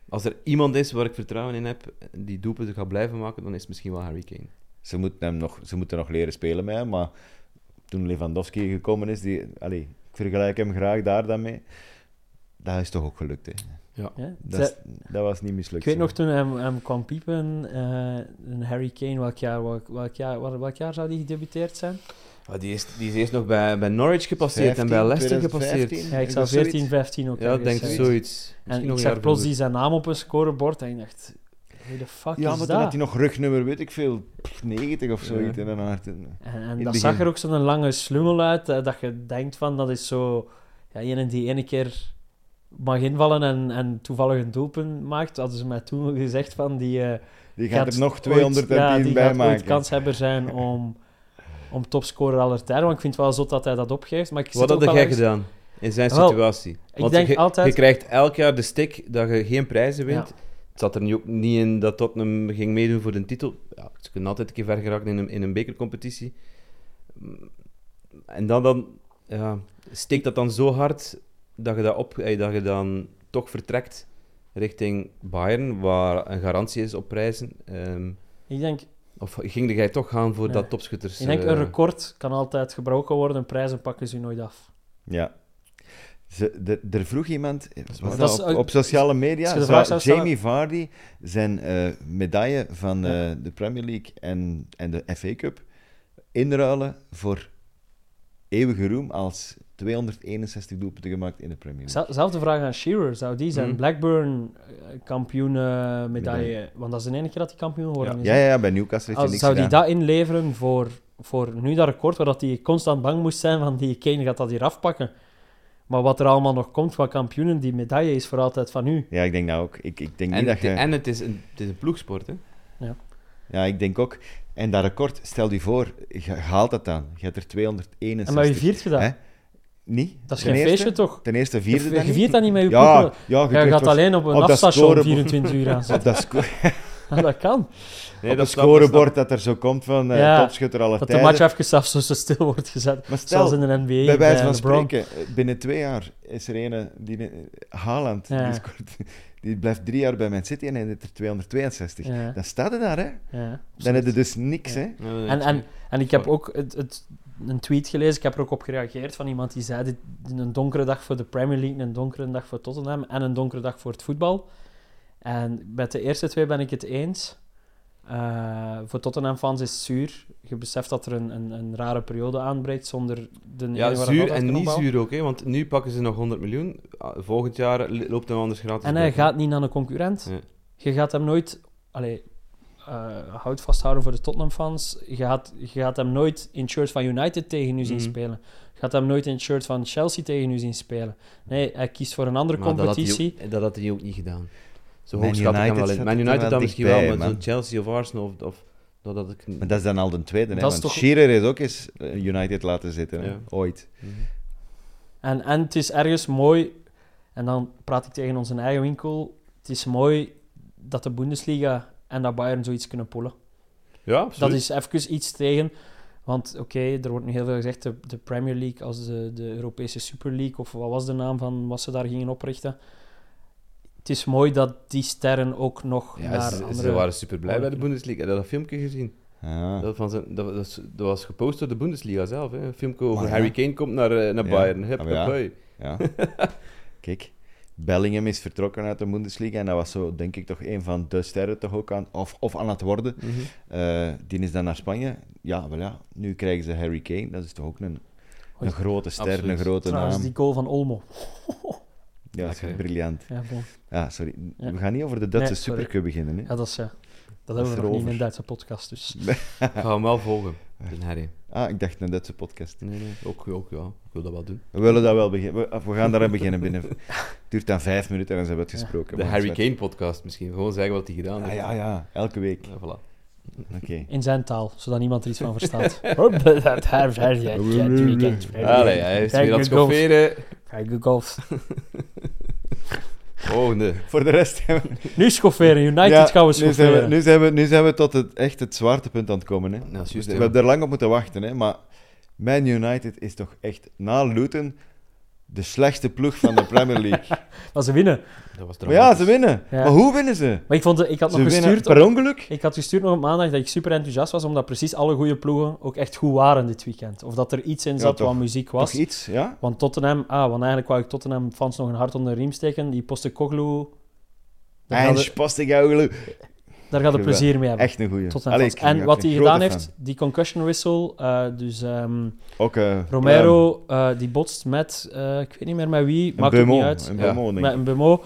[SPEAKER 4] Als er iemand is waar ik vertrouwen in heb, die doelpunten gaat blijven maken, dan is het misschien wel Harry Kane.
[SPEAKER 2] Ze moeten, hem nog, ze moeten nog leren spelen met hem, maar toen Lewandowski gekomen is, die, allee, ik vergelijk hem graag daar dan mee. Dat is toch ook gelukt, hè?
[SPEAKER 3] Ja?
[SPEAKER 2] Dat,
[SPEAKER 3] Ze-
[SPEAKER 2] is- dat was niet
[SPEAKER 3] ik
[SPEAKER 2] mislukt.
[SPEAKER 3] weet
[SPEAKER 2] zo.
[SPEAKER 3] nog toen hem, hem kwam piepen, eh, een Harry Kane, welk jaar, welk, welk jaar, wel- welk jaar zou die gedebuteerd zijn?
[SPEAKER 4] Ah, die, is, die is eerst nog bij, bij Norwich gepasseerd
[SPEAKER 2] 15,
[SPEAKER 4] en bij Leicester
[SPEAKER 2] 2015.
[SPEAKER 4] gepasseerd.
[SPEAKER 3] Ja, ik
[SPEAKER 2] Is
[SPEAKER 3] zou
[SPEAKER 2] dat zoiets?
[SPEAKER 3] 14, 15 ook
[SPEAKER 4] Ja, ik denk
[SPEAKER 3] ergens zijn.
[SPEAKER 4] zoiets. Misschien
[SPEAKER 3] En
[SPEAKER 4] nog
[SPEAKER 3] ik
[SPEAKER 4] een
[SPEAKER 3] zag
[SPEAKER 4] jaar
[SPEAKER 3] plots
[SPEAKER 4] vroeger.
[SPEAKER 3] die zijn naam op een scorebord en ik dacht, hoe de fuck
[SPEAKER 2] Ja, maar
[SPEAKER 3] is dat?
[SPEAKER 2] toen had hij nog rugnummer, weet ik veel, pff, 90 of zoiets
[SPEAKER 4] Ja.
[SPEAKER 2] in een hart. En-
[SPEAKER 3] En, en
[SPEAKER 2] het
[SPEAKER 3] dat
[SPEAKER 2] begin.
[SPEAKER 3] zag er ook zo'n lange slungel uit, eh, dat je denkt van, dat is zo... Ja, iemand die ene keer mag invallen en, en toevallig een doelpunt maakt, hadden ze mij toen gezegd van, die eh,
[SPEAKER 2] Die gaat er nog
[SPEAKER 3] ooit-
[SPEAKER 2] 210
[SPEAKER 3] ja, die
[SPEAKER 2] bij
[SPEAKER 3] gaat ooit
[SPEAKER 2] maken.
[SPEAKER 3] kanshebber zijn om, om topscorer aller tijden, want ik vind het wel zot dat hij dat opgeeft. Maar ik zit
[SPEAKER 4] Wat
[SPEAKER 3] ook
[SPEAKER 4] had
[SPEAKER 3] wel
[SPEAKER 4] jij
[SPEAKER 3] ergens-
[SPEAKER 4] gedaan in zijn
[SPEAKER 3] Wel,
[SPEAKER 4] situatie? Want
[SPEAKER 3] denk
[SPEAKER 4] je,
[SPEAKER 3] altijd-
[SPEAKER 4] je krijgt elk jaar de stick dat je geen prijzen wint.
[SPEAKER 3] Ja.
[SPEAKER 4] Het zat er nu ook niet in dat Tottenham ging meedoen voor de titel. Ja, ze kunnen altijd een keer ver geraken in een, in een bekercompetitie. Mm, En dan, dan ja, steekt dat dan zo hard dat je, dat, op, eh, dat je dan toch vertrekt richting Bayern, waar een garantie is op prijzen. Ehm,
[SPEAKER 3] Ik denk,
[SPEAKER 4] of ging jij toch gaan voor
[SPEAKER 3] Ja.
[SPEAKER 4] dat topschutters...
[SPEAKER 3] ik denk
[SPEAKER 4] eh,
[SPEAKER 3] een record kan altijd gebroken worden, prijzen pakken ze nooit af.
[SPEAKER 2] Ja. Ze, de, er vroeg iemand eh, was
[SPEAKER 3] waar.
[SPEAKER 2] dat
[SPEAKER 3] Dat is
[SPEAKER 2] op,
[SPEAKER 3] ook-
[SPEAKER 2] op sociale
[SPEAKER 3] als
[SPEAKER 2] media
[SPEAKER 3] je de
[SPEAKER 2] zou
[SPEAKER 3] vraag zou stellen-
[SPEAKER 2] Jamie Vardy zijn eh, medaille van eh, de Premier League en, en de FA Cup inruilen voor eeuwige roem als 261 doelpunten gemaakt in de Premier League.
[SPEAKER 3] Zel- Zelfde vraag aan Shearer. Zou die zijn
[SPEAKER 4] Mhm.
[SPEAKER 3] Blackburn eh, kampioen eh, medaille...
[SPEAKER 2] Medaille.
[SPEAKER 3] Want dat is de enige keer dat hij kampioen geworden is.
[SPEAKER 2] Ja, ja, ja, bij Newcastle heeft hij
[SPEAKER 3] Als,
[SPEAKER 2] niks
[SPEAKER 3] zou die
[SPEAKER 2] gedaan.
[SPEAKER 3] dat inleveren voor, voor nu dat record, waar dat hij constant bang moest zijn van die Kane gaat dat hier afpakken. Maar wat er allemaal nog komt van kampioenen, die medaille is voor altijd van u.
[SPEAKER 2] Ja, ik denk dat ook. Ik, ik denk
[SPEAKER 4] En,
[SPEAKER 2] niet dat
[SPEAKER 4] het-
[SPEAKER 2] je...
[SPEAKER 4] en het, is een, het is een ploegsport, hè?
[SPEAKER 2] Ja, ik denk ook. En dat record, stel je voor, je haalt dat dan. Je hebt er 261.
[SPEAKER 3] En maar wie viert je dat?
[SPEAKER 2] Hè? Niet.
[SPEAKER 3] Dat is
[SPEAKER 2] Ten
[SPEAKER 3] geen
[SPEAKER 2] eerste-
[SPEAKER 3] feestje toch?
[SPEAKER 2] Ten eerste
[SPEAKER 3] Je
[SPEAKER 2] vierde dan
[SPEAKER 3] viert dat niet met je
[SPEAKER 2] Ja,
[SPEAKER 3] ploeg.
[SPEAKER 2] ja, je
[SPEAKER 3] Jij
[SPEAKER 2] krijgt
[SPEAKER 3] gaat
[SPEAKER 2] wel-
[SPEAKER 3] alleen op een
[SPEAKER 2] op dat
[SPEAKER 3] afstandsstation
[SPEAKER 2] scorebord.
[SPEAKER 3] 24 uur aan zitten.
[SPEAKER 2] op dat, sco-
[SPEAKER 3] Ja, dat kan.
[SPEAKER 2] op dat scorebord dat er zo komt van eh,
[SPEAKER 3] Ja,
[SPEAKER 2] topschutter alle
[SPEAKER 3] Dat de
[SPEAKER 2] tijden.
[SPEAKER 3] match even zelfs zo stil wordt gezet.
[SPEAKER 2] Maar stel,
[SPEAKER 3] Zelfs in de NBA.
[SPEAKER 2] bij wijze van
[SPEAKER 3] bij LeBron.
[SPEAKER 2] spreken, eh, binnen twee jaar is er een, die, eh, Haaland,
[SPEAKER 3] Ja.
[SPEAKER 2] die, scoort, die blijft drie jaar bij Man City en hij heeft er 262.
[SPEAKER 3] Ja,
[SPEAKER 2] Dan staat hij daar, hè.
[SPEAKER 3] ja,
[SPEAKER 2] Dan heb je dus niks,
[SPEAKER 3] Ja.
[SPEAKER 2] hè.
[SPEAKER 3] En, en, en ik heb ook het, het, een tweet gelezen, ik heb er ook op gereageerd van iemand die zei: dit, een donkere dag voor de Premier League, een donkere dag voor Tottenham en een donkere dag voor het voetbal. En met de eerste twee ben ik het eens. Eh, voor Tottenham-fans is het zuur. Je beseft dat er een, een, een rare periode aanbreekt zonder de
[SPEAKER 4] Ja,
[SPEAKER 3] ene waar
[SPEAKER 4] zuur
[SPEAKER 3] Ronaldo
[SPEAKER 4] en
[SPEAKER 3] achteraan
[SPEAKER 4] niet
[SPEAKER 3] bouwt.
[SPEAKER 4] zuur ook, hè, want nu pakken ze nog 100 miljoen. Ah, Volgend jaar li- loopt hem anders gratis.
[SPEAKER 3] En hij
[SPEAKER 4] weg.
[SPEAKER 3] gaat niet naar een concurrent.
[SPEAKER 4] Nee.
[SPEAKER 3] Je gaat hem nooit... Allee, eh, houd vasthouden voor de Tottenham-fans. Je gaat, je gaat hem nooit in het shirt van United tegen u zien
[SPEAKER 4] Mhm.
[SPEAKER 3] spelen. Je gaat hem nooit in het shirt van Chelsea tegen u zien spelen. Nee, hij kiest voor een andere
[SPEAKER 4] Maar dat had hij ook-
[SPEAKER 3] competitie.
[SPEAKER 4] Dat had hij ook niet gedaan. Zo
[SPEAKER 2] Man
[SPEAKER 4] hoog schat ik hem
[SPEAKER 2] United
[SPEAKER 4] wel in.
[SPEAKER 2] zat er
[SPEAKER 4] Man
[SPEAKER 2] toen
[SPEAKER 4] United
[SPEAKER 2] wel
[SPEAKER 4] dan misschien
[SPEAKER 2] dichtbij,
[SPEAKER 4] wel, maar zo'n
[SPEAKER 2] man.
[SPEAKER 4] Chelsea of Arsenal of... of dat had ik niet.
[SPEAKER 2] Maar dat is dan al de tweede, hè.
[SPEAKER 3] Dat
[SPEAKER 2] Want
[SPEAKER 3] is toch-
[SPEAKER 2] Shearer is ook eens eh, United laten zitten, hè.
[SPEAKER 4] Ja.
[SPEAKER 2] Ooit.
[SPEAKER 4] Mhm.
[SPEAKER 3] En, en het is ergens mooi, en dan praat ik tegen onze eigen winkel, het is mooi dat de Bundesliga en dat Bayern zoiets kunnen pullen.
[SPEAKER 4] Ja,
[SPEAKER 3] Dat
[SPEAKER 4] absoluut.
[SPEAKER 3] is even iets tegen. Want oké, er wordt nu heel veel gezegd, de, de Premier League als de, de Europese Super League, of wat was de naam van wat ze daar gingen oprichten. Het is mooi dat die sterren ook nog
[SPEAKER 4] Ja,
[SPEAKER 3] naar
[SPEAKER 4] ze, ze
[SPEAKER 3] andere...
[SPEAKER 4] waren super blij bij de Bundesliga. Dat had dat filmpje gezien.
[SPEAKER 2] Ja.
[SPEAKER 4] Dat, van zijn, dat, was- dat was gepost door de Bundesliga zelf. Hè. Een filmpje over
[SPEAKER 2] Maar ja.
[SPEAKER 4] Harry Kane komt naar, eh, naar
[SPEAKER 2] Ja.
[SPEAKER 4] Bayern. Hup,
[SPEAKER 2] Ah, maar ja.
[SPEAKER 4] hup, hoi.
[SPEAKER 2] Ja. Kijk, Bellingham is vertrokken uit de Bundesliga en dat was zo, denk ik, toch een van de sterren toch ook aan, of, of aan het worden. Eh, die is dan naar Spanje. Ja, wel ja, nu krijgen ze Harry Kane. Dat is toch ook een,
[SPEAKER 3] Oei.
[SPEAKER 2] een grote ster,
[SPEAKER 4] Absoluut.
[SPEAKER 2] een grote
[SPEAKER 3] Trouwens,
[SPEAKER 2] naam.
[SPEAKER 3] die goal van Olmo.
[SPEAKER 2] Ja, dat is
[SPEAKER 4] Oké.
[SPEAKER 2] briljant.
[SPEAKER 3] Ja, bon.
[SPEAKER 2] Ja, sorry.
[SPEAKER 3] Ja.
[SPEAKER 2] We gaan niet over de Duitse
[SPEAKER 3] Nee, sorry.
[SPEAKER 2] Supercup beginnen. Hè?
[SPEAKER 3] ja dat is... ja. dat
[SPEAKER 2] is
[SPEAKER 3] hebben we nog niet in
[SPEAKER 2] erover.
[SPEAKER 3] een Duitse podcast, dus...
[SPEAKER 4] Ik ga hem wel volgen, de Harry.
[SPEAKER 2] Ah, ik dacht een Duitse podcast.
[SPEAKER 4] Nee, nee. Ook, ook, ja. Ik wil dat wel doen.
[SPEAKER 2] We willen dat wel beginnen. We, of we gaan daar aan beginnen binnen. Het duurt dan vijf minuten en dan zijn we het gesproken.
[SPEAKER 4] De
[SPEAKER 2] maar
[SPEAKER 4] Harry
[SPEAKER 2] het is
[SPEAKER 4] Kane podcast misschien. Gewoon zeggen wat hij gedaan
[SPEAKER 2] wel- Ah,
[SPEAKER 4] heeft.
[SPEAKER 2] ja, ja. Elke week.
[SPEAKER 4] Ja, voilà.
[SPEAKER 2] Oké.
[SPEAKER 3] In zijn taal, zodat niemand er iets van verstaat. Allee,
[SPEAKER 4] Allee, hij heeft weer aan het schofferen.
[SPEAKER 3] golf.
[SPEAKER 4] Volgende.
[SPEAKER 2] Voor de rest hebben we...
[SPEAKER 3] Nu schofferen, United
[SPEAKER 2] Ja,
[SPEAKER 3] gaan we
[SPEAKER 2] nu zijn we,
[SPEAKER 3] schofferen.
[SPEAKER 2] nu, zijn we, nu zijn we tot het, echt het zwaartepunt aan het komen. Hè. Dus
[SPEAKER 4] dat is Nou, juist,
[SPEAKER 2] we
[SPEAKER 4] ja.
[SPEAKER 2] hebben er lang op moeten wachten. Hè. Maar Man United is toch echt na Luton de slechtste ploeg van de Premier League.
[SPEAKER 3] Maar ze winnen.
[SPEAKER 4] Dat was
[SPEAKER 2] maar ja, ze
[SPEAKER 4] dramatisch.
[SPEAKER 2] winnen.
[SPEAKER 3] Ja.
[SPEAKER 2] Maar hoe winnen ze?
[SPEAKER 3] Maar ik, vond, ik had
[SPEAKER 2] Ze
[SPEAKER 3] nog
[SPEAKER 2] winnen
[SPEAKER 3] gestuurd...
[SPEAKER 2] per ongeluk?
[SPEAKER 3] Ik had gestuurd nog op maandag dat ik super enthousiast was, omdat precies alle goede ploegen ook echt goed waren dit weekend. Of dat er iets in
[SPEAKER 2] Ja,
[SPEAKER 3] zat
[SPEAKER 2] toch.
[SPEAKER 3] wat muziek
[SPEAKER 2] Toch
[SPEAKER 3] was.
[SPEAKER 2] iets, ja?
[SPEAKER 3] Want Tottenham, ah, want eigenlijk wou ik Tottenham fans nog een hart onder de riem steken. Die Postecoglou, daar gaat
[SPEAKER 2] Eindje
[SPEAKER 3] er-
[SPEAKER 2] past ik jou
[SPEAKER 3] daar gaat er
[SPEAKER 2] Geweldig.
[SPEAKER 3] plezier mee hebben.
[SPEAKER 2] Echt een goeie.
[SPEAKER 3] Tottenham
[SPEAKER 2] Allee,
[SPEAKER 3] fans.
[SPEAKER 2] ik ben
[SPEAKER 3] En wat
[SPEAKER 2] een
[SPEAKER 3] hij
[SPEAKER 2] grote
[SPEAKER 3] gedaan
[SPEAKER 2] fan.
[SPEAKER 3] heeft, die concussion whistle, eh, dus ehm,
[SPEAKER 2] Ook, eh, Bruin.
[SPEAKER 3] Romero, eh, die botst met, eh, ik weet niet meer met wie,
[SPEAKER 2] En
[SPEAKER 3] maakt ook
[SPEAKER 2] Beumo.
[SPEAKER 3] niet uit.
[SPEAKER 2] En
[SPEAKER 4] Ja.
[SPEAKER 2] Beumo, denk
[SPEAKER 3] Met
[SPEAKER 2] ik.
[SPEAKER 3] een Bemo.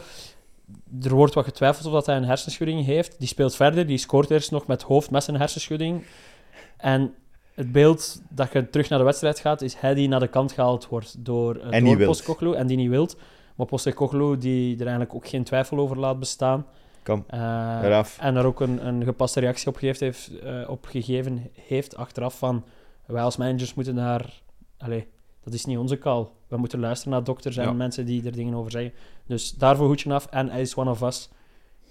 [SPEAKER 3] Er wordt wat getwijfeld of dat hij een hersenschudding heeft. Die speelt verder, die scoort eerst nog met hoofd met zijn hersenschudding. En het beeld dat je terug naar de wedstrijd gaat, is hij die naar de kant gehaald wordt door, eh,
[SPEAKER 2] En
[SPEAKER 3] door
[SPEAKER 2] niet wilt.
[SPEAKER 3] Postecoglou en die niet wilt. Maar Postecoglou die er eigenlijk ook geen twijfel over laat bestaan.
[SPEAKER 2] Kom,
[SPEAKER 3] Eh,
[SPEAKER 2] eraf.
[SPEAKER 3] en er ook een, een gepaste reactie op, gegeven heeft, eh, op gegeven heeft achteraf van... Wij als managers moeten daar... Allee, dat is niet onze call. We moeten luisteren naar dokters en
[SPEAKER 4] Ja.
[SPEAKER 3] mensen
[SPEAKER 4] mensen
[SPEAKER 3] die er dingen over zeggen. Dus daarvoor goed je af. En hij is one of us.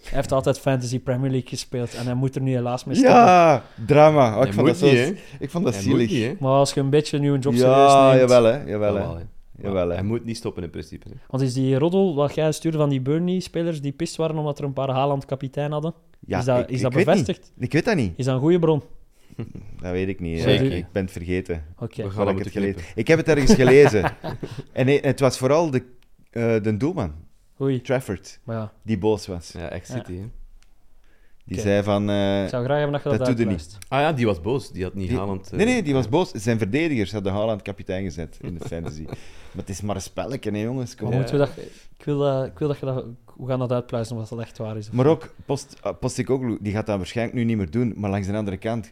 [SPEAKER 3] Hij heeft altijd Fantasy Premier League gespeeld. En hij moet er nu helaas mee stoppen.
[SPEAKER 2] Ja, drama. Oh, ik,
[SPEAKER 4] Hij
[SPEAKER 2] vond dat
[SPEAKER 4] moet
[SPEAKER 2] zo,
[SPEAKER 4] niet, hè.
[SPEAKER 2] ik vond dat
[SPEAKER 4] Hij moet
[SPEAKER 2] zielig.
[SPEAKER 4] niet, hè.
[SPEAKER 3] Maar als je een beetje nu een job serieus
[SPEAKER 2] ja,
[SPEAKER 3] neemt...
[SPEAKER 2] jawel hè. Jawel, hè.
[SPEAKER 4] Jawel, hè.
[SPEAKER 2] Jawel, hè.
[SPEAKER 4] Hij moet niet stoppen in principe. hè.
[SPEAKER 3] Want is die roddel wat jij stuurde van die Burnley-spelers die pist waren omdat er een paar Haaland kapitein hadden?
[SPEAKER 2] Ja,
[SPEAKER 3] is dat,
[SPEAKER 2] ik-
[SPEAKER 3] is dat
[SPEAKER 2] ik weet niet.
[SPEAKER 3] bevestigd?
[SPEAKER 2] Ik weet dat niet.
[SPEAKER 3] Is dat een goede bron?
[SPEAKER 2] Dat weet ik niet. hè.
[SPEAKER 3] Zeker.
[SPEAKER 2] Ik, ik ben het vergeten.
[SPEAKER 3] Oké.
[SPEAKER 4] We gaan
[SPEAKER 2] Waar
[SPEAKER 4] dat
[SPEAKER 2] ik, het
[SPEAKER 4] moeten
[SPEAKER 2] gelezen.
[SPEAKER 4] knippen.
[SPEAKER 2] ik heb het ergens gelezen. en nee, het was vooral de, eh, de doelman,
[SPEAKER 3] Oei.
[SPEAKER 2] Trafford,
[SPEAKER 3] Maar ja,
[SPEAKER 2] die boos was.
[SPEAKER 4] Ja, echt City, hè.
[SPEAKER 2] Die
[SPEAKER 3] Oké.
[SPEAKER 2] zei van... eh,
[SPEAKER 3] ik zou graag hebben dat je dat,
[SPEAKER 2] dat doet hij
[SPEAKER 3] uitwijst.
[SPEAKER 4] Ah ja, die was boos. Die had niet
[SPEAKER 2] Die-
[SPEAKER 4] Haaland... eh,
[SPEAKER 2] nee, nee, die was boos. Zijn verdedigers hadden Haaland kapitein gezet in de fantasy. maar het is maar een spelletje, hè, jongens. Kom
[SPEAKER 3] Maar
[SPEAKER 2] op.
[SPEAKER 4] Ja.
[SPEAKER 3] moeten we dat... Ik wil, dat- ik wil dat je dat... We gaan dat uitpluizen of dat dat echt waar is. of
[SPEAKER 2] Maar
[SPEAKER 3] niet.
[SPEAKER 2] ook Post, eh, Postecoglou, die gaat dat waarschijnlijk nu niet meer doen. Maar langs de andere kant...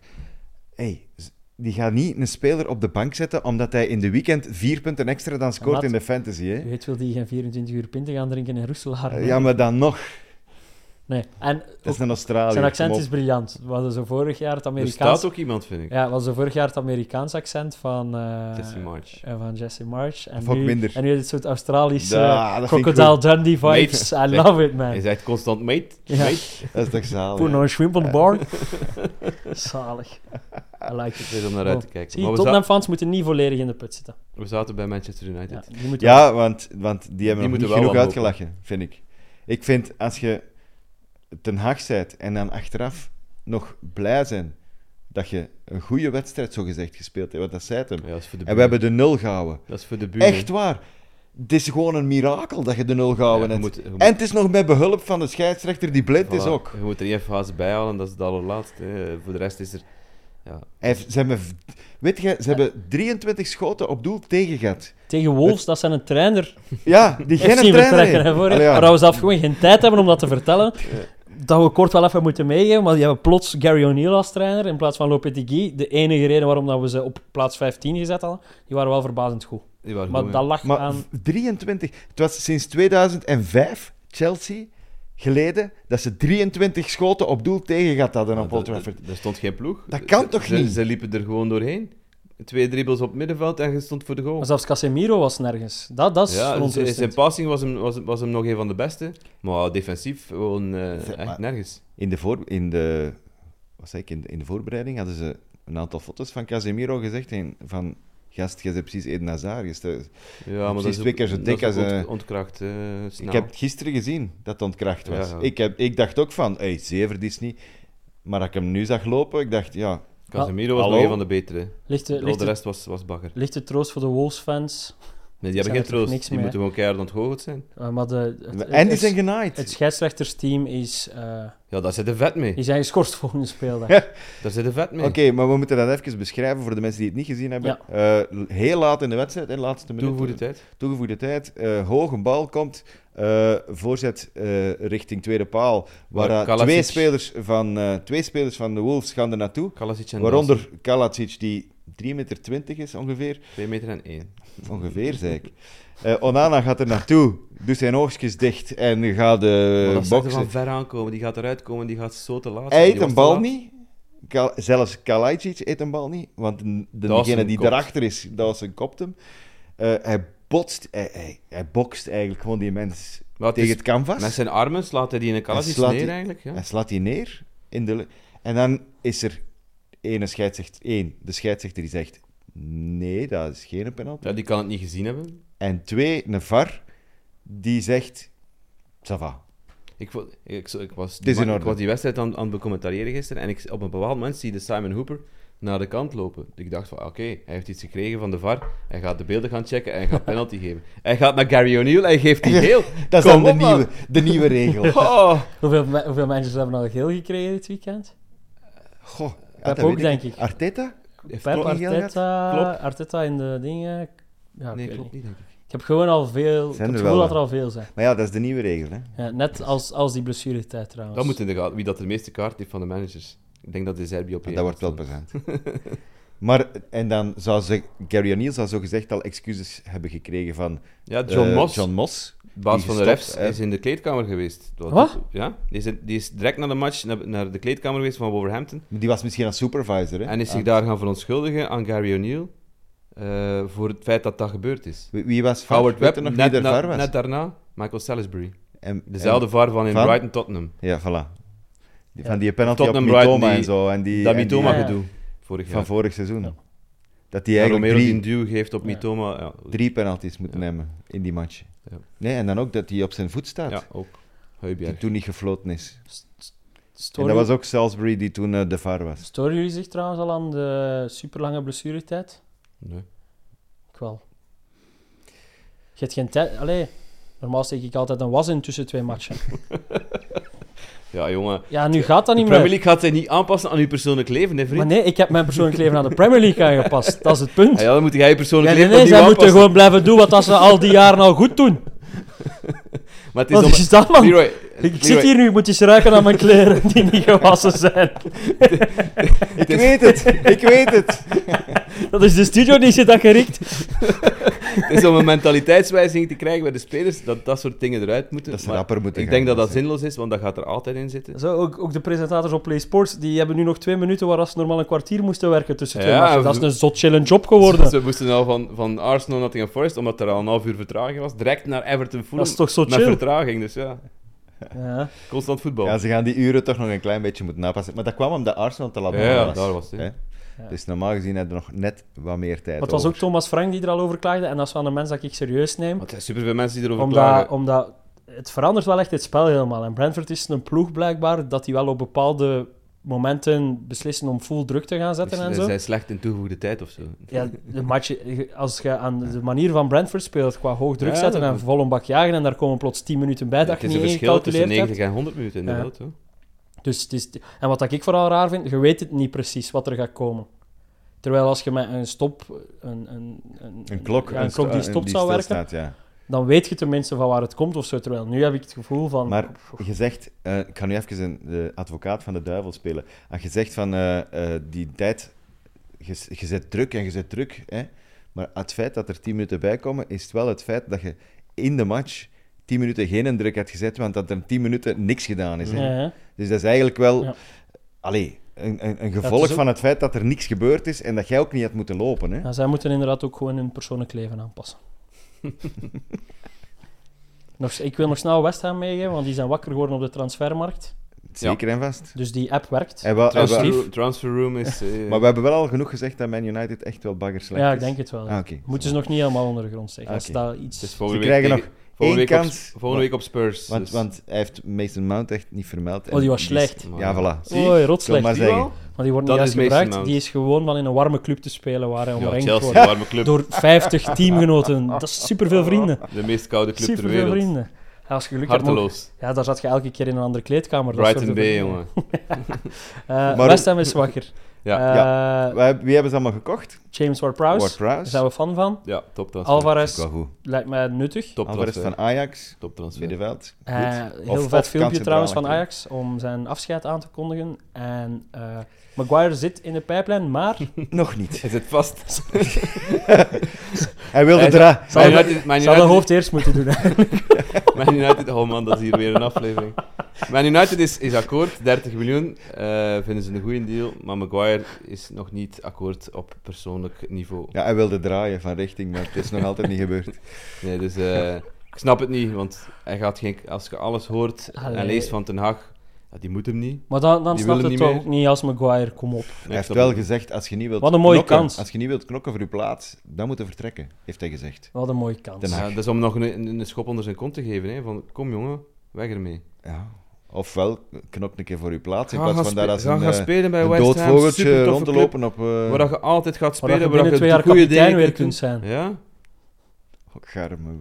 [SPEAKER 2] Hey, z- die gaat niet een speler op de bank zetten omdat hij in de weekend vier punten extra dan scoort
[SPEAKER 3] Maat.
[SPEAKER 2] in de fantasy. Hè?
[SPEAKER 3] Je weet wel die geen 24 uur pinten gaan drinken in Roeselaar.
[SPEAKER 2] Ja, maar dan nog.
[SPEAKER 3] Nee. En
[SPEAKER 2] Dat
[SPEAKER 3] ook
[SPEAKER 2] is een Australië.
[SPEAKER 3] zijn accent
[SPEAKER 2] kom op.
[SPEAKER 3] is briljant. We hadden zo vorig jaar het
[SPEAKER 4] Er
[SPEAKER 3] Amerikaans...
[SPEAKER 4] staat ook iemand, vind ik.
[SPEAKER 3] Ja, we hadden zo vorig jaar het Amerikaans accent van... eh,
[SPEAKER 4] Jesse March.
[SPEAKER 3] eh, van Jesse March. En
[SPEAKER 2] Fuck
[SPEAKER 3] nu,
[SPEAKER 2] minder.
[SPEAKER 3] en nu eh, dit soort Australische
[SPEAKER 2] Ja, dat vind ik
[SPEAKER 3] Crocodile
[SPEAKER 2] goed.
[SPEAKER 3] Dundee vibes. I
[SPEAKER 4] Nee.
[SPEAKER 3] love it,
[SPEAKER 4] Hij
[SPEAKER 3] man.
[SPEAKER 4] zegt constant, mate,
[SPEAKER 3] Ja.
[SPEAKER 4] mate.
[SPEAKER 2] Dat is toch zalig.
[SPEAKER 3] Poen
[SPEAKER 2] hè?
[SPEAKER 3] een schwimp on the bar. Zalig. I like it.
[SPEAKER 4] Het is om naar uit te
[SPEAKER 3] Oh.
[SPEAKER 4] kijken.
[SPEAKER 3] Zie,
[SPEAKER 4] Maar we, za-
[SPEAKER 3] Tottenham-fans moeten niet volledig in de put zitten.
[SPEAKER 4] we zaten bij Manchester
[SPEAKER 3] Ja,
[SPEAKER 4] United.
[SPEAKER 3] die moeten
[SPEAKER 2] Ja, want, want die hebben
[SPEAKER 4] Die
[SPEAKER 2] nog
[SPEAKER 4] moeten
[SPEAKER 2] niet
[SPEAKER 4] wel
[SPEAKER 2] genoeg
[SPEAKER 4] wat
[SPEAKER 2] uitgelachen, vind ik. Ik vind, als je ten Haag bent en dan achteraf nog blij zijn dat je een goede wedstrijd zogezegd gespeeld hebt, want dat zei het hem.
[SPEAKER 4] Ja, dat is voor de
[SPEAKER 2] En we
[SPEAKER 4] buren.
[SPEAKER 2] hebben de nul gehouden.
[SPEAKER 4] Dat is voor de buren.
[SPEAKER 2] Echt waar. Het is gewoon een mirakel dat je de nul gehouden
[SPEAKER 4] Ja, je
[SPEAKER 2] hebt.
[SPEAKER 4] moet- je moet-
[SPEAKER 2] En het is nog met behulp van de scheidsrechter die blind is
[SPEAKER 4] Voilà.
[SPEAKER 2] ook.
[SPEAKER 4] Je moet er één fase bij halen, dat is het allerlaatste. hè. Voor de rest is er... Ja,
[SPEAKER 2] Hij heeft- ze hebben, v- weet je,
[SPEAKER 3] Eh.
[SPEAKER 2] ze hebben 23 schoten op doel tegen gehad.
[SPEAKER 3] Tegen Wolves, dat zijn een trainer.
[SPEAKER 2] Ja, die
[SPEAKER 3] Geen
[SPEAKER 2] geen
[SPEAKER 3] zien
[SPEAKER 2] trainer
[SPEAKER 3] vertrekken.
[SPEAKER 2] heeft.
[SPEAKER 3] hè, voor, hè.
[SPEAKER 2] Allee, ja.
[SPEAKER 3] Maar we zelf gewoon geen tijd hebben om dat te vertellen. Dat we kort wel even moeten meegeven. Maar die hebben plots Gary O'Neill als trainer in plaats van Lopetegui. De enige reden waarom dat we ze op plaats 15 gezet hadden. Die waren wel verbazend goed.
[SPEAKER 4] die waren
[SPEAKER 3] Maar
[SPEAKER 4] goed,
[SPEAKER 3] dat
[SPEAKER 4] hè.
[SPEAKER 3] lag
[SPEAKER 2] Maar
[SPEAKER 3] aan...
[SPEAKER 2] 23, het was sinds 2005, Chelsea, geleden, dat ze 23 schoten op doel tegen gehad hadden op
[SPEAKER 4] Maar
[SPEAKER 2] Old
[SPEAKER 4] dat-
[SPEAKER 2] Trafford.
[SPEAKER 4] dat- Er stond geen ploeg.
[SPEAKER 2] Dat kan
[SPEAKER 4] Ze-
[SPEAKER 2] toch
[SPEAKER 4] ze,
[SPEAKER 2] niet?
[SPEAKER 4] Ze liepen er gewoon doorheen. Twee dribbles op het middenveld en je stond voor de goal.
[SPEAKER 3] Maar zelfs Casemiro was nergens. Dat, dat is
[SPEAKER 4] Ja, dus
[SPEAKER 3] verontrustend.
[SPEAKER 4] zijn passing was hem, was, hem- was hem nog een van de beste. Maar defensief gewoon eh,
[SPEAKER 2] Zeg
[SPEAKER 4] echt
[SPEAKER 2] maar.
[SPEAKER 4] nergens.
[SPEAKER 2] In de, voor, in, de, wat zei ik, in, de, in de voorbereiding hadden ze een aantal foto's van Casemiro gezegd. En van, gast, jij hebt precies Eden Hazard. Je ste-
[SPEAKER 4] Ja, maar dat
[SPEAKER 2] Precies
[SPEAKER 4] is ook-
[SPEAKER 2] twee keer zo
[SPEAKER 4] dat
[SPEAKER 2] dik
[SPEAKER 4] is ook
[SPEAKER 2] als,
[SPEAKER 4] ont-
[SPEAKER 2] eh,
[SPEAKER 4] ontkracht. eh, snel.
[SPEAKER 2] Ik heb het gisteren gezien dat het ontkracht was.
[SPEAKER 4] Ja, ja.
[SPEAKER 2] Ik, heb, ik dacht ook van, hey, zever die is niet. Maar als ik hem nu zag lopen, ik dacht, ja,
[SPEAKER 4] Casemiro was
[SPEAKER 2] Hallo?
[SPEAKER 4] nog een van de betere.
[SPEAKER 3] Ligt de,
[SPEAKER 4] Al
[SPEAKER 3] ligt
[SPEAKER 4] de
[SPEAKER 3] de,
[SPEAKER 4] rest was, was bagger.
[SPEAKER 3] lichte troost voor de Wolves-fans.
[SPEAKER 4] Nee, die
[SPEAKER 3] Zijn
[SPEAKER 4] hebben
[SPEAKER 3] er
[SPEAKER 4] geen
[SPEAKER 3] toch
[SPEAKER 4] troost.
[SPEAKER 3] niks
[SPEAKER 4] Die
[SPEAKER 3] mee,
[SPEAKER 4] moeten gewoon keihard ontgoocheld zijn.
[SPEAKER 3] Eh, maar de, het,
[SPEAKER 2] en die
[SPEAKER 3] het,
[SPEAKER 2] zijn
[SPEAKER 3] het,
[SPEAKER 2] genaaid.
[SPEAKER 3] het scheidsrechtersteam is, eh
[SPEAKER 4] Ja, daar zit de vet mee.
[SPEAKER 3] die zijn geschorst volgende speeldag.
[SPEAKER 4] Daar zit de vet mee.
[SPEAKER 2] Oké, maar we moeten dat even beschrijven voor de mensen die het niet gezien hebben. Eh, heel laat in de wedstrijd, in de laatste minuut.
[SPEAKER 4] Toegevoegde tijd.
[SPEAKER 2] Toegevoegde tijd. eh, hoge bal komt. eh, voorzet eh, richting tweede paal. Waar
[SPEAKER 4] Waar
[SPEAKER 2] eh,
[SPEAKER 4] Kalasic-
[SPEAKER 2] twee, spelers van, eh, twee spelers van de Wolves gaan er naartoe.
[SPEAKER 4] Kalasic en
[SPEAKER 2] Waaronder Kalacic, die 3,20 meter is ongeveer.
[SPEAKER 4] 2 meter en 1.
[SPEAKER 2] Ongeveer, zei ik. Eh, Onana gaat er naartoe, doet zijn oogstjes dicht en gaat
[SPEAKER 4] Maar
[SPEAKER 2] eh
[SPEAKER 4] dat staat er van
[SPEAKER 2] boksen.
[SPEAKER 4] ver aankomen. Die gaat eruit komen, die gaat zo te laat. zijn.
[SPEAKER 2] Hij
[SPEAKER 4] Die
[SPEAKER 2] eet
[SPEAKER 4] was
[SPEAKER 2] een
[SPEAKER 4] te
[SPEAKER 2] bal
[SPEAKER 4] laat.
[SPEAKER 2] niet. Kal- zelfs Kalajdzic eet een bal niet. Want de-
[SPEAKER 4] Dat is
[SPEAKER 2] degene
[SPEAKER 4] een
[SPEAKER 2] die
[SPEAKER 4] kopt.
[SPEAKER 2] daarachter is, dat was een kopt hem. Eh, hij botst, hij, hij, hij bokst eigenlijk gewoon die mens
[SPEAKER 4] Maar het
[SPEAKER 2] tegen
[SPEAKER 4] is-
[SPEAKER 2] het canvas.
[SPEAKER 4] Met zijn armen slaat hij die in een
[SPEAKER 2] Hij
[SPEAKER 4] Kalasic
[SPEAKER 2] slaat
[SPEAKER 4] neer
[SPEAKER 2] die-
[SPEAKER 4] eigenlijk. Ja.
[SPEAKER 2] Hij slaat die neer. In de lu- en dan is er ene scheidsrechter, één, de scheidsrechter die zegt, nee, dat is geen penalty.
[SPEAKER 4] Ja, die kan het niet gezien hebben.
[SPEAKER 2] En twee, een VAR, die zegt, ça va.
[SPEAKER 4] Ik, vo- ik, zo- ik, was,
[SPEAKER 2] Het is in
[SPEAKER 4] ik
[SPEAKER 2] orde.
[SPEAKER 4] was die wedstrijd aan, aan het becommentariëren gisteren en ik, op een bepaald moment zie je de Simon Hooper naar de kant lopen. Ik dacht van, oké, hij heeft iets gekregen van de VAR, hij gaat de beelden gaan checken en hij gaat penalty geven. Hij gaat naar Gary O'Neill en geeft die geel. Oh.
[SPEAKER 2] Dat is
[SPEAKER 4] Kom
[SPEAKER 2] dan de
[SPEAKER 4] op, man.
[SPEAKER 2] nieuwe, de nieuwe regel.
[SPEAKER 4] Oh.
[SPEAKER 3] Hoeveel, me- hoeveel managers hebben al geel gekregen dit weekend?
[SPEAKER 2] Goh, ja,
[SPEAKER 3] Pep
[SPEAKER 2] dat
[SPEAKER 3] ook,
[SPEAKER 2] weet
[SPEAKER 3] denk ik.
[SPEAKER 2] Arteta?
[SPEAKER 4] Heeft
[SPEAKER 3] Pep,
[SPEAKER 2] Klopt niet,
[SPEAKER 3] Arteta,
[SPEAKER 4] Klopt.
[SPEAKER 3] Arteta in de dingen. Ja,
[SPEAKER 4] Nee,
[SPEAKER 3] ik, weet
[SPEAKER 4] klopt
[SPEAKER 3] niet.
[SPEAKER 4] niet, denk ik.
[SPEAKER 3] ik heb gewoon al veel. Ik
[SPEAKER 2] Zijn
[SPEAKER 3] heb het
[SPEAKER 2] er wel,
[SPEAKER 3] gevoel dat er
[SPEAKER 2] hè?
[SPEAKER 3] al veel zijn.
[SPEAKER 2] Maar ja, dat is de nieuwe regel. Hè?
[SPEAKER 3] Ja, net als, als die blessuretijd trouwens.
[SPEAKER 4] Dat moet in de gaten, wie dat de meeste kaart heeft van de managers. Ik denk dat de Serbië op
[SPEAKER 2] Want
[SPEAKER 4] één
[SPEAKER 2] Ah, dat wordt wel
[SPEAKER 4] staat.
[SPEAKER 2] bezend. maar, en dan zou ze, Gary O'Neill zou zo gezegd al excuses hebben gekregen van
[SPEAKER 4] Ja,
[SPEAKER 2] eh,
[SPEAKER 4] John Moss.
[SPEAKER 2] John Moss.
[SPEAKER 4] baas
[SPEAKER 2] Die
[SPEAKER 4] van de
[SPEAKER 2] gestopt,
[SPEAKER 4] refs
[SPEAKER 2] hè?
[SPEAKER 4] is in de kleedkamer geweest. Dat-
[SPEAKER 3] Wat?
[SPEAKER 4] Ja, die is, die is direct na de match naar, naar de kleedkamer geweest van Wolverhampton.
[SPEAKER 2] Die was misschien een supervisor. Hè?
[SPEAKER 4] En is zich
[SPEAKER 2] Ah.
[SPEAKER 4] daar gaan verontschuldigen aan Gary O'Neill eh, voor het feit dat dat gebeurd is.
[SPEAKER 2] Wie- Wie was VAR?
[SPEAKER 4] Howard
[SPEAKER 2] Weet
[SPEAKER 4] Webb,
[SPEAKER 2] er nog
[SPEAKER 4] net,
[SPEAKER 2] wie er
[SPEAKER 4] na-
[SPEAKER 2] VAR was?
[SPEAKER 4] net daarna Michael Salisbury.
[SPEAKER 2] En-
[SPEAKER 4] Dezelfde VAR van in
[SPEAKER 2] Van?
[SPEAKER 4] Brighton Tottenham.
[SPEAKER 2] en- ja, voilà. Die,
[SPEAKER 3] Ja.
[SPEAKER 2] Van die penalty op
[SPEAKER 4] Tottenham Brighton,
[SPEAKER 2] Mitoma en
[SPEAKER 4] die-
[SPEAKER 2] zo. En die,
[SPEAKER 4] dat
[SPEAKER 2] en
[SPEAKER 4] Mitoma
[SPEAKER 2] die-
[SPEAKER 3] Ja.
[SPEAKER 4] gedoe vorig
[SPEAKER 2] van
[SPEAKER 4] jaar.
[SPEAKER 2] vorig seizoen.
[SPEAKER 3] Ja.
[SPEAKER 2] Dat die
[SPEAKER 4] Ja,
[SPEAKER 2] eigenlijk
[SPEAKER 4] Romero
[SPEAKER 2] drie,
[SPEAKER 4] die een duw geeft op
[SPEAKER 3] Ja.
[SPEAKER 4] Mitoma. Ja,
[SPEAKER 2] drie penalties moeten
[SPEAKER 4] Ja.
[SPEAKER 2] nemen in die match.
[SPEAKER 4] Ja.
[SPEAKER 2] Nee, en dan ook dat hij op zijn voet staat.
[SPEAKER 4] ja ook.
[SPEAKER 2] Die
[SPEAKER 4] Heubjerg.
[SPEAKER 2] toen niet gefloten is.
[SPEAKER 3] St- st-
[SPEAKER 2] En
[SPEAKER 3] Storen,
[SPEAKER 2] dat was ook Salisbury die toen eh, de VAR was.
[SPEAKER 3] storen jullie zich trouwens al aan de superlange blessuretijd?
[SPEAKER 4] Nee.
[SPEAKER 3] Ik wel. Je hebt geen tijd. Allee, normaal steek ik altijd een was in tussen twee matchen.
[SPEAKER 4] Ja, jongen.
[SPEAKER 3] Ja, nu gaat dat
[SPEAKER 4] De
[SPEAKER 3] niet
[SPEAKER 4] Premier
[SPEAKER 3] meer.
[SPEAKER 4] League gaat zich niet aanpassen aan uw persoonlijk leven, hè, vriend.
[SPEAKER 3] Maar nee, ik heb mijn persoonlijk leven aan de Premier League aangepast. Dat is het punt.
[SPEAKER 4] Ah ja, dan moet jij je persoonlijk
[SPEAKER 3] Nee, nee, nee,
[SPEAKER 4] leven
[SPEAKER 3] zij
[SPEAKER 4] opnieuw
[SPEAKER 3] moeten
[SPEAKER 4] aanpassen.
[SPEAKER 3] gewoon blijven doen wat dat ze al die jaren al goed doen.
[SPEAKER 4] Maar het is
[SPEAKER 3] Wat
[SPEAKER 4] om-
[SPEAKER 3] is dat, man?
[SPEAKER 4] Leroy,
[SPEAKER 3] ik
[SPEAKER 4] Leroy,
[SPEAKER 3] zit hier nu, ik moet eens ruiken aan mijn kleren die niet gewassen zijn.
[SPEAKER 2] Ik weet het, ik weet het.
[SPEAKER 3] Dat is de studio die zit dat gerikt.
[SPEAKER 4] Het is om een mentaliteitswijziging te krijgen bij de spelers, dat dat soort dingen eruit moeten.
[SPEAKER 2] Dat ze
[SPEAKER 4] Maar
[SPEAKER 2] rapper moeten
[SPEAKER 4] Ik denk
[SPEAKER 2] gaan,
[SPEAKER 4] dat dat
[SPEAKER 2] dus, hè.
[SPEAKER 4] zinloos is, want dat gaat er altijd in zitten.
[SPEAKER 3] Zo, ook, ook de presentators op Play Sports, die hebben nu nog twee minuten waar ze normaal een kwartier moesten werken tussen twee
[SPEAKER 4] Ja,
[SPEAKER 3] matchen. Dat is
[SPEAKER 4] we-
[SPEAKER 3] een zot chillen job geworden.
[SPEAKER 4] Ze Dus moesten al van, van Arsenal naar Nottingham Forest, omdat er al een half uur vertraging was, direct naar Everton Fulham.
[SPEAKER 3] Dat is toch zo
[SPEAKER 4] Met
[SPEAKER 3] chill?
[SPEAKER 4] vertraging, dus ja.
[SPEAKER 3] Ja.
[SPEAKER 4] Constant voetbal.
[SPEAKER 2] Ja,
[SPEAKER 4] Ja,
[SPEAKER 2] ze gaan die uren toch nog een klein beetje moeten napassen. Maar dat kwam omdat Arsenal te laat
[SPEAKER 4] ja,
[SPEAKER 2] was.
[SPEAKER 4] daar was het. hè.
[SPEAKER 2] Hè? Dus normaal gezien hebben we nog net wat meer tijd
[SPEAKER 3] Maar het was ook
[SPEAKER 2] over.
[SPEAKER 3] Thomas Frank die er al over klaagde. En dat is wel een mens dat ik serieus neem.
[SPEAKER 4] Want er zijn superveel mensen die erover
[SPEAKER 3] Omdat,
[SPEAKER 4] klagen.
[SPEAKER 3] omdat het verandert wel echt het spel helemaal. En Brentford is een ploeg blijkbaar dat die wel op bepaalde momenten beslissen om full druk te gaan zetten
[SPEAKER 4] Ze
[SPEAKER 3] en zo.
[SPEAKER 4] zijn slecht in toegevoegde tijd of zo.
[SPEAKER 3] Ja, de match, als je aan de manier van Brentford speelt, qua hoog druk
[SPEAKER 4] Ja,
[SPEAKER 3] zetten
[SPEAKER 4] dat-
[SPEAKER 3] en vol een bak jagen, en daar komen plots 10 minuten bij dat
[SPEAKER 4] het
[SPEAKER 3] je
[SPEAKER 4] is een
[SPEAKER 3] niet
[SPEAKER 4] verschil tussen
[SPEAKER 3] ingecalculeerd
[SPEAKER 4] 90
[SPEAKER 3] hebt.
[SPEAKER 4] en 100 minuten in de
[SPEAKER 3] Ja.
[SPEAKER 4] wereld. hoor.
[SPEAKER 3] Dus het is, en wat dat ik vooral raar vind, je weet het niet precies wat er gaat komen. Terwijl als je met een stop, een, een, een,
[SPEAKER 2] Een klok,
[SPEAKER 3] ja, een klok die stopt zou werken,
[SPEAKER 2] stilstaat, ja.
[SPEAKER 3] dan weet je tenminste van waar het komt of zo. Terwijl nu heb ik het gevoel van...
[SPEAKER 2] Maar je zegt, eh, ik ga nu even een, de advocaat van de duivel spelen. Als je zegt van eh, eh, die tijd, je, je zet druk en je zet druk. Hè? Maar het feit dat er 10 minuten bij komen, is het wel het feit dat je in de match 10 minuten geen druk had gezet, want dat er 10 minuten niks gedaan is. Hè?
[SPEAKER 3] Ja, hè.
[SPEAKER 2] Dus dat is eigenlijk wel
[SPEAKER 3] Ja.
[SPEAKER 2] allee, een, een, een
[SPEAKER 3] Ja,
[SPEAKER 2] gevolg
[SPEAKER 3] het is ook-
[SPEAKER 2] van het feit dat er niks gebeurd is en dat jij ook niet had moeten lopen. Hè?
[SPEAKER 3] Ja, zij moeten inderdaad ook gewoon hun persoonlijk leven aanpassen. nog, ik wil nog snel West Ham meegeven, want die zijn wakker geworden op de transfermarkt.
[SPEAKER 2] Zeker en vast.
[SPEAKER 3] Dus die app werkt.
[SPEAKER 2] En wel- en
[SPEAKER 3] Trouwens,
[SPEAKER 2] wel-
[SPEAKER 3] lief.
[SPEAKER 4] Transfer, transfer room is... eh,
[SPEAKER 2] maar we hebben wel al genoeg gezegd dat Man United echt wel baggerslecht
[SPEAKER 3] ja,
[SPEAKER 2] is.
[SPEAKER 3] ik
[SPEAKER 4] dus.
[SPEAKER 3] denk het wel.
[SPEAKER 2] Ah, oké.
[SPEAKER 3] Moeten ze nog niet helemaal onder de grond zeggen.
[SPEAKER 2] Oké.
[SPEAKER 3] Als dat iets...
[SPEAKER 4] Ah, het is Dus volgende
[SPEAKER 2] Ze
[SPEAKER 4] week
[SPEAKER 2] krijgen
[SPEAKER 4] tegen- volgende
[SPEAKER 2] één
[SPEAKER 4] week op-
[SPEAKER 2] kans.
[SPEAKER 4] Volgende week op Spurs.
[SPEAKER 2] Want,
[SPEAKER 4] dus-
[SPEAKER 2] want hij heeft Mason Mount echt niet vermeld.
[SPEAKER 3] Oh, die was
[SPEAKER 2] En
[SPEAKER 3] slecht.
[SPEAKER 2] is- Ja, voilà.
[SPEAKER 4] Zie,
[SPEAKER 3] Oei,
[SPEAKER 2] Ik wil
[SPEAKER 3] rotslecht.
[SPEAKER 2] maar
[SPEAKER 4] Zie je
[SPEAKER 2] zeggen.
[SPEAKER 4] wel?
[SPEAKER 3] Maar die wordt
[SPEAKER 4] Dat
[SPEAKER 3] niet
[SPEAKER 4] is
[SPEAKER 3] eens
[SPEAKER 4] Mason
[SPEAKER 3] gebruikt.
[SPEAKER 4] Mount.
[SPEAKER 3] Die is gewoon van in een warme club te spelen waar hij
[SPEAKER 4] Ja,
[SPEAKER 3] omringd
[SPEAKER 4] Chelsea,
[SPEAKER 3] wordt.
[SPEAKER 4] een warme club.
[SPEAKER 3] Door 50 teamgenoten. Dat is superveel vrienden.
[SPEAKER 4] De meest koude club ter
[SPEAKER 3] Superveel
[SPEAKER 4] wereld.
[SPEAKER 3] vrienden. Ja, als je geluk hebt, mogen-
[SPEAKER 4] Harteloos.
[SPEAKER 3] Ja, daar zat je elke keer in een andere kleedkamer. dat
[SPEAKER 4] Brighton
[SPEAKER 3] soort
[SPEAKER 4] B,
[SPEAKER 3] dingen.
[SPEAKER 4] jongen.
[SPEAKER 3] Eh,
[SPEAKER 2] Maar-
[SPEAKER 3] West Ham is wakker.
[SPEAKER 4] Ja.
[SPEAKER 3] Eh,
[SPEAKER 2] Wij- Wie hebben ze allemaal gekocht?
[SPEAKER 3] James Ward-Prowse. Daar
[SPEAKER 2] Ward-Prowse.
[SPEAKER 3] zijn we fan van.
[SPEAKER 4] Ja, top transfer.
[SPEAKER 2] Is
[SPEAKER 3] Alvarez
[SPEAKER 2] wel goed.
[SPEAKER 3] lijkt mij nuttig.
[SPEAKER 4] Top
[SPEAKER 2] Alvarez
[SPEAKER 4] transfer.
[SPEAKER 2] van Ajax,
[SPEAKER 4] Top transfer.
[SPEAKER 2] middenveld. Goed.
[SPEAKER 3] Eh, heel
[SPEAKER 2] Of- of
[SPEAKER 3] vet filmpje
[SPEAKER 2] kantcentraal
[SPEAKER 3] trouwens van
[SPEAKER 2] achterin.
[SPEAKER 3] Ajax om zijn afscheid aan te kondigen. En eh, Maguire zit in de pijplijn, maar
[SPEAKER 2] Nog niet.
[SPEAKER 4] Hij zit vast.
[SPEAKER 2] Hij wilde
[SPEAKER 4] Hij zou-
[SPEAKER 2] draaien.
[SPEAKER 3] zou
[SPEAKER 4] Man
[SPEAKER 3] dat-
[SPEAKER 4] United- Man
[SPEAKER 3] zou dat
[SPEAKER 4] United-
[SPEAKER 3] hoofd eerst moeten doen. hè.
[SPEAKER 4] Man United, oh man, dat is hier weer een aflevering. Man United is, is akkoord, 30 miljoen. eh, vinden ze een goede deal. Maar Maguire is nog niet akkoord op persoonlijk niveau.
[SPEAKER 2] Ja, hij wilde draaien van richting, maar het is nog altijd niet gebeurd.
[SPEAKER 4] Nee, dus eh, ik snap het niet, want hij gaat geen, als je alles hoort
[SPEAKER 3] Allee.
[SPEAKER 4] en leest van Ten Hag, ja, die moet hem niet.
[SPEAKER 3] Maar dan, dan
[SPEAKER 4] Die
[SPEAKER 3] snapt
[SPEAKER 4] willen
[SPEAKER 3] het
[SPEAKER 4] niet
[SPEAKER 3] toch
[SPEAKER 4] meer.
[SPEAKER 3] ook niet als Maguire, kom op.
[SPEAKER 4] Nee, ik
[SPEAKER 2] Hij heeft
[SPEAKER 4] snap
[SPEAKER 2] wel
[SPEAKER 4] het.
[SPEAKER 2] gezegd, als je niet wilt
[SPEAKER 3] Wat een mooie
[SPEAKER 2] knokken,
[SPEAKER 3] kans.
[SPEAKER 2] Als je niet wilt knokken voor je plaats, dan moet je vertrekken, heeft hij gezegd.
[SPEAKER 3] Wat een mooie kans.
[SPEAKER 2] Den Haag.
[SPEAKER 4] Ja, dat is om nog een, een- een schop onder zijn kont te geven. Hè, van, kom jongen, weg ermee.
[SPEAKER 2] Ja. Ofwel, knok een keer voor je plaats, in
[SPEAKER 4] Ga
[SPEAKER 2] plaats
[SPEAKER 4] gaan
[SPEAKER 2] van daar
[SPEAKER 4] spe-
[SPEAKER 2] als
[SPEAKER 4] ga
[SPEAKER 2] een,
[SPEAKER 4] gaan
[SPEAKER 2] eh,
[SPEAKER 4] spelen bij
[SPEAKER 2] een
[SPEAKER 4] West Ham,
[SPEAKER 2] dood vogeltje
[SPEAKER 4] supertoffe
[SPEAKER 2] rond te
[SPEAKER 4] club,
[SPEAKER 2] lopen op... eh,
[SPEAKER 4] Waar dat je altijd gaat
[SPEAKER 3] Maar dat je
[SPEAKER 4] spelen, waar dat
[SPEAKER 3] binnen
[SPEAKER 4] je
[SPEAKER 3] twee jaar
[SPEAKER 4] goede
[SPEAKER 3] kapitein
[SPEAKER 4] dingen
[SPEAKER 3] weer kunt zijn.
[SPEAKER 4] Ja?
[SPEAKER 2] Garmoe.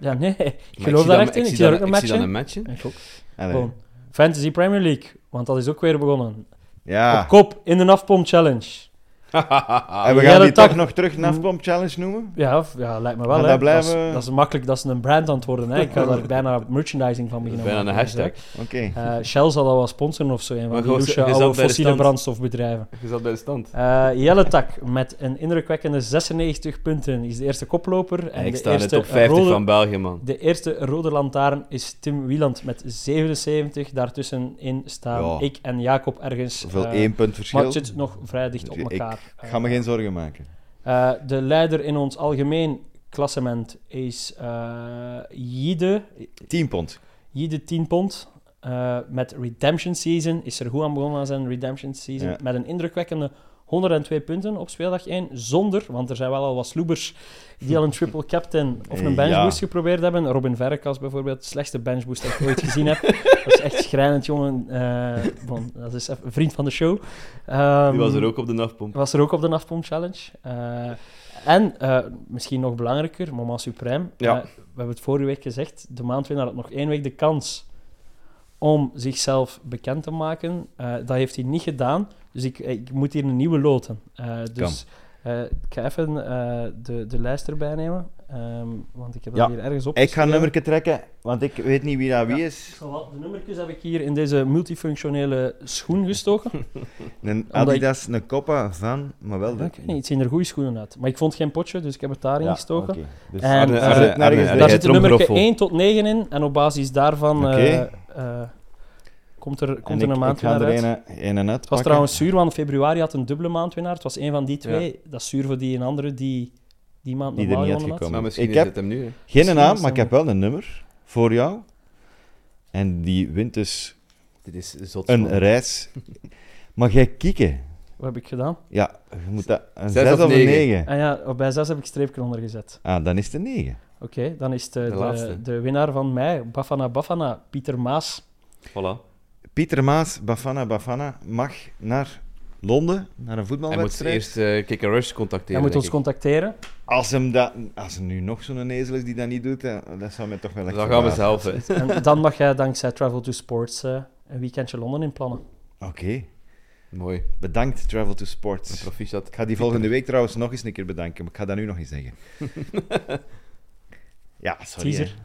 [SPEAKER 3] Ja, nee. Ik
[SPEAKER 4] Maar
[SPEAKER 3] geloof
[SPEAKER 4] zie
[SPEAKER 3] daar
[SPEAKER 4] dan-
[SPEAKER 3] echt in. Ik
[SPEAKER 4] zie
[SPEAKER 3] zie daar ook
[SPEAKER 4] dan-
[SPEAKER 3] een match
[SPEAKER 4] ik zie dan
[SPEAKER 3] in.
[SPEAKER 4] een matchje.
[SPEAKER 3] Ik ook.
[SPEAKER 2] Allee.
[SPEAKER 3] Gewoon. Fantasy Premier League, want dat is ook weer begonnen.
[SPEAKER 2] Ja.
[SPEAKER 3] Op kop in de afpomp challenge.
[SPEAKER 2] en we
[SPEAKER 3] ja,
[SPEAKER 2] gaan
[SPEAKER 3] dat
[SPEAKER 2] die
[SPEAKER 3] dacht-
[SPEAKER 2] toch nog terug NAFPOMP Challenge noemen?
[SPEAKER 3] Ja, f- ja lijkt me wel.
[SPEAKER 2] Maar
[SPEAKER 3] hè.
[SPEAKER 2] dat blijven-
[SPEAKER 3] Dat, is, dat is makkelijk, dat is een brand aan het worden. Hè. Ik ga daar bijna merchandising van
[SPEAKER 4] Dat is
[SPEAKER 3] beginnen.
[SPEAKER 4] bijna een
[SPEAKER 3] maken, dus, hè.
[SPEAKER 4] hashtag.
[SPEAKER 2] Oké.
[SPEAKER 3] Eh, Shell zal dat wel sponsoren of zo, een
[SPEAKER 4] Maar
[SPEAKER 3] van die
[SPEAKER 4] gewoon,
[SPEAKER 3] douche
[SPEAKER 4] je zat
[SPEAKER 3] oude
[SPEAKER 4] bij de
[SPEAKER 3] fossiele
[SPEAKER 4] stand.
[SPEAKER 3] brandstofbedrijven.
[SPEAKER 4] Je zat bij de stand.
[SPEAKER 3] Eh, Jelle Tak met een indrukwekkende 96 punten is de eerste koploper. En
[SPEAKER 4] ik
[SPEAKER 3] de
[SPEAKER 4] sta in de
[SPEAKER 3] eerste
[SPEAKER 4] top 50
[SPEAKER 3] rode,
[SPEAKER 4] van België, man.
[SPEAKER 3] De eerste rode lantaarn is Tim Wieland met 77. Daartussenin staan
[SPEAKER 2] Ja.
[SPEAKER 3] ik en Jacob ergens.
[SPEAKER 2] Hoeveel
[SPEAKER 3] eh,
[SPEAKER 2] één punt
[SPEAKER 3] maar
[SPEAKER 2] verschil?
[SPEAKER 3] het zit nog vrij dicht op
[SPEAKER 2] Ik
[SPEAKER 3] elkaar.
[SPEAKER 2] Ik ga me geen zorgen maken.
[SPEAKER 3] Eh, de leider in ons algemeen klassement is eh, Jide.
[SPEAKER 2] 10 pond.
[SPEAKER 3] Jide 10 pond. Eh, met Redemption Season is er goed aan begonnen aan zijn Redemption Season.
[SPEAKER 2] Ja.
[SPEAKER 3] Met een indrukwekkende 102 punten op speeldag 1. Zonder, want er zijn wel al wat sloebers die al een triple captain of een
[SPEAKER 2] Ja.
[SPEAKER 3] benchboost geprobeerd hebben. Robin Verrekas bijvoorbeeld, slechtste benchboost dat ik ooit gezien heb. Dat is echt schrijnend, jongen. Eh, van, dat is even een vriend van de show. Ehm,
[SPEAKER 4] Die was er ook op de nafpomp.
[SPEAKER 3] was er ook op de Nafpomp Challenge. Eh, en eh, misschien nog belangrijker, Moment Supreme.
[SPEAKER 4] Ja.
[SPEAKER 3] Eh, we hebben het vorige week gezegd, de maandwinnaar had nog één week de kans om zichzelf bekend te maken. Eh, dat heeft hij niet gedaan, dus ik, ik moet hier een nieuwe loten. Eh, dus Eh, ik ga even eh, de, de lijst erbij nemen, ehm, want ik heb
[SPEAKER 2] Ja.
[SPEAKER 3] dat hier ergens op.
[SPEAKER 2] Ik ga een nummerke trekken, want ik weet niet wie dat wie is.
[SPEAKER 3] De nummertjes heb ik hier in deze multifunctionele schoen gestoken.
[SPEAKER 2] Een
[SPEAKER 3] ik-
[SPEAKER 2] Adidas, een Coppa van, maar wel de...
[SPEAKER 3] Ik weet niet, het zien er goede schoenen uit. Maar ik vond geen potje, dus ik heb het daarin
[SPEAKER 2] Ja,
[SPEAKER 3] gestoken.
[SPEAKER 2] oké. Dus
[SPEAKER 3] En, Arne-
[SPEAKER 2] daar
[SPEAKER 3] Arne-
[SPEAKER 2] zit nergens
[SPEAKER 4] Arne-
[SPEAKER 2] bij.
[SPEAKER 3] Daar
[SPEAKER 4] Jij
[SPEAKER 3] zitten nummer
[SPEAKER 4] tromgeroffel.
[SPEAKER 3] 1 tot 9 in en op basis daarvan eh,
[SPEAKER 2] Oké.
[SPEAKER 3] eh, komt er,
[SPEAKER 2] En
[SPEAKER 3] komt er een
[SPEAKER 2] ik, ik
[SPEAKER 3] maandwinnaar
[SPEAKER 2] ga er eh,
[SPEAKER 3] uit.
[SPEAKER 2] een,
[SPEAKER 3] Het
[SPEAKER 2] een en uit
[SPEAKER 3] was trouwens zuur, want februari had een dubbele maandwinnaar. Het was één van die twee. Dat is zuur voor die en andere die die maand
[SPEAKER 2] Die er
[SPEAKER 3] normaal
[SPEAKER 2] niet
[SPEAKER 3] gewonnen had.
[SPEAKER 2] uitgekomen.
[SPEAKER 4] Maar misschien
[SPEAKER 2] Ik
[SPEAKER 4] is
[SPEAKER 2] heb-
[SPEAKER 4] het hem nu. hè.
[SPEAKER 2] Geen naam,
[SPEAKER 3] Misschien
[SPEAKER 2] maar ik heb wel een nummer voor jou. En die wint dus
[SPEAKER 4] Dit is zot.
[SPEAKER 2] een
[SPEAKER 4] man.
[SPEAKER 2] reis. Maar jij kieken.
[SPEAKER 3] Wat heb ik gedaan?
[SPEAKER 2] Ja, je moet dat... Een
[SPEAKER 4] Zes
[SPEAKER 2] 6
[SPEAKER 4] of
[SPEAKER 2] of een
[SPEAKER 4] negen?
[SPEAKER 2] 9?
[SPEAKER 3] Ah ja, bij 6 heb ik streepje onder gezet.
[SPEAKER 2] Ah, dan is het een 9.
[SPEAKER 3] Oké, dan is eh, de,
[SPEAKER 4] De
[SPEAKER 3] de, de,
[SPEAKER 4] laatste.
[SPEAKER 3] winnaar van mei, Bafana Bafana, Pieter Maas.
[SPEAKER 4] Voilà.
[SPEAKER 2] Pieter Maas, Bafana Bafana, mag naar Londen, naar een
[SPEAKER 4] Hij moet
[SPEAKER 2] voetbalwedstrijd.
[SPEAKER 4] eerst eh Kick and Rush contacteren.
[SPEAKER 3] Hij moet
[SPEAKER 4] denk
[SPEAKER 3] ons
[SPEAKER 4] ik.
[SPEAKER 3] contacteren.
[SPEAKER 2] Als hem dat... Als er nu nog zo'n ezel is die dat niet doet, eh, dat zou mij toch wel echt
[SPEAKER 4] Dan gaan we
[SPEAKER 2] verbazen.
[SPEAKER 4] zelf. hè.
[SPEAKER 3] En dan mag jij dankzij Travel to Sports eh, een weekendje Londen inplannen.
[SPEAKER 2] Oké.
[SPEAKER 4] Mooi.
[SPEAKER 2] Bedankt, Travel to Sports.
[SPEAKER 4] Proficiat.
[SPEAKER 2] Ik ga die volgende week trouwens nog eens een keer bedanken, maar ik ga dat nu nog niet zeggen. ja, sorry.
[SPEAKER 3] Teaser.
[SPEAKER 2] hè.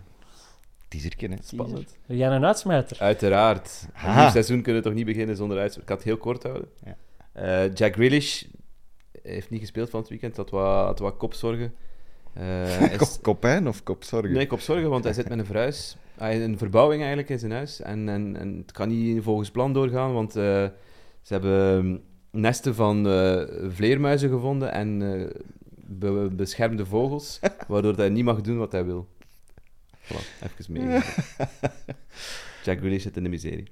[SPEAKER 2] Teasertje, hè.
[SPEAKER 3] Spannend. Jij een uitsmijter.
[SPEAKER 4] Uiteraard. Een
[SPEAKER 2] Haha.
[SPEAKER 4] nieuw seizoen kunnen we toch niet beginnen zonder uitspraak. Ik ga het heel kort houden.
[SPEAKER 2] Ja.
[SPEAKER 4] Eh, Jack Grealish heeft niet gespeeld van het weekend. Had wat, had wat kopzorgen. Eh, hij is-
[SPEAKER 2] Kop, kopijn of kopzorgen?
[SPEAKER 4] nee, kopzorgen, want hij zit met een verhuis. Hij een verbouwing eigenlijk in zijn huis. En, en, en het kan niet volgens plan doorgaan, want eh, ze hebben ehm, nesten van eh, vleermuizen gevonden en eh, be- beschermde vogels, waardoor hij niet mag doen wat hij wil. Voilà, even mee. Jack Grealish zit in de miserie.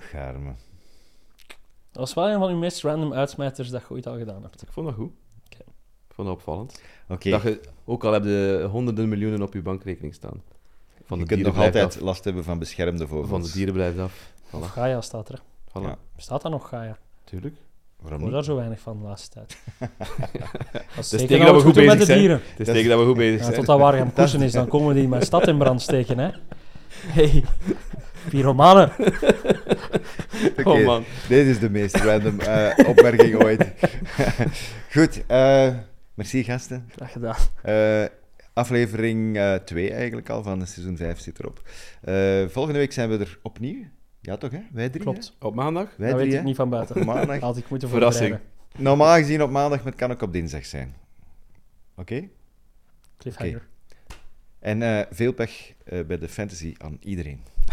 [SPEAKER 2] Gaarme.
[SPEAKER 3] Dat was wel een van uw meest random uitsmijters dat je ooit al gedaan hebt.
[SPEAKER 4] Ik vond dat goed.
[SPEAKER 3] Oké.
[SPEAKER 4] Ik vond dat opvallend.
[SPEAKER 2] Oké,
[SPEAKER 4] Dat je, ook al heb je honderden miljoenen op je bankrekening staan. Van
[SPEAKER 2] je kunt
[SPEAKER 4] de dieren
[SPEAKER 2] nog
[SPEAKER 4] blijft
[SPEAKER 2] altijd last hebben van beschermde
[SPEAKER 4] af.
[SPEAKER 2] vogels.
[SPEAKER 4] Van de dieren blijft af. Voilà.
[SPEAKER 3] Of Gaia staat er.
[SPEAKER 4] Voilà.
[SPEAKER 2] Ja.
[SPEAKER 3] Bestaat daar nog Gaia? Ik
[SPEAKER 4] Tuurlijk.
[SPEAKER 2] Waarom
[SPEAKER 3] hoor
[SPEAKER 2] niet?
[SPEAKER 3] daar zo weinig van de laatste tijd. Dat is
[SPEAKER 4] tegen
[SPEAKER 3] zeker dat
[SPEAKER 4] dat we
[SPEAKER 3] we
[SPEAKER 4] goed
[SPEAKER 3] goed doen met
[SPEAKER 4] bezig
[SPEAKER 3] de
[SPEAKER 4] zijn.
[SPEAKER 3] dieren.
[SPEAKER 4] Het is tegen dat we goed bezig
[SPEAKER 3] Ja,
[SPEAKER 4] zijn.
[SPEAKER 3] tot dat waar gaan koersen is, dan komen die mijn stad in brand steken, hè. Hey, pyromanen.
[SPEAKER 2] Oké,
[SPEAKER 4] Oh man.
[SPEAKER 2] Dit is de meest random eh, opmerking ooit. Goed, eh, merci gasten.
[SPEAKER 3] Graag gedaan.
[SPEAKER 2] Eh, aflevering 2 eigenlijk al van seizoen 5 zit erop. Eh, volgende week zijn we er opnieuw. Ja toch, hè? Wij drie,
[SPEAKER 3] Klopt.
[SPEAKER 4] Op maandag?
[SPEAKER 2] hè? Wij
[SPEAKER 3] Dat
[SPEAKER 2] drie,
[SPEAKER 3] weet ik
[SPEAKER 2] hè?
[SPEAKER 3] niet van buiten.
[SPEAKER 2] Op maandag.
[SPEAKER 3] Had ik moeten
[SPEAKER 4] Verrassing.
[SPEAKER 3] voorbereiden.
[SPEAKER 2] Normaal gezien op maandag, maar het kan ook op dinsdag zijn. Oké?
[SPEAKER 3] Cliffhanger.
[SPEAKER 2] En eh, veel pech eh, bij de fantasy aan iedereen.